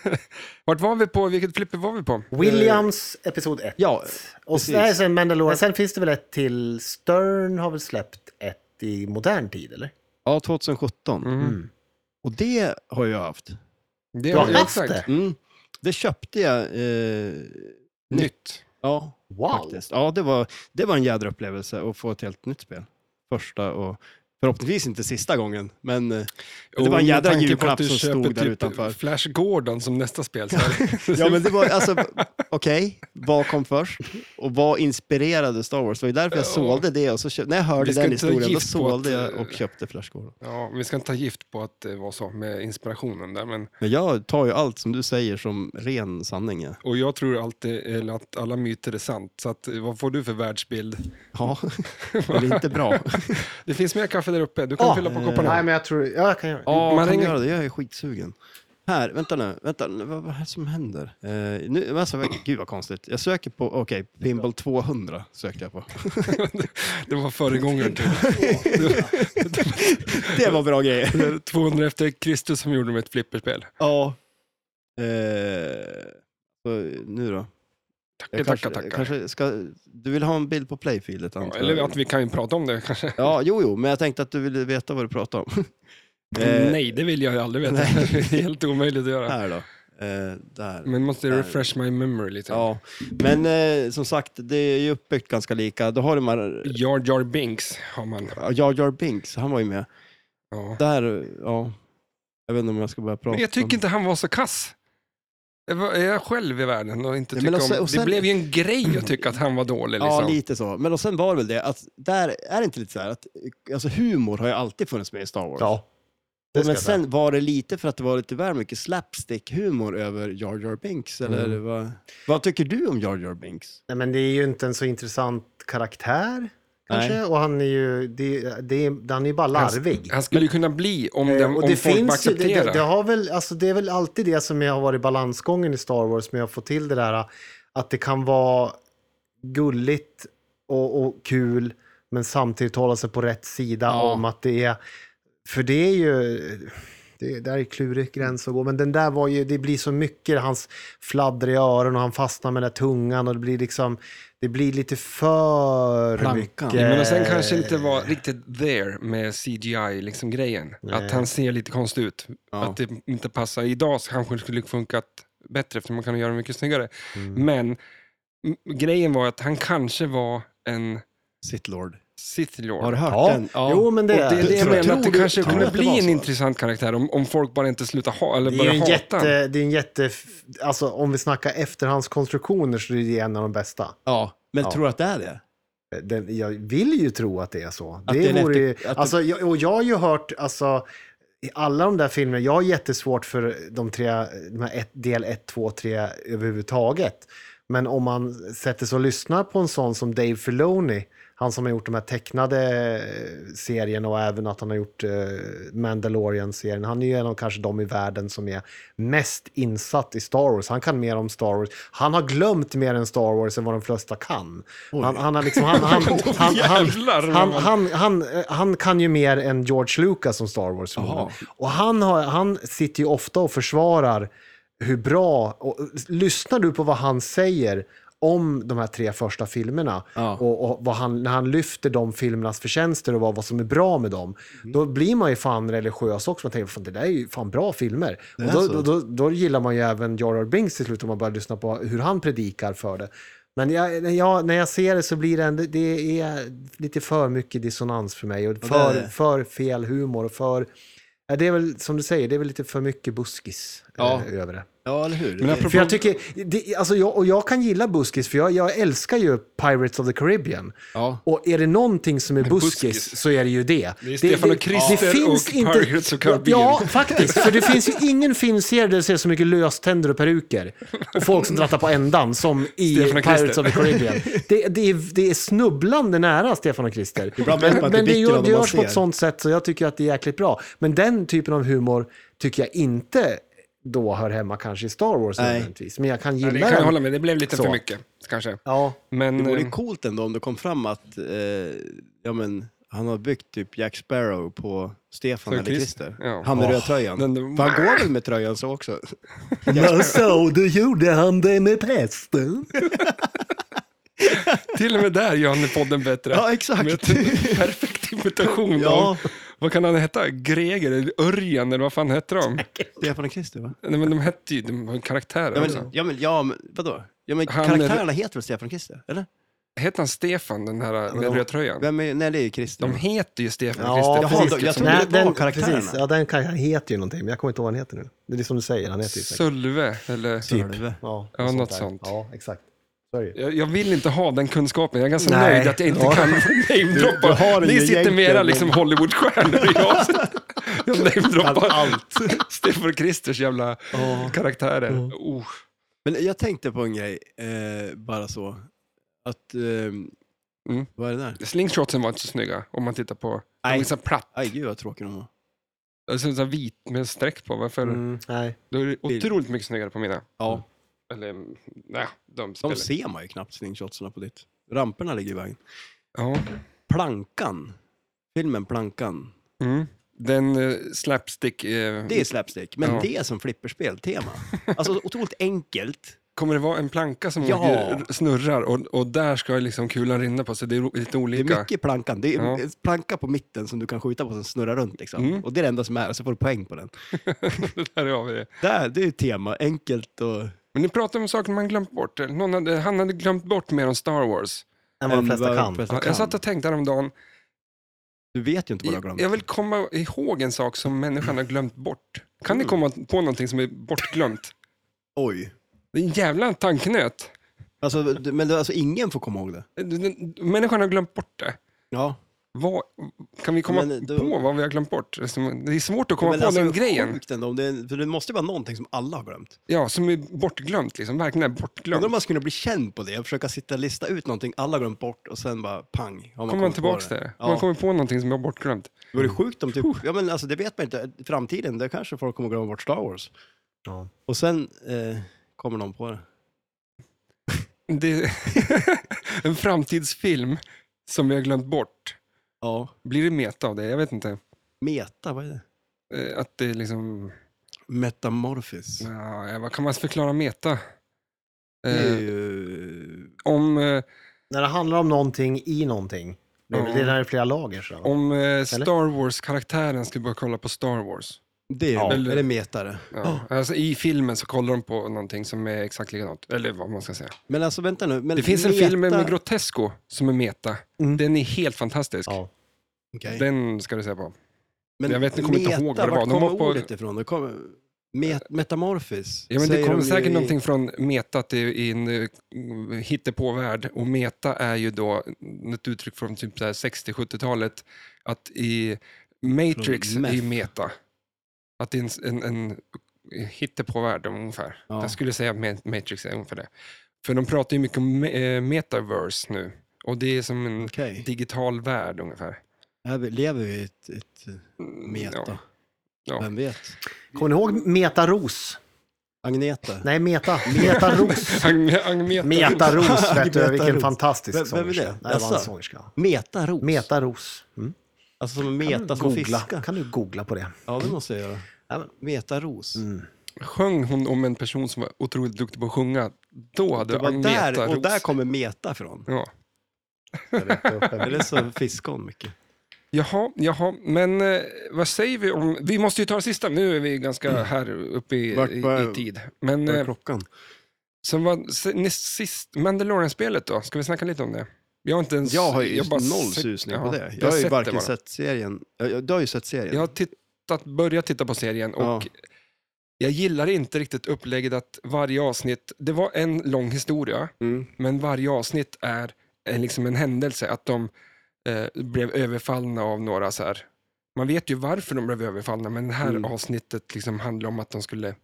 S1: Men... Vart var vi på? Vilket flipper var vi på?
S4: Williams, episod 1.
S2: Eh, Ja,
S4: Och
S2: precis.
S4: sen, sen Mandalorian. Sen finns det väl ett till. Stern har väl släppt ett i modern tid, eller?
S2: ja 2017.
S1: Mm.
S2: Och det har jag haft.
S1: Det
S4: Du har
S1: ja,
S4: haft det?
S2: Mm. Det köpte jag. Eh,
S1: Nytt.
S2: ja,
S4: Wow!
S2: faktiskt. Ja, det var, det var en jädra upplevelse att få ett helt nytt spel. Första och förhoppningsvis inte sista gången, men eh, det var en
S1: Oh, med
S2: jädra
S1: tanke på att
S2: julklapp
S1: du
S2: som
S1: köper
S2: stod där
S1: typ
S2: utanför.
S1: Flash Gordon som nästa spel. Så här.
S2: Ja, men det var alltså, okej, vad kom först? Och vad inspirerade Star Wars? Det var ju därför jag
S1: Ja.
S2: sålde det och så köpte, när jag hörde
S1: Vi ska
S2: den
S1: inte
S2: historien, då
S1: gift på
S2: sålde
S1: att,
S2: jag
S1: eh,
S2: och köpte Flash Gordon.
S1: Ja, vi ska inte ta gift på att det var så med inspirationen där. Men,
S2: Men jag tar ju allt som du säger som ren sanning. Ja.
S1: och jag tror alltid eller att alla myter är sant. Så att, eh, vad får du för världsbild?
S2: Ja, det är inte bra.
S1: Det finns mer kaffe där uppe. Du kan
S4: Ah,
S1: fylla på
S4: Nej,
S1: kopparna.
S4: men jag tror... Ja, jag kan göra det.
S2: Ja,
S1: Man
S2: man kan
S1: ringer-
S2: göra det. Jag är skitsugen. Här, vänta nu. Vänta, nu, vad, vad är det som händer? Eh, nu, men alltså, gud vad konstigt. Jag söker på, okej, Pinball 200 sökte jag på.
S1: Det var föregångaren typ. till
S2: Det var bra grejer.
S1: Det är 200 efter Kristus som gjorde med ett flipperspel.
S2: Ja. Eh, så, nu då?
S1: Tackar,
S2: kanske,
S1: tackar, tackar.
S2: Kanske ska, du vill ha en bild på playfieldet
S1: Ja,
S2: antar jag?
S1: eller att vi kan ju prata om det kanske.
S2: Ja, jo, jo, men jag tänkte att du ville veta vad du pratade om. Eh,
S1: Nej, det vill jag ju aldrig veta.
S2: nej.
S1: Det är helt omöjligt att göra.
S2: Här då. Eh, där.
S1: Men måste jag refresh my memory lite.
S2: Ja, men eh, som sagt, det är ju uppbyggt ganska lika. Då har du de här
S1: Jar Jar Binks har man.
S2: Ja, Jar Jar Binks, han var ju med.
S1: Ja.
S2: Där, ja. Jag vet inte om jag ska börja prata
S1: Men jag tycker
S2: om...
S1: inte han var så kass. Jag var- är jag själv i världen och inte
S2: Nej,
S1: tycka
S2: men och sen-
S1: om...
S2: och sen-
S1: Det blev ju en grej att tycka att han var dålig. Liksom.
S2: Ja, lite så. Men och sen var det väl det att, där är det inte lite så här att, alltså humor har ju alltid funnits med i Star Wars.
S4: Ja. Det ska
S2: Men
S4: jag säga.
S2: sen var det lite för att det var lite väl mycket slapstick-humor över Jar Jar Binks, eller
S4: Mm.
S2: vad, vad tycker du om Jar Jar Binks?
S4: Nej, men det är ju inte en så intressant karaktär kanske. Och han är ju det, det, är- han är ju bara larvig.
S1: Han skulle ju kunna bli om,
S4: Eh,
S1: den,
S4: och
S1: om
S4: det,
S1: folk bara
S4: finns ju, det,
S1: accepterar.
S4: det, det, har väl, alltså det är väl alltid det som jag har varit balansgången i Star Wars med att få till det där att det kan vara gulligt och, och kul men samtidigt hålla sig på rätt sida
S2: Ja.
S4: om att det är... För det är ju... Det, där är klurig gräns att gå, men den där var ju, det blir så mycket, hans fladdriga öron och han fastnar med den där tungan och det blir liksom, det blir lite för
S2: Plankan.
S4: mycket.
S1: Ja, Men och
S2: Eh.
S1: sen kanske inte var riktigt there med CGI-grejen. liksom Att han ser lite konstig ut.
S2: Ja.
S1: Att det inte passar. Idag så kanske det skulle funkat bättre för man kan göra det mycket snyggare.
S2: Mm.
S1: Men m- grejen var att han kanske var en
S2: Sithlord.
S1: Sith Lord.
S2: Har du hört
S4: Ja.
S2: den?
S4: Jo, men det,
S1: Och det är det jag
S2: Tror-
S1: menar, att det
S2: tror du-
S1: kanske
S2: tror du
S1: kunde
S2: att det
S1: bli
S2: var
S1: en
S2: så?
S1: intressant karaktär om, om folk bara inte slutar ha, eller
S4: Det är
S1: börjar
S4: ju en
S1: hata honom.
S4: jätte, det är en jätte, alltså om vi snackar efterhandskonstruktioner så är det en av de bästa.
S2: Ja, men tror du att det är det?
S4: Den, jag vill ju tro att det är så.
S2: det är en
S4: Det vore ju,
S2: efter- att det-
S4: alltså, jag, och jag har ju hört, alltså, i alla de där filmerna, jag har jättesvårt för de tre, de här ett, del 1, 2, 3 överhuvudtaget. Men om man sätter sig och lyssnar på en sån som Dave Filoni, han som har gjort de här tecknade eh, serierna och även att han har gjort eh, Mandalorian-serien. Han är ju en av kanske de i världen som är mest insatt i Star Wars. Han kan mer om Star Wars. Han har glömt mer än Star Wars än vad de flesta kan. Han, han, har liksom, han, han, han, han,
S1: Jävlar, vad
S4: han,
S1: man-
S4: han, han, eh, han kan ju mer än George Lucas om Star Wars. Och han, har, han sitter ju ofta och försvarar hur bra... Och, eh, lyssnar du på vad han säger om de här tre första filmerna
S2: Ja.
S4: och, och vad han, när han lyfter de filmernas förtjänster och vad, vad som är bra med dem, då blir man ju fan religiös också. Man tänker fan det där är ju fan bra filmer. Och
S2: är
S4: då,
S2: så.
S4: då, då, då gillar man ju även Jar Jar Binks till slut om man börjar lyssna på hur han predikar för det. Men jag, när, jag, när jag ser det så blir det, ändå- det är lite för mycket dissonans för mig. Och för,
S2: det är det.
S4: för fel humor och för... Ja, det är väl som du säger, det är väl lite för mycket buskis
S2: Ja.
S4: eh, över det.
S2: Ja, eller hur?
S1: Men apropå-
S4: För jag tycker, det, alltså jag, och jag kan gilla buskis, för jag, jag älskar ju Pirates of the Caribbean.
S2: Ja.
S4: Och är det någonting som är buskis,
S1: buskis.
S4: så är det ju det.
S1: Det är Stefan och Christer och Pirates of Caribbean.
S4: Ja, faktiskt. För det finns ju ingen filmserie där det ser så mycket löständer och peruker. Och folk som drattar på ändan, som i
S1: Stefan och
S4: Pirates
S1: Christer.
S4: of the Caribbean. Det, det, är, det är snubblande nära Stefan och Christer.
S2: Ibland
S4: Men,
S2: märker man att
S4: men
S2: det
S4: det,
S2: är bitter
S4: gör,
S2: av
S4: det
S2: det man
S4: görs på ett
S2: ser.
S4: sånt sätt så jag tycker att det är jäkligt bra. Men den typen av humor tycker jag inte då hör hemma kanske i Star Wars
S2: Nej.
S4: nödvändigtvis. Men jag kan
S1: Ja,
S4: gilla
S1: det kan jag
S4: den.
S1: hålla med, det blev lite
S4: Så.
S1: för mycket kanske.
S4: Ja,
S1: Men,
S2: Det vore
S1: eh,
S2: ju coolt ändå om det kom fram att eh, ja, men, han har byggt typ Jack Sparrow på Stefan
S1: Så
S2: eller
S1: Christer.
S2: Christer.
S1: Ja.
S2: Han med
S1: Åh,
S2: rödtröjan.
S1: den-
S2: För han går väl med tröjan så också?
S4: Men så, då gjorde han det med prästen.
S1: Till och med där gör han podden bättre.
S2: Ja, exakt.
S1: Med en perfekt imitation
S2: Ja.
S1: av, vad kan han heta, Greger eller Örjan eller vad fan hette de?
S2: Stefan och Christer, va?
S1: Nej, men de hette ju, de var ju karaktärer
S2: Ja,
S1: också.
S2: men, ja, men, ja, men vadå? Ja, men
S1: Han är-
S2: karaktärerna heter väl Stefan och Christer? Eller?
S1: Hette han Stefan, den här med
S2: de-
S1: röda tröjan?
S2: Vem är, nej, det är ju Christer.
S1: De heter ju Stefan och
S4: Ja,
S1: Christer.
S2: Jaha,
S4: precis.
S2: då- jag
S4: Som-
S2: trodde
S4: Nej,
S2: det var
S4: den-
S2: karaktärerna.
S4: Precis. Ja, den kan, han heter ju någonting, men jag kommer inte ihåg vad han heter nu. Det är som du säger, han heter ju säkert.
S1: Sölve, eller?
S2: Typ.
S4: Ja,
S1: Ja, något
S4: där.
S1: sånt.
S4: Ja, exakt. Så är det ju.
S1: Jag, jag vill inte ha den kunskapen. Jag är ganska
S4: Nej.
S1: nöjd att jag inte
S4: Ja.
S1: kan
S2: du har
S1: namedroppa.
S2: den
S1: Ni
S2: ju
S1: sitter
S2: egentligen,
S1: mera
S2: men-
S1: liksom Hollywoodstjärnor och jag sitter- jag namedroppar allt. Stefan och Christers jävla karaktärer. Oh.
S2: Men jag tänkte på en grej, eh, bara så. Att, ehm,
S1: Mm.
S2: vad är det där?
S1: Slingshotsen var inte så snygga om man tittar på. De
S2: Nej.
S1: är så här platt,
S2: Aj, gud vad tråkig de var.
S1: alltså så här vit med streck på. Varför?
S4: Mm, nej.
S1: Då är det otroligt mycket snyggare på mina.
S2: Ja,
S1: Eller, nej, de
S2: de
S1: spelar.
S2: ser man ju knappt slingshotsarna på ditt. Ramperna ligger i vägen.
S1: Ja.
S2: Plankan. Filmen Plankan.
S1: Mm. Den eh, slapstick... Eh,
S2: Det är slapstick, men
S1: Ja.
S2: det är som flipperspel-tema. Alltså otroligt enkelt.
S1: Kommer det vara en planka som
S2: Ja.
S1: åker- snurrar och, och där ska liksom kulan rinna på? Så det är ro- lite
S2: Det är
S1: olika.
S2: mycket plankan. Det är
S1: Ja.
S2: en planka på mitten som du kan skjuta på som snurrar runt. Liksom.
S1: Mm.
S2: Och det är det enda som är, och så får du poäng på den.
S1: Där har vi det.
S2: Där, det är tema, enkelt och...
S1: Men ni pratar om saker man glömt bort. eller? Någon hade, han hade glömt bort mer om Star Wars.
S4: Än vad de
S2: Än
S4: flesta
S2: vad de
S4: kan.
S2: flesta-
S1: Ja,
S2: kan.
S1: Jag satt och tänkte häromdagen,
S2: Du vet ju inte vad du har
S1: jag,
S2: glömt.
S1: jag vill komma ihåg en sak som människan har glömt bort. Kan
S2: Mm.
S1: ni komma på någonting som är bortglömt?
S2: Oj.
S1: Det är en jävla tankenöt.
S2: Alltså, du- men du, alltså, ingen får komma ihåg det.
S1: Människan har glömt bort det.
S2: Ja.
S1: Vad, kan vi komma
S2: Men då-
S1: på vad vi har glömt bort? Det är svårt att komma
S2: Men
S1: på
S2: alltså,
S1: den grejen.
S2: Sjukt ändå, om det, är- för det måste ju vara någonting som alla har glömt.
S1: Ja, som är bortglömt. Liksom. Verkligen är bortglömt.
S2: Undrar om man skulle bli känd på det och försöka sitta och lista ut någonting alla har glömt bort och sen bara pang. Har man
S1: kommer man
S2: kommit på
S1: tillbaka till det.
S2: Ja.
S1: Man kommer på någonting som jag har bortglömt.
S2: Det vore sjukt om typ, ja men alltså det vet man inte, framtiden, där kanske folk kommer glömma bort Star Wars.
S4: Ja.
S2: Och sen eh, kommer någon på det.
S1: Det en framtidsfilm som jag har glömt bort.
S2: Ja,
S1: Blir det meta av det? Jag vet inte.
S2: meta, vad är det?
S1: Eh, Att det är liksom...
S2: Metamorphis.
S1: Ja, ja, vad kan man förklara meta?
S2: Det
S1: Eh,
S2: är ju...
S1: om, eh,
S4: När det handlar om någonting i någonting. Det är väl
S1: Ja.
S4: det där är flera lager. Så.
S1: om eh, Star Wars-karaktären skulle börja kolla på Star Wars.
S2: Det är,
S1: Ja.
S2: ja. är det meta det?
S1: Ja. Alltså, I filmen så kollar de på någonting som är exakt likadant. Eller vad man ska säga.
S2: Men alltså vänta nu. Men
S1: Det finns en
S2: meta...
S1: film med Grotesco som är meta.
S4: Mm.
S1: Den är helt fantastisk.
S4: Ja.
S2: Okej.
S1: Den ska du se på.
S2: Men
S1: jag vet- jag kommer inte ihåg vad det var.
S2: Vart
S1: De var
S2: kommer
S1: på-
S2: ordet ifrån? Det kommer... Met metamorphis?
S1: Ja, men det
S2: säger
S1: kommer
S2: de ju
S1: säkert
S2: i-
S1: någonting från meta till i en eh, hittepåvärld. Och meta är ju då ett uttryck från typ så här 60-70-talet. Att i Matrix
S2: Från
S1: är ju
S2: meth.
S1: meta. Att det är en, en, en hittepåvärld ungefär.
S2: Ja.
S1: Jag skulle säga att Ma- Matrix är ungefär det. För de pratar ju mycket om me- eh, metaverse nu. Och det är som en
S2: Okej.
S1: digital värld ungefär.
S2: Här vi- Lever vi i ett, ett meta?
S1: Mm, Ja. Ja.
S2: Vem vet?
S4: Kommer ni ihåg Metaros?
S2: Agneta?
S4: Nej, Meta. Metaros.
S1: Agne- Agneta.
S4: Metaros, vet du. Vilken
S2: Metaros.
S4: fantastisk
S2: Vem- vem är det?
S4: sångerska. Nej, det var en
S2: Jaså?
S4: sångerska.
S2: Metaros?
S4: Metaros. Mm.
S2: Alltså som Mm. en
S4: Kan du
S2: meta som
S4: Mm. googla?
S2: fiskar?
S4: Kan du googla på det?
S2: Ja, det måste jag göra. Metaros?
S4: Mm.
S1: Sjöng hon om en person som var otroligt duktig på att sjunga, då hade
S2: Det var
S1: Agneta
S2: där, och
S1: Ros-
S2: där kommer meta från.
S1: Ja.
S2: Eller så fiskar hon mycket.
S1: Jaha, jaha, men eh, vad säger vi om... Vi måste ju ta det sista, nu är vi ganska här uppe i,
S2: Mm. Vart
S1: i,
S2: var-
S1: i tid. Men,
S2: Vad är
S1: eh,
S2: klockan?
S1: så vad, se- näst sist, Mandalorian-spelet då, ska vi snacka lite om det? Jag har inte ens...
S2: Jag har ju
S1: bara
S2: noll
S1: sett-
S2: susning
S1: ja,
S2: på det.
S1: jag
S2: Jag har ju
S1: sett det
S2: varken
S1: bara.
S2: sett serien. Ja, ja, Du har ju sett serien.
S1: Jag har tittat, börjat titta på serien och
S2: Ja.
S1: jag gillar inte riktigt upplägget att varje avsnitt... Det var en lång historia.
S2: Mm.
S1: Men varje avsnitt är, är liksom en händelse, att de eh, blev överfallna av några så här. Man vet ju varför de blev överfallna, men det här
S2: Mm.
S1: avsnittet liksom handlar om att de skulle...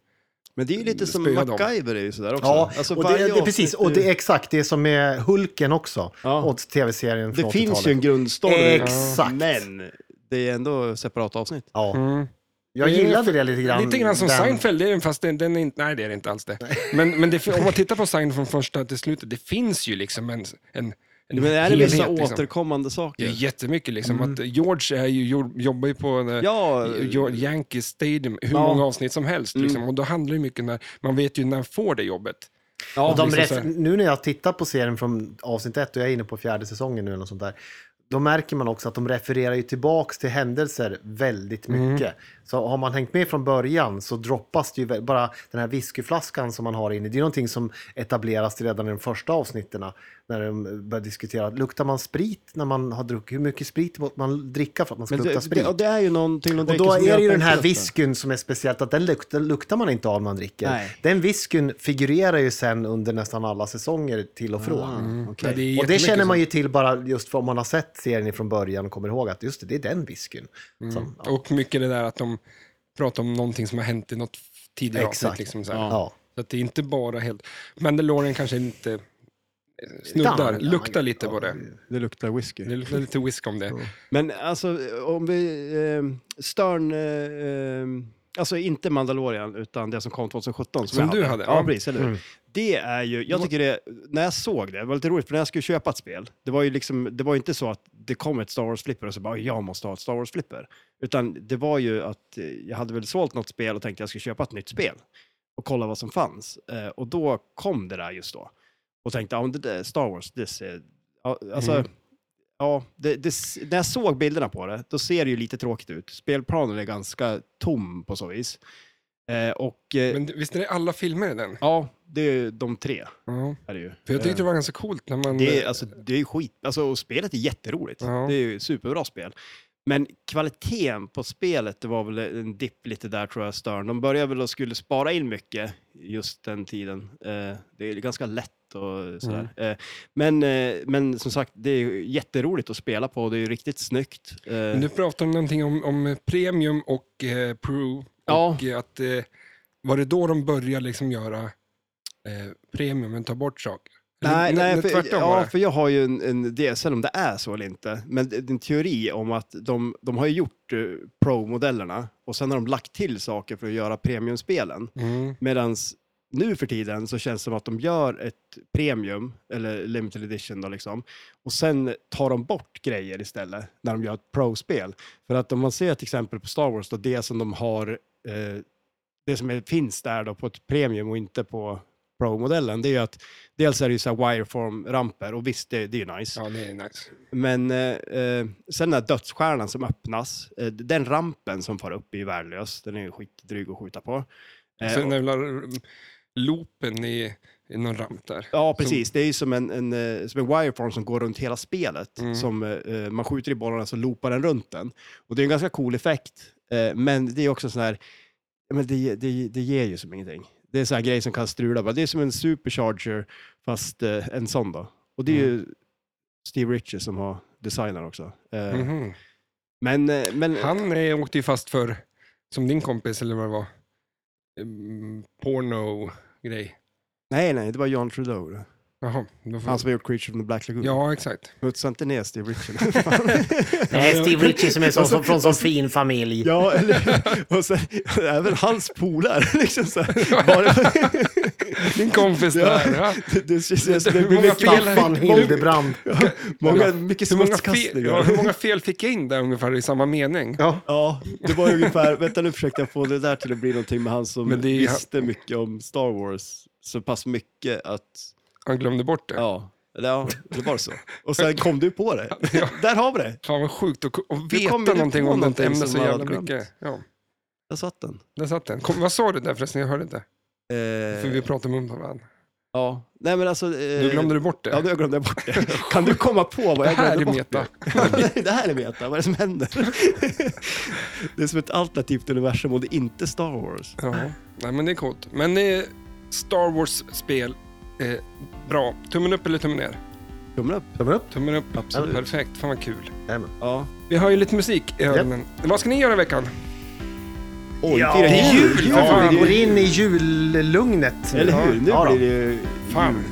S2: Men det är ju lite som
S1: Spöa Mm, dem.
S2: MacGyver är ju sådär också. Alltså
S4: Ja, och det,
S2: varje
S4: det, precis.
S2: avsnitt
S4: Och det
S2: är-
S4: är exakt det som är Hulken också.
S2: Ja.
S4: Och tv-serien från
S2: det finns ju
S4: 80-talet.
S2: en grundstory.
S4: Exakt.
S2: Men det är ändå separata avsnitt.
S4: Ja.
S1: Mm.
S4: Jag
S1: Det är
S4: gillade det lite grann.
S1: Lite grann som
S4: den-
S1: Seinfeld, det är, fast den, den är inte, nej det är det inte alls det. Men, men det, fin- om man tittar på Seinfeld från första till slutet, det finns ju liksom en, en, en
S2: Men är det vissa
S1: liksom.
S2: återkommande
S1: Det
S2: saker?
S1: är jättemycket liksom. Att George är ju, jor- jobbar ju på en, eh,
S2: Ja,
S1: Jo- Yankee Stadium hur
S2: Ja. Mm.
S1: många avsnitt som helst. Liksom. Och då handlar det mycket när, man vet ju när han får det jobbet.
S4: Och de
S1: liksom så
S4: ref-
S1: här.
S4: nu när jag tittar på serien från avsnitt ett och jag är inne på fjärde säsongen nu eller något sånt där. Då märker man också att de refererar ju tillbaks till händelser väldigt
S2: Mm.
S4: mycket. Så har man hängt med från början så droppas det ju vä- bara den här whiskyflaskan som man har inne. Det är någonting som etableras redan i de första avsnitten när de börjar diskutera. Luktar man sprit när man har druckit? Hur mycket sprit måste man dricka för att man ska
S2: men
S4: lukta
S2: det,
S4: sprit?
S2: det, och det är ju någonting de
S4: Och
S2: dricker
S4: då
S2: som
S4: är
S2: gör
S4: det ju
S2: att
S4: den
S2: de
S4: här
S2: inte luktar.
S4: whiskyn som är speciellt, att den luktar, luktar man inte av när man dricker.
S2: Nej.
S4: Den whiskyn figurerar ju sen under nästan alla säsonger till och från.
S2: Ah,
S1: Ja, det är
S2: okej.
S4: Och det
S1: jättemycket
S4: känner man
S1: så.
S4: ju till bara just för om man har sett serien från början och kommer ihåg att just det, det är den whiskyn. Som, ja.
S1: Och mycket det där att de pratar om någonting som har hänt i något tidigare avsnitt.
S4: Exakt.
S1: Liksom, så här.
S4: Ja.
S1: så att det är inte bara helt... Mandalorian kanske inte eh,
S4: Utan-
S1: snuddar, luktar lite på det.
S2: Det luktar whisky.
S1: Det luktar lite whisk om det.
S2: Men alltså, om vi... Eh, Stern... Eh, eh, alltså inte Mandalorian, utan det som kom 2017.
S1: Som
S2: jag
S1: du hade,
S2: Ja,
S1: ja. Mm.
S2: precis. Eller? hur? Det är ju... Jag tycker det... När jag såg det, det var lite roligt, för när jag skulle köpa ett spel, det var ju liksom... Det var ju inte så att det kom ett Star Wars-flipper och så bara, jag måste ha ett Star Wars-flipper. Utan det var ju att eh, jag hade väl sålt något spel och tänkte jag skulle köpa ett nytt spel och kolla vad som fanns. Eh, och då kom det där just då. Och tänkte, ja, men det där är Star Wars, det ser... Ja, alltså,
S1: Mm.
S2: ja, det, det, s- när jag såg bilderna på det, då ser det ju lite tråkigt ut. Spelplanen är ganska tom på så vis. Eh, och eh,
S1: Men visst är det alla filmer i den?
S2: ja, det är ju de tre.
S1: Ja.
S2: Är det ju.
S1: För jag
S2: Eh,
S1: tyckte det var ganska coolt när man...
S2: det är, alltså, det är ju skit. Alltså, och spelet är jätteroligt.
S1: Ja.
S2: Det är ju superbra spel. Men kvaliteten på spelet, det var väl en dipp lite där tror jag, Stern. De började väl och skulle spara in mycket just den tiden. Eh, det är ganska lätt snabbt och sådär.
S1: Mm.
S2: Eh, Men, eh, men som sagt, det är ju jätteroligt att spela på och det är ju riktigt snyggt. Eh,
S1: Men Du pratade om någonting om, om premium och eh, pro.
S2: Ja.
S1: Och eh, att, eh, var det då de började liksom göra eh, premium, men ta bort saker? Eller
S2: Nej,
S1: n-
S2: nej
S1: n-
S2: för,
S1: tvärtom var
S2: ja,
S1: det.
S2: för jag har ju en, en DSL, om det är så eller inte, men det- det är en teori om att de, de har ju gjort eh, Pro-modellerna och sen har de lagt till saker för att göra premiumspelen.
S1: Mm.
S2: Medan nu för tiden så känns det som att de gör ett premium, eller limited edition då liksom, och sen tar de bort grejer istället när de gör ett pro-spel. För att om man ser till exempel på Star Wars, då det som de har, eh, det som är, finns där då på ett premium och inte på pro-modellen, det är ju att dels är det ju så här wireform-ramper och visst, det, det är ju nice.
S1: Ja, det är nice.
S2: Men eh, eh, sen den här dödsstjärnan som öppnas, eh, den rampen som far upp är ju värdelös. Den är ju skitdryg att skjuta på. Eh,
S1: Sen den där loopen i, i någon ramp där.
S2: Ja, precis. Det är ju som en, en, eh, som en wireform som går runt hela spelet.
S1: Mm.
S2: Som, eh, man skjuter i bollarna så loopar den runt den. Och det är en ganska cool effekt. Eh, men det är också sån här, ja, men det, det, det ger ju som ingenting. Det är sån här grej som kan strula. bara. Det är som en supercharger fast eh, en sån då. Och det är ju
S1: Mm.
S2: Steve Ritchie som har designat också. Eh,
S1: Mhm.
S2: Men, eh, men
S1: Han eh, åkte ju fast för, som din kompis eller vad det var, mm, porno-grej.
S2: nej, nej, det var John Trudeau. det.
S1: Jaha. Då får...
S2: Han som har gjort Creature from the Black Lagoon.
S1: Ja, exakt.
S2: Smutsa inte ner Steve Ritchie. Fan.
S4: Nej, Steve Ritchie som är så, så, från sån fin familj.
S2: Ja, eller, och sen, även hans polare. Liksom så här, bara,
S1: Din kompis där. Ja.
S2: det, det, känns- det,
S1: Hur
S2: blir
S1: många
S2: mycket,
S1: fel-
S4: Staffan Hildebrand.
S2: många, mycket
S1: Hur många, fel, ja,
S2: smutskastningar.
S1: hur många fel fick jag in där ungefär i samma mening?
S4: Ja.
S2: Ja, det var ungefär, vänta nu försökte jag få det där till att bli någonting med han som
S1: Men det är-
S2: visste mycket om Star Wars. Så pass mycket att,
S1: Han glömde bort det.
S2: ja, eller ja, det var så. Och sen kom du på det. Där har vi det.
S1: Fan vad sjukt att att
S2: Du
S1: veta
S2: kom ju
S1: någonting
S2: på
S1: om något
S2: någonting
S1: ämne
S2: som
S1: så
S2: man
S1: jävla
S2: hade glömt.
S1: mycket. Ja,
S2: Där satt den.
S1: där satt den. Kom, vad sa du där förresten? Jag hörde inte.
S2: Eh,
S1: För vi pratade om varandra.
S2: ja, nej men alltså. eh,
S1: Du glömde du bort det?
S2: Ja, nu glömde jag bort det. Kan du komma på vad
S1: det
S2: jag
S1: här
S2: glömde
S1: är
S2: bort?
S1: meta.
S2: det? det här är meta, vad är det som händer? det är som ett alternativt universum och det är inte Star Wars.
S1: Ja. Nej, men det är coolt. Men eh, Star Wars-spel, eh, bra. Tummen upp eller tummen ner?
S2: Tummen upp.
S4: Tummen upp.
S1: Tummen upp.
S2: Absolut.
S1: Perfekt, fan vad kul.
S4: Jajamän.
S2: Ja.
S1: Vi har ju lite musik i öronen. Vad ska ni göra i veckan?
S2: Oj,
S4: Ja,
S2: det är jul!
S1: jul, för
S4: Ja,
S1: fan.
S4: vi går in i jullugnet.
S2: Eller hur? Nu
S4: Ja, då.
S2: blir det ju...
S1: Fan.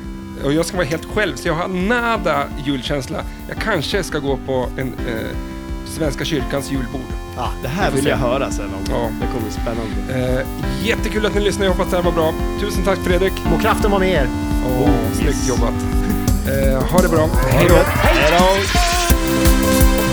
S1: Och jag ska vara helt själv, så jag har nada julkänsla. Jag kanske ska gå på en eh, Svenska kyrkans julbord.
S2: Ah, det här vill jag höra sen om.
S1: Ja.
S2: Det kommer bli spännande.
S1: Eh, jättekul att ni lyssnar, jag hoppas det här var bra. Tusen tack Fredrik.
S4: Må kraften vara med er.
S1: Oh, snyggt jobbat. Eh, ha det bra. Hej då.
S2: Hej då!